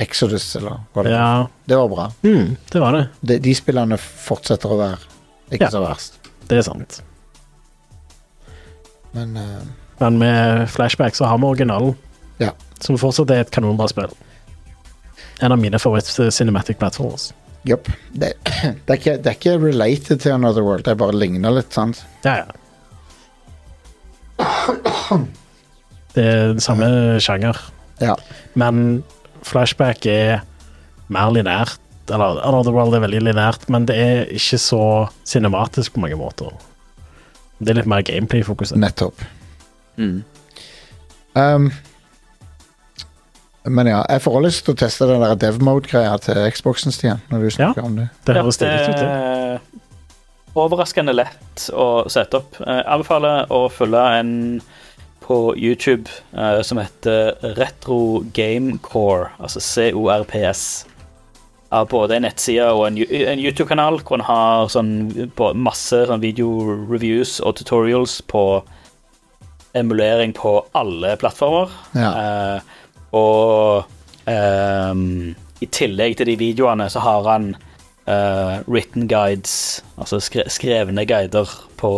Exodus, eller hva det
Ja,
Det var bra.
mm, det var det.
De, de spillene fortsetter å være ikke
Ja.
så verst.
Det er sant.
Men eh,
Men med flashback så har vi originalen.
Ja.
Som fortsatt er et kanonbra spill. En av mine favoritt-cinematic platforms.
Jepp. Det, <clears throat> det, er ikke- det er ikke related til Another World, det bare ligner litt, sant?
Ja, ja. Det er den samme sjanger,
Ja.
men flashback er mer linært. Eller Another World er veldig linært, men det er ikke så cinematisk på mange måter. Det er litt mer gameplay-fokusert.
Nettopp.
Mm.
Um, men ja, jeg får også lyst til å teste den der dev mode-greia til Xboxen, Stian. Når du snakker om det.
Det høres
Ja,
stilig ut. det.
er eh, Overraskende lett å sette opp. Eh, Jeg anbefaler å følge en på YouTube eh, som heter Retro Game Core, altså CORPS. Har både en nettside og en, Yo- en YouTube-kanal hvor en har sånn, på masse sånn video-reviews og tutorials på emulering på alle plattformer.
Ja.
Eh, og ehm, i tillegg til de videoene så har han eh, written guides, altså skre skrevne guider på,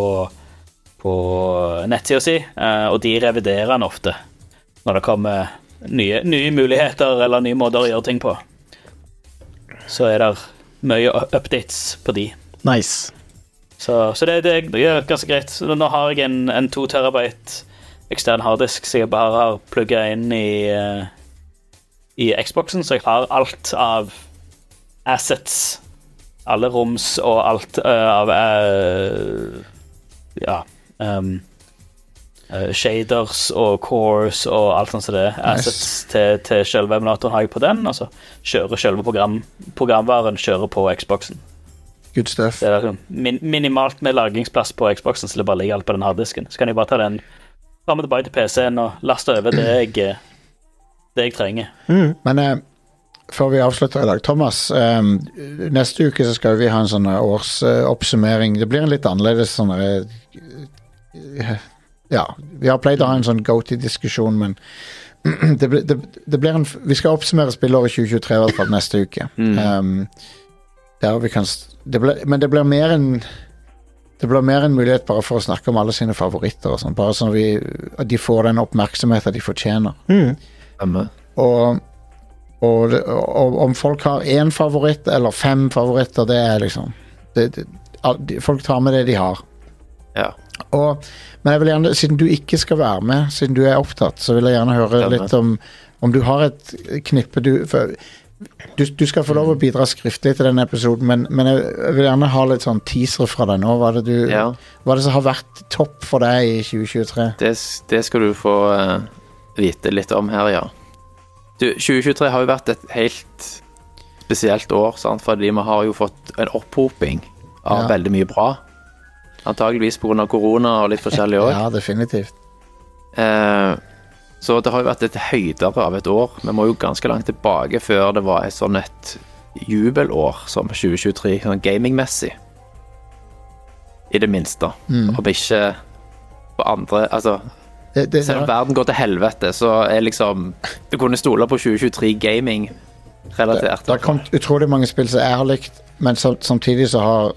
på nettsida si, eh, og de reviderer han ofte når det kommer nye, nye muligheter eller nye måter å gjøre ting på. Så er det mye u- updates på de.
Nice.
Så, så det, det er ganske greit. Så Nå har jeg en, en 2 terabyte ekstern harddisk som jeg bare har plugga inn i, eh, i Xboxen, så jeg har alt av assets. Alle roms og alt eh, av eh, Ja. ehm, eh, shaders og cores og alt sånt som det. er. Assets til, til selve emulatoren har jeg på den. Altså kjører selve program, programvaren kjører på Xboxen.
Good stuff.
Det er liksom min minimalt med lagringsplass på Xboxen, så det bare ligger alt på den harddisken. Så kan jeg bare ta den fram og tilbake til PC-en og laste over det jeg, eh, det jeg trenger.
Men eh, før vi avslutter i dag, Thomas. eh, neste uke så skal vi ha en sånn eh, årsoppsummering. det blir en litt annerledes sånn eh, eh, Ja. Vi har pleid å ha en sånn go-to-diskusjon, men <clears throat> det, blir- det, det blir en, f- vi skal oppsummere spillåret 2023 i hvert fall neste uke. Um, der vi kan s- det ble, Men det blir mer en det blir mer en mulighet bare for å snakke om alle sine favoritter. og sånn, Bare sånn vi, at de får den oppmerksomheten de fortjener.
Stemmer.
Og, og, og om folk har én favoritt eller fem favoritter, det er liksom det, det, al- de- Folk tar med det de har.
Ja.
Og, men jeg vil gjerne, siden du ikke skal være med, siden du er opptatt, så vil jeg gjerne høre
Stemmer.
litt om om du har et knippe du for, du, du skal få lov å bidra skriftlig til denne episoden, men, men jeg, jeg vil gjerne ha litt sånn teaser fra deg nå. Hva er det, du,
ja.
hva er det som har vært topp for deg i 2023?
Det, det skal du få eh, vite litt om her, ja. Du, 2023 har jo vært et helt spesielt år, sant? fordi vi har jo fått en opphoping av
Ja.
veldig mye bra. Antageligvis pga. korona og litt forskjellig òg.
<laughs> Ja, definitivt.
Eh, så det har jo vært et høydere av et år. Vi må jo ganske langt tilbake før det var et sånn et jubelår som 2023, sånn gamingmessig. I det minste.
Mm.
Om ikke på andre Altså,
Det, det,
selv om verden går til helvete, så er liksom Du kunne stole på 2023 gaming relatert.
Det har kommet utrolig mange spill som jeg har likt, men sam- samtidig så har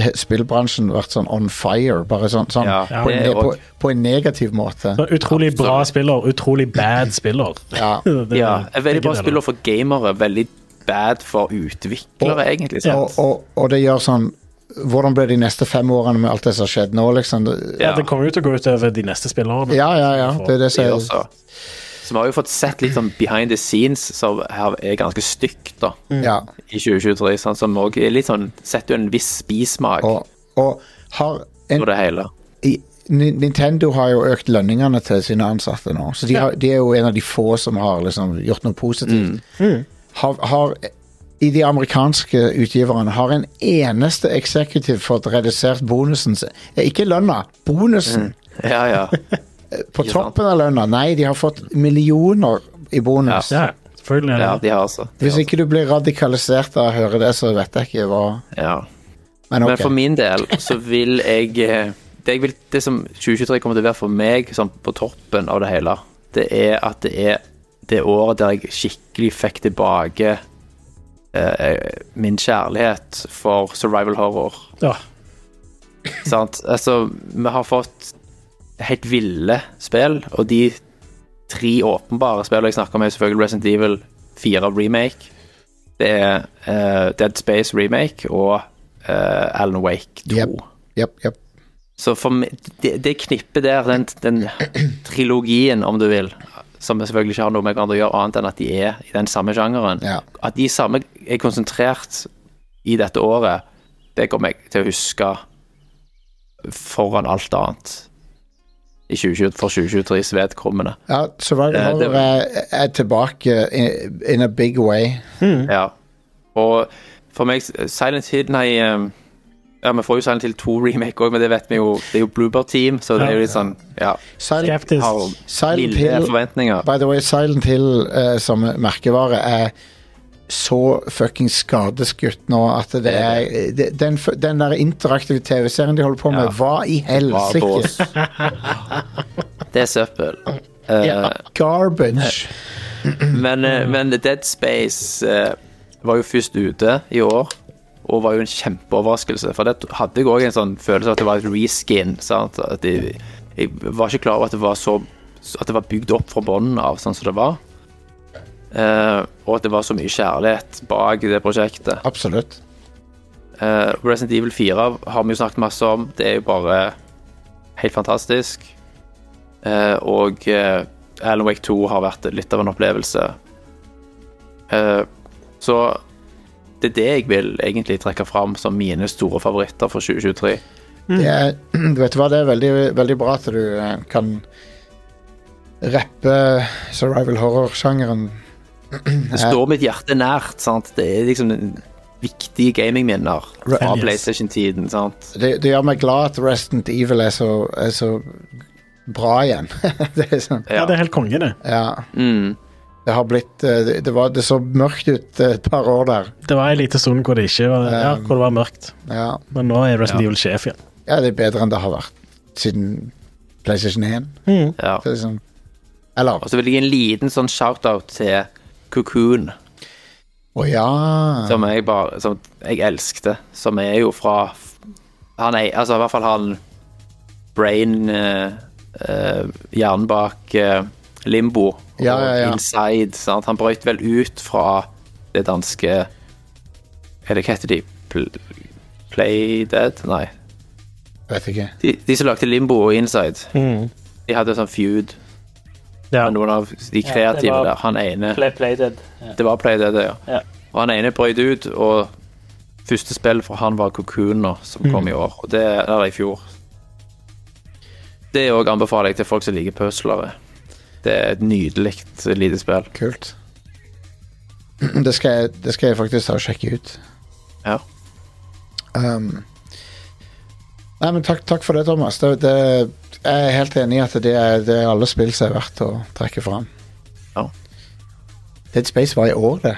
he- spillbransjen vært sånn on fire. Bare sånn, sånn
Ja,
på, en,
det
ne-
er
på,
også-
på en negativ måte.
Så Utrolig bra spiller, utrolig bad spiller.
Ja.
<laughs> Det- det-
ja, et veldig bra
begge
spill
deler.
for gamere, veldig bad for utviklere, egentlig.
Og,
Sant?
og, og det gjør sånn Hvordan blir de neste fem årene med alt det som har skjedd nå, liksom?
Ja.
Ja, det kommer jo til å gå ut over de neste spillerne.
Ja, ja, ja. Det er det
de
som er
også. Så vi har jo fått sett litt sånn behind the scenes som her er ganske stygt, da.
ja.
I 2023, sant, som òg er litt sånn Setter jo en viss bismak
Og, og har en,
på det hele.
i, Ni- Nintendo har jo økt lønningene til sine ansatte nå, så de, har, de er jo en av de få som har liksom gjort noe positivt.
Mm.
Har, har, I de amerikanske utgiverne har en eneste executive fått redusert bonusen sin. Eh, Ikke lønna, bonusen! Eh,
Ja, ja.
På
Mm. Ikke sant.
toppen av lønna. Nei, de har fått millioner i bonus.
Ja, selvfølgelig. er det
ja
det.
de har altså. De
Hvis
har
ikke du blir radikalisert av å høre det, så vet jeg ikke hva
altså- ja.
Men
Men
ok.
for min del så vil jeg eh, det, jeg vil, det som 2023 kommer til å være for meg, sånn på toppen av det hele, det er at det er det året der jeg skikkelig fikk tilbake eh, min kjærlighet for survival horror.
Ja.
Sant? Altså, vi har fått helt ville spill, og de tre åpenbare spill jeg snakker om, er selvfølgelig Resident Evil 4 Remake. Det er eh, Dead Space Remake og eh, Alan Wake 2.
Yep. Jepp, jepp.
Så for meg, det, det knippet der, den, den trilogien, om du vil, som selvfølgelig ikke har noe med hverandre å gjøre, annet enn at de er i den samme sjangeren
Ja.
At de samme er konsentrert i dette året, det kommer jeg til å huske foran alt annet i 2020, for 2023s vedkommende.
Ja, Survivor
Eh, det-
eh, er tilbake in, in a big way.
Ja. Og for meg, Silent Hill Nei, um, ja, vi får jo Silent Hill 2 remake òg, men det vet vi jo. Det er jo Bluebird Team, så det er jo litt sånn Ja.
Silent,
Skeptisk.
Har
Silent
milde
Hill
forventninger.
By the way, Silent Hill eh, som merkevare er så fucking skadeskutt nå at det er det, den, f- den der interaktive TV-serien de holder på med,
Ja.
hva i
Bare
helsike?
bås. Det er søppel. Eh,
<laughs> Ja, Mm. garbage.
men, eh, men Dead Space eh, var jo først ute i år, og var jo en kjempeoverraskelse. For det hadde jeg òg en sånn følelse av at det var et reskin. Sant? At de, jeg var ikke klar over at det var så At det var bygd opp fra bunnen av, sånn som det var. Eh, og at det var så mye kjærlighet bak det prosjektet.
Absolutt.
Eh, Resident Evil 4 har vi jo snakket masse om. Det er jo bare helt fantastisk. Eh, og eh, Alan Wake 2 har vært litt av en opplevelse. Eh, så det er det jeg vil egentlig trekke fram som mine store favoritter for 2023. Mm.
Det er, <clears throat> du vet hva, det er veldig, veldig bra at du eh, kan rappe survival horror-sjangeren.
Det står mitt hjerte nært. sant? Det er liksom en- viktige gamingminner fra
Yes.
PlayStation-tiden. sant?
Det, det gjør meg glad at Restant Evil er så, er så bra igjen. <laughs> det er sånn,
Ja, det er helt konge, det.
ja.
Mm.
Det har blitt eh, Det, det, var, det så mørkt ut eh, et par år der.
Det var en liten stund hvor det ikke var, ja, hvor det var mørkt.
Ja.
Men nå er Resident
Ja.
Evil sjef igjen.
ja, det er bedre enn det har vært siden PlayStation 1.
Ja.
Det er liksom, eller
Og så vil jeg gi en liten sånn shout-out til Cocoon.
Å ja.
som jeg bare Som jeg elskte. Som er jo fra Han er Altså, i hvert fall han Brain eh, eh, Hjernen bak eh, Limbo og
Ja, ja, ja.
Inside. Sant? Han brøt vel ut fra det danske Er det hva heter de? Pl Play Dead? Nei.
Vet ikke.
De, de som lagde Limbo og Inside.
Mm.
De hadde sånn feud
Ja.
med noen av de
Ja, det
kreative
var
der. Han ene
Play, play dead. Ja.
Det var Play Dead, ja.
Ja.
Og han ene brøt ut, og første spill fra han var Cocoon nå,
Mm.
som kom i år. Og det er i fjor. Det òg anbefaler jeg til folk som liker puslere. Det er et nydelig lite spill.
Kult. <clears throat> Det skal, jeg, det skal jeg faktisk ta og sjekke ut.
Ja.
Um, nei, men takk, takk for det, Thomas. Det, det, jeg er helt enig i at det er, det er alle spill som er verdt å trekke fram.
Ja. Mm.
Dead Space var i år, det.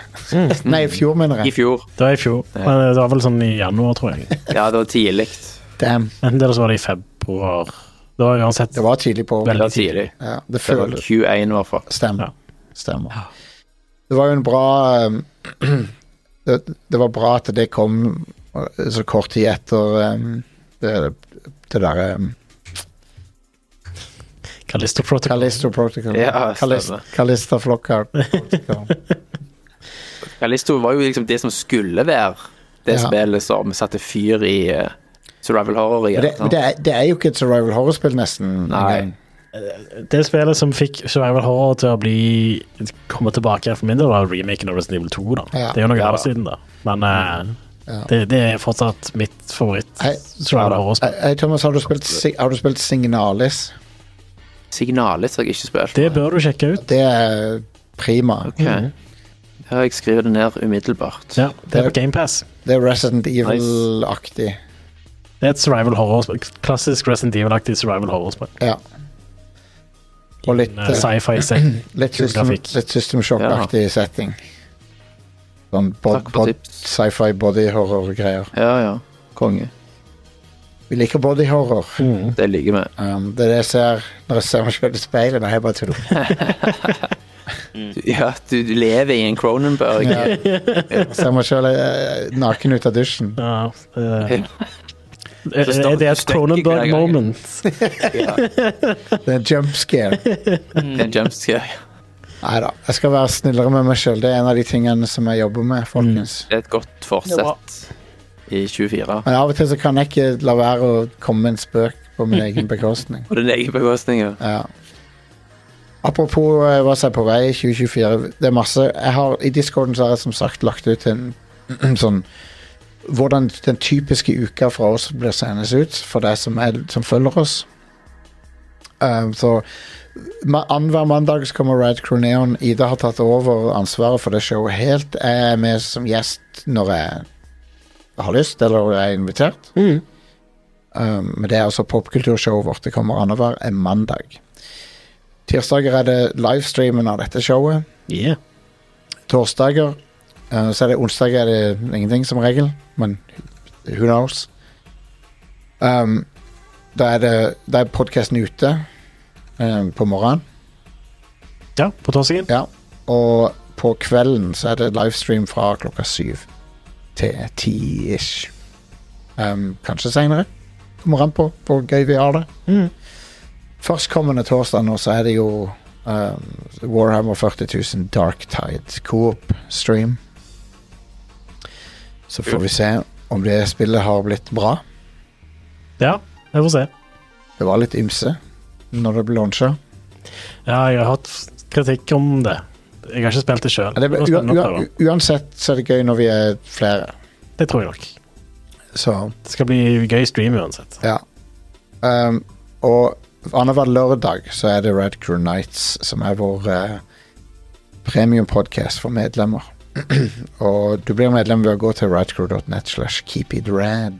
nei, i fjor, mener
I
jeg.
fjor.
Det var i fjor. Men det var vel sånn i januar, tror jeg.
Ja, det var tidlig.
Damn.
Enten det eller så var det i februar. Det var uansett
Det var tidlig på
Det
året.
var tidlig.
Ja, det
Det var
føles
Q1, i hvert fall.
Stemmer.
Ja.
Stemmer. Det var jo en bra um, <clears throat> det, det var bra at det kom uh, så kort tid etter um, det, det derre um,
Callisto Protocol.
Callisto Protocol.
Ja,
Callis-
stemmer.
Callista Flockhart.
<laughs>
Protocol.
Kalisto var jo liksom det som skulle være det
Ja.
spillet som satte fyr i eh, Survival Horror
Men
igjen.
det, men
sant?
det, er, det er jo ikke et survival horror-spill, nesten.
Nei.
engang.
Det spillet som fikk Survival Horror til å bli komme tilbake for min del, var remaken av Resident Evil 2. Da.
Ja.
Det er jo noen
Ja,
år
da.
siden, da. Men eh,
Ja.
det, det er fortsatt mitt
Hei.
favoritt-Survival Horror-spill.
Hei, hei, Thomas, har du spilt, Si- har du spilt Signalis?
Signalis har jeg ikke spilt.
Det bør du sjekke ut.
Det er prima.
Ok. Ja, jeg skriver det ned umiddelbart.
Ja, det er på GamePass.
Det er Resident Evil-aktig.
Det er et survival horror-spill. Klassisk Resident Evil-aktig survival horror-spill.
Ja. Og litt eh,
Med Sci-fi setting.
Litt
Kul
system,
grafikk.
litt system shock-aktig setting. Sånn bod,
Takk for
bod,
tips.
sci-fi body horror-greier.
Ja, ja. Konge.
Vi liker body horror.
Det liker vi.
Um, det er det jeg ser når jeg ser meg selv i speilet. Nei, jeg bare tuller.
Du- Ja, du du lever i en Cronenberg.
Ja. Jeg ser meg selv eh, naken ut av dusjen.
Ja, det, Er
står-
er det et
støkker hver
Cronenberg
gang.
moment?
Det er jump scare.
Det er en jumpscare.
Nei da. Jeg skal være snillere med meg sjøl. Det er en av de tingene som jeg jobber med, folkens.
Mm.
Det er et godt forsett i 24.
Men av og til så kan jeg ikke la være å komme med en spøk på
<laughs>
min egen bekostning.
På din egen bekostning. ja.
Ja. Apropos eh, hva som er på vei i 2024. Det er masse jeg har, I discorden så har jeg som sagt lagt ut en <clears throat> sånn Hvordan den typiske uka fra oss blir sendes ut for deg som, er, som følger oss. Um, så ma- Annenhver mandag så kommer Rad Crew Neon. Ida har tatt over ansvaret for det showet helt. Jeg er med som gjest når jeg har lyst, eller er invitert.
Mm.
Um, men det er altså popkulturshowet vårt. Det kommer annenhver en mandag. Tirsdager er det livestreamen av dette showet.
Yeah.
Torsdager eh, Så er det onsdag er det ingenting som regel, men who knows? Um, da er det Da er podkasten ute eh, på morgenen,
Ja, på torsdagen.
ja. Og på kvelden så er det livestream fra klokka syv til ti ish. Um, kanskje seinere. Kommer an på hvor gøy vi har det.
Mm.
Førstkommende torsdag nå så er det jo um, Warhammer 40 000 Dark Tide Coop stream. Så får vi se om det spillet har blitt bra.
Ja, jeg får se.
Det var litt ymse når det ble launchet
Ja, jeg har hatt kritikk om det. Jeg har ikke spilt det sjøl.
Men Det,
Det,
ble-
var spennende å
ua-
prøve.
ua- uansett så er det gøy når vi er flere.
det tror jeg nok.
Så
Det skal bli gøy stream uansett.
Ja. Um, og annenhver lørdag så er det Red Crew Nights, som er vår eh, premium-podcast for medlemmer. <clears throat> og du blir medlem ved å gå til radcrew.net slash keepitrad.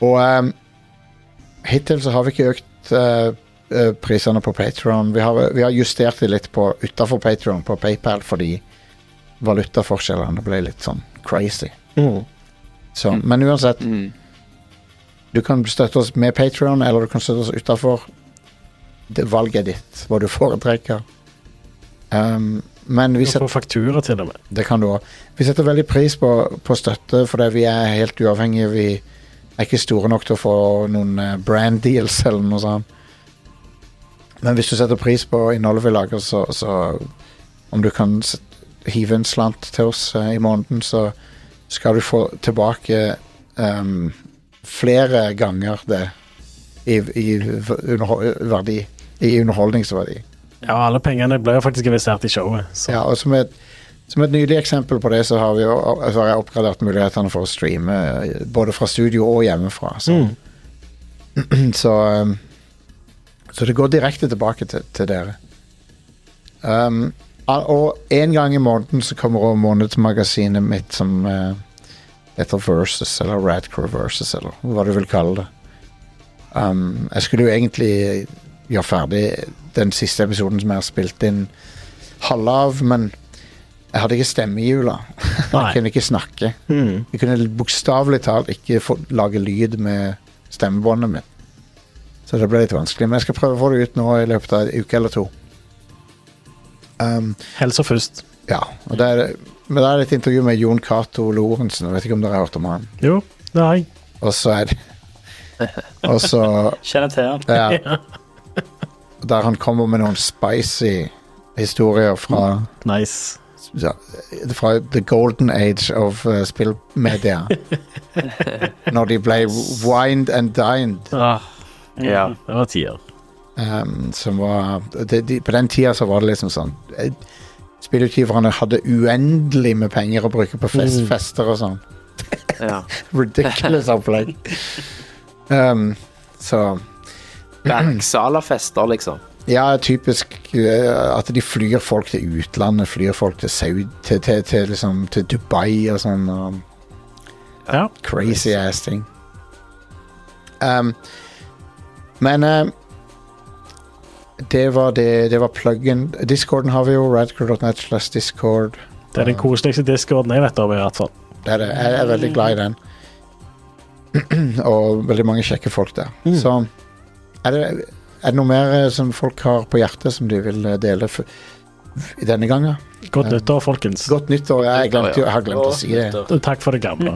Og um, hittil så har vi ikke økt eh, eh, prisene på Patron. Vi, har- vi har justert det litt på utafor Patron, på PayPal, fordi valutaforskjellene ble litt sånn crazy.
Mm.
Så, Men uansett
Mm.
du kan støtte oss med Patreon, eller du kan støtte oss utenfor. Det valget er ditt, hva du foretrekker. Um, men vi
Vi
setter,
får faktura til og med.
det kan du også. Vi setter veldig pris på, på støtte, fordi vi er helt uavhengige. Vi er ikke store nok til å få noen eh, brand deals <laughs> eller noe sånt. Men hvis du setter pris på innholdet vi lager, så, så om du kan s- hive en slant til oss eh, i måneden, så skal du få tilbake ehm, flere ganger det i, i, v- underho- verdi, i underholdningsverdi.
Ja, alle pengene ble jo faktisk investert i showet. Så.
Ja, og som et, som et nydelig eksempel på det, så har, vi, jo- så har jeg oppgradert mulighetene for å streame eh, både fra studio og hjemmefra. Så,
Mm.
<clears throat> så, um, så det går direkte tilbake til, til dere. Um, a- og en gang i måneden så kommer også månedsmagasinet mitt som eh, heter Versus, eller Radcore Versus, eller hva du vil kalle det. Um, jeg skulle jo egentlig gjøre ferdig den siste episoden som jeg har spilt inn halve av, men jeg hadde ikke stemme i jula. <laughs>
Nei.
jeg kunne ikke snakke.
Mm.
Jeg kunne bokstavelig talt ikke få, lage lyd med stemmebåndet mitt. Så det ble litt vanskelig. Men jeg skal prøve å få det ut nå i løpet av en uke eller to. Um,
Helsa først.
ja, og det er, Men det er et intervju med Jon Cato Lorentzen. Jeg vet ikke om dere har hørt om han.
Jo, det har jeg.
Og så er det Og så
Kjenner til han.
ja, Der han kommer med noen spicy historier fra,
Nice.
fra the golden age of uh, spillmedia. Når de ble wined and dined.
Ah,
Ja.
det var tier.
Ehm, som var de, de, På den tida så var det liksom sånn eh, Spillutgiverne hadde uendelig med penger å bruke på fest,
Mm.
fester og sånn.
ja.
Ridiculous opplegg. Ehm, så
Bergsala-fester, liksom.
Ja, typisk eh, at de flyr folk til utlandet. Flyr folk til Saud... Til, til, til, liksom, til Dubai og sånn. Og
Ja.
Crazy ass ting. Um, men um, det var det. Det var pluggen. Discorden har vi jo. Radcrew.net slash discord.
Det er den koseligste discorden jeg vet om, i hvert fall.
Det er det. Jeg er veldig glad i den. <clears throat> Og veldig mange kjekke folk der.
Mm.
Så er det, er det noe mer eh, som folk har på hjertet som de vil eh, dele f- f- denne gangen?
Godt nyttår, folkens.
Godt nyttår. Jeg, glemte, jo- jeg har glemt å si det.
Og Takk for det gamle.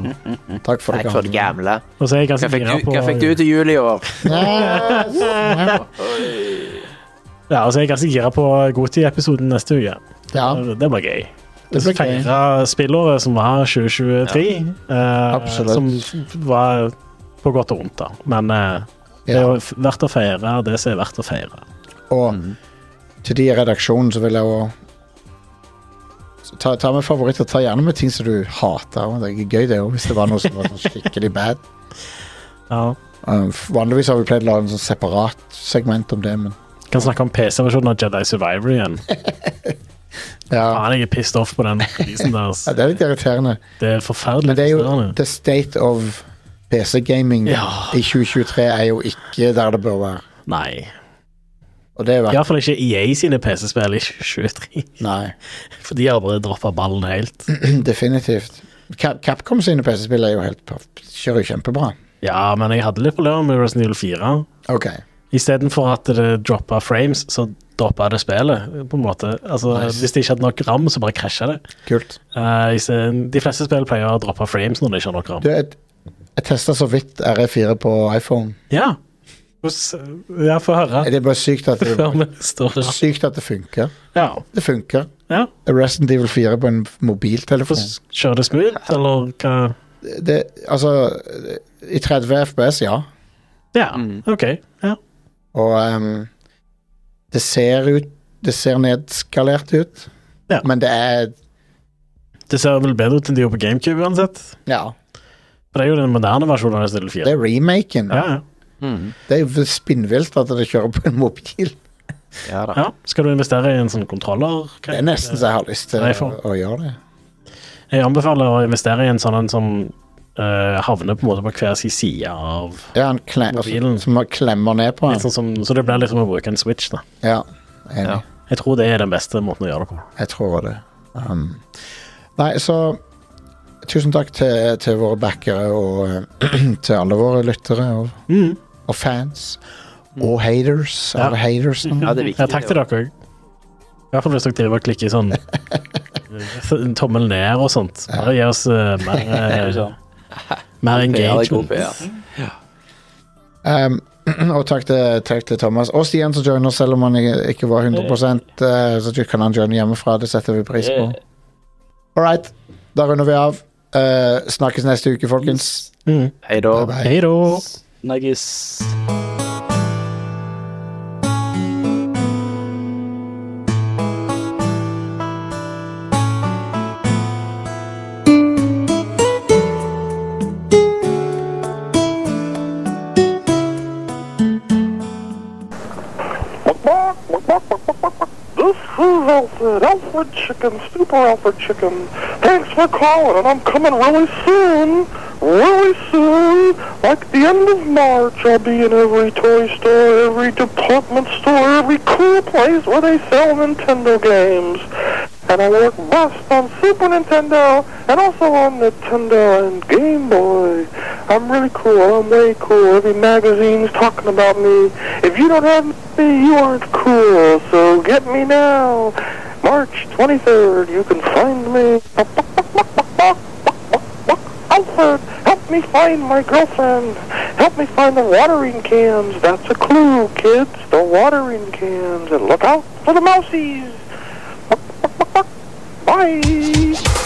Takk for det.
Takk for det
gamle.
gamle.
Og så Altså, er jeg
Hva
ganske
fikk,
gira
du,
på
hva fikk du til jul i år?
Ja, og så er jeg ganske gira på Goti-episoden neste uke.
<laughs> Ja,
Det blir gøy.
det
Det
blir gøy.
feire spillåret som var 2023. eh,
Absolutt.
som f- var på godt og vondt, da. Men eh, det er
Ja.
jo f- verdt å feire det som er verdt å feire.
Og til de i redaksjonen så vil jeg jo Så ta, ta med favoritter. Ta gjerne med ting som du hater. og Det er gøy, det òg, hvis det var noe som var sånn skikkelig bad.
Ja.
Um, f- vanligvis har vi pleid å lage en sånn separat segment om det, men
Kan snakke om PC-versjonen av Jedi Survivor igjen.
ja.
Faen, jeg er pissed off på den prisen deres.
ja, Det er litt irriterende.
Det er forferdelig.
Men det er jo
frustrerende.
the state of PC-gaming
Ja.
i 2023 er jo ikke der det bør være.
Nei.
Og det er jo verdt
Iallfall ikke EA sine PC-spill i 2023.
Nei,
<laughs> For de har bare droppa ballen helt.
<clears throat> definitivt. Cap Capcom sine PC-spill er jo helt perf- Kjører jo kjempebra.
Ja, men jeg hadde litt problemer med Resident Evil 4.
OK.
Istedenfor at det droppa frames, så droppa det spillet. på en måte. Altså,
Nice.
Hvis det ikke hadde nok ram, så bare krasja det.
Kult.
Eh, i stedet- de fleste spill pleier å droppe frames når de ikke har nok ram.
Du, jeg, jeg testa så vidt RE4 på iPhone.
Ja, Hvordan- ja få høre
Er det bare sykt at
<laughs>
det,
før vi står her.
sykt at det funker?
Ja.
Det funker.
ja.
Resident Evil 4 på en mobiltelefon.
Hvordan kjører det smooth, eller hva?
Det, altså I 30 FPS, ja.
Ja,
Mm.
OK. Ja.
Og ehm, det ser ut Det ser nedskalert ut,
Ja.
men det er
Det ser vel bedre ut enn de gjorde på GameCube uansett.
Ja,
For det er jo den moderne versjonen av Resident Evil
det
4.
er remaken.
Ja, ja.
Mm.
Det er jo spinnvilt at det kjører på en mobil.
Ja da.
ja. Skal du investere i en sånn kontroller?
Det er nesten så jeg har lyst til
Nei,
å,
faen.
å gjøre det.
Jeg anbefaler å investere i en sånn en som eh, havner på en måte på hver sin side av
Ja, en kle, altså,
Mobilen.
som man klemmer ned på
litt
den.
sånn som, Så det blir liksom å bruke en switch, da.
Ja, enig.
Ja.
Jeg tror det er den beste måten å gjøre det på.
Jeg tror det. Um, nei, så Tusen takk til, til våre backere og <clears throat> til alle våre lyttere og, og fans. Og haters.
Mm. Ja.
Alle hatersen.
Ja, det er viktig.
Ja, takk til dere òg. I hvert fall hvis dere driver og klikker i sånn
<laughs>
eh, tommel ned og sånt. Bare gi oss eh, mer, eh, mer
sånn. Ja, det er god
engagement.
PR.
Mm-hmm.
<laughs> Um, <clears throat> og takk til, takk til Thomas og Stian som joiner, selv om han ikke ikke var 100 eh, Så kan han joine hjemmefra. Det setter vi pris på. All right, da runder vi av. Eh, snakkes neste uke, folkens.
Mm.
Hei da.
Bye bye.
Hei da.
Nuggis.
This is Alfred, Alfred Chicken, Super Alfred Chicken. Thanks for calling, and I'm coming really soon, really soon. Like the end of March, I'll be in every toy store, every department store, every cool place where they sell Nintendo games. And I work best on Super Nintendo and also on Nintendo and Game Boy. I'm really cool. I'm way cool. Every magazine's talking about me. If you don't have me, you aren't cool. So get me now. March 23rd, you can find me. Alfred, help me find my girlfriend. Help me find the watering cans. That's a clue, kids. The watering cans. And look out for the mousies. Bye.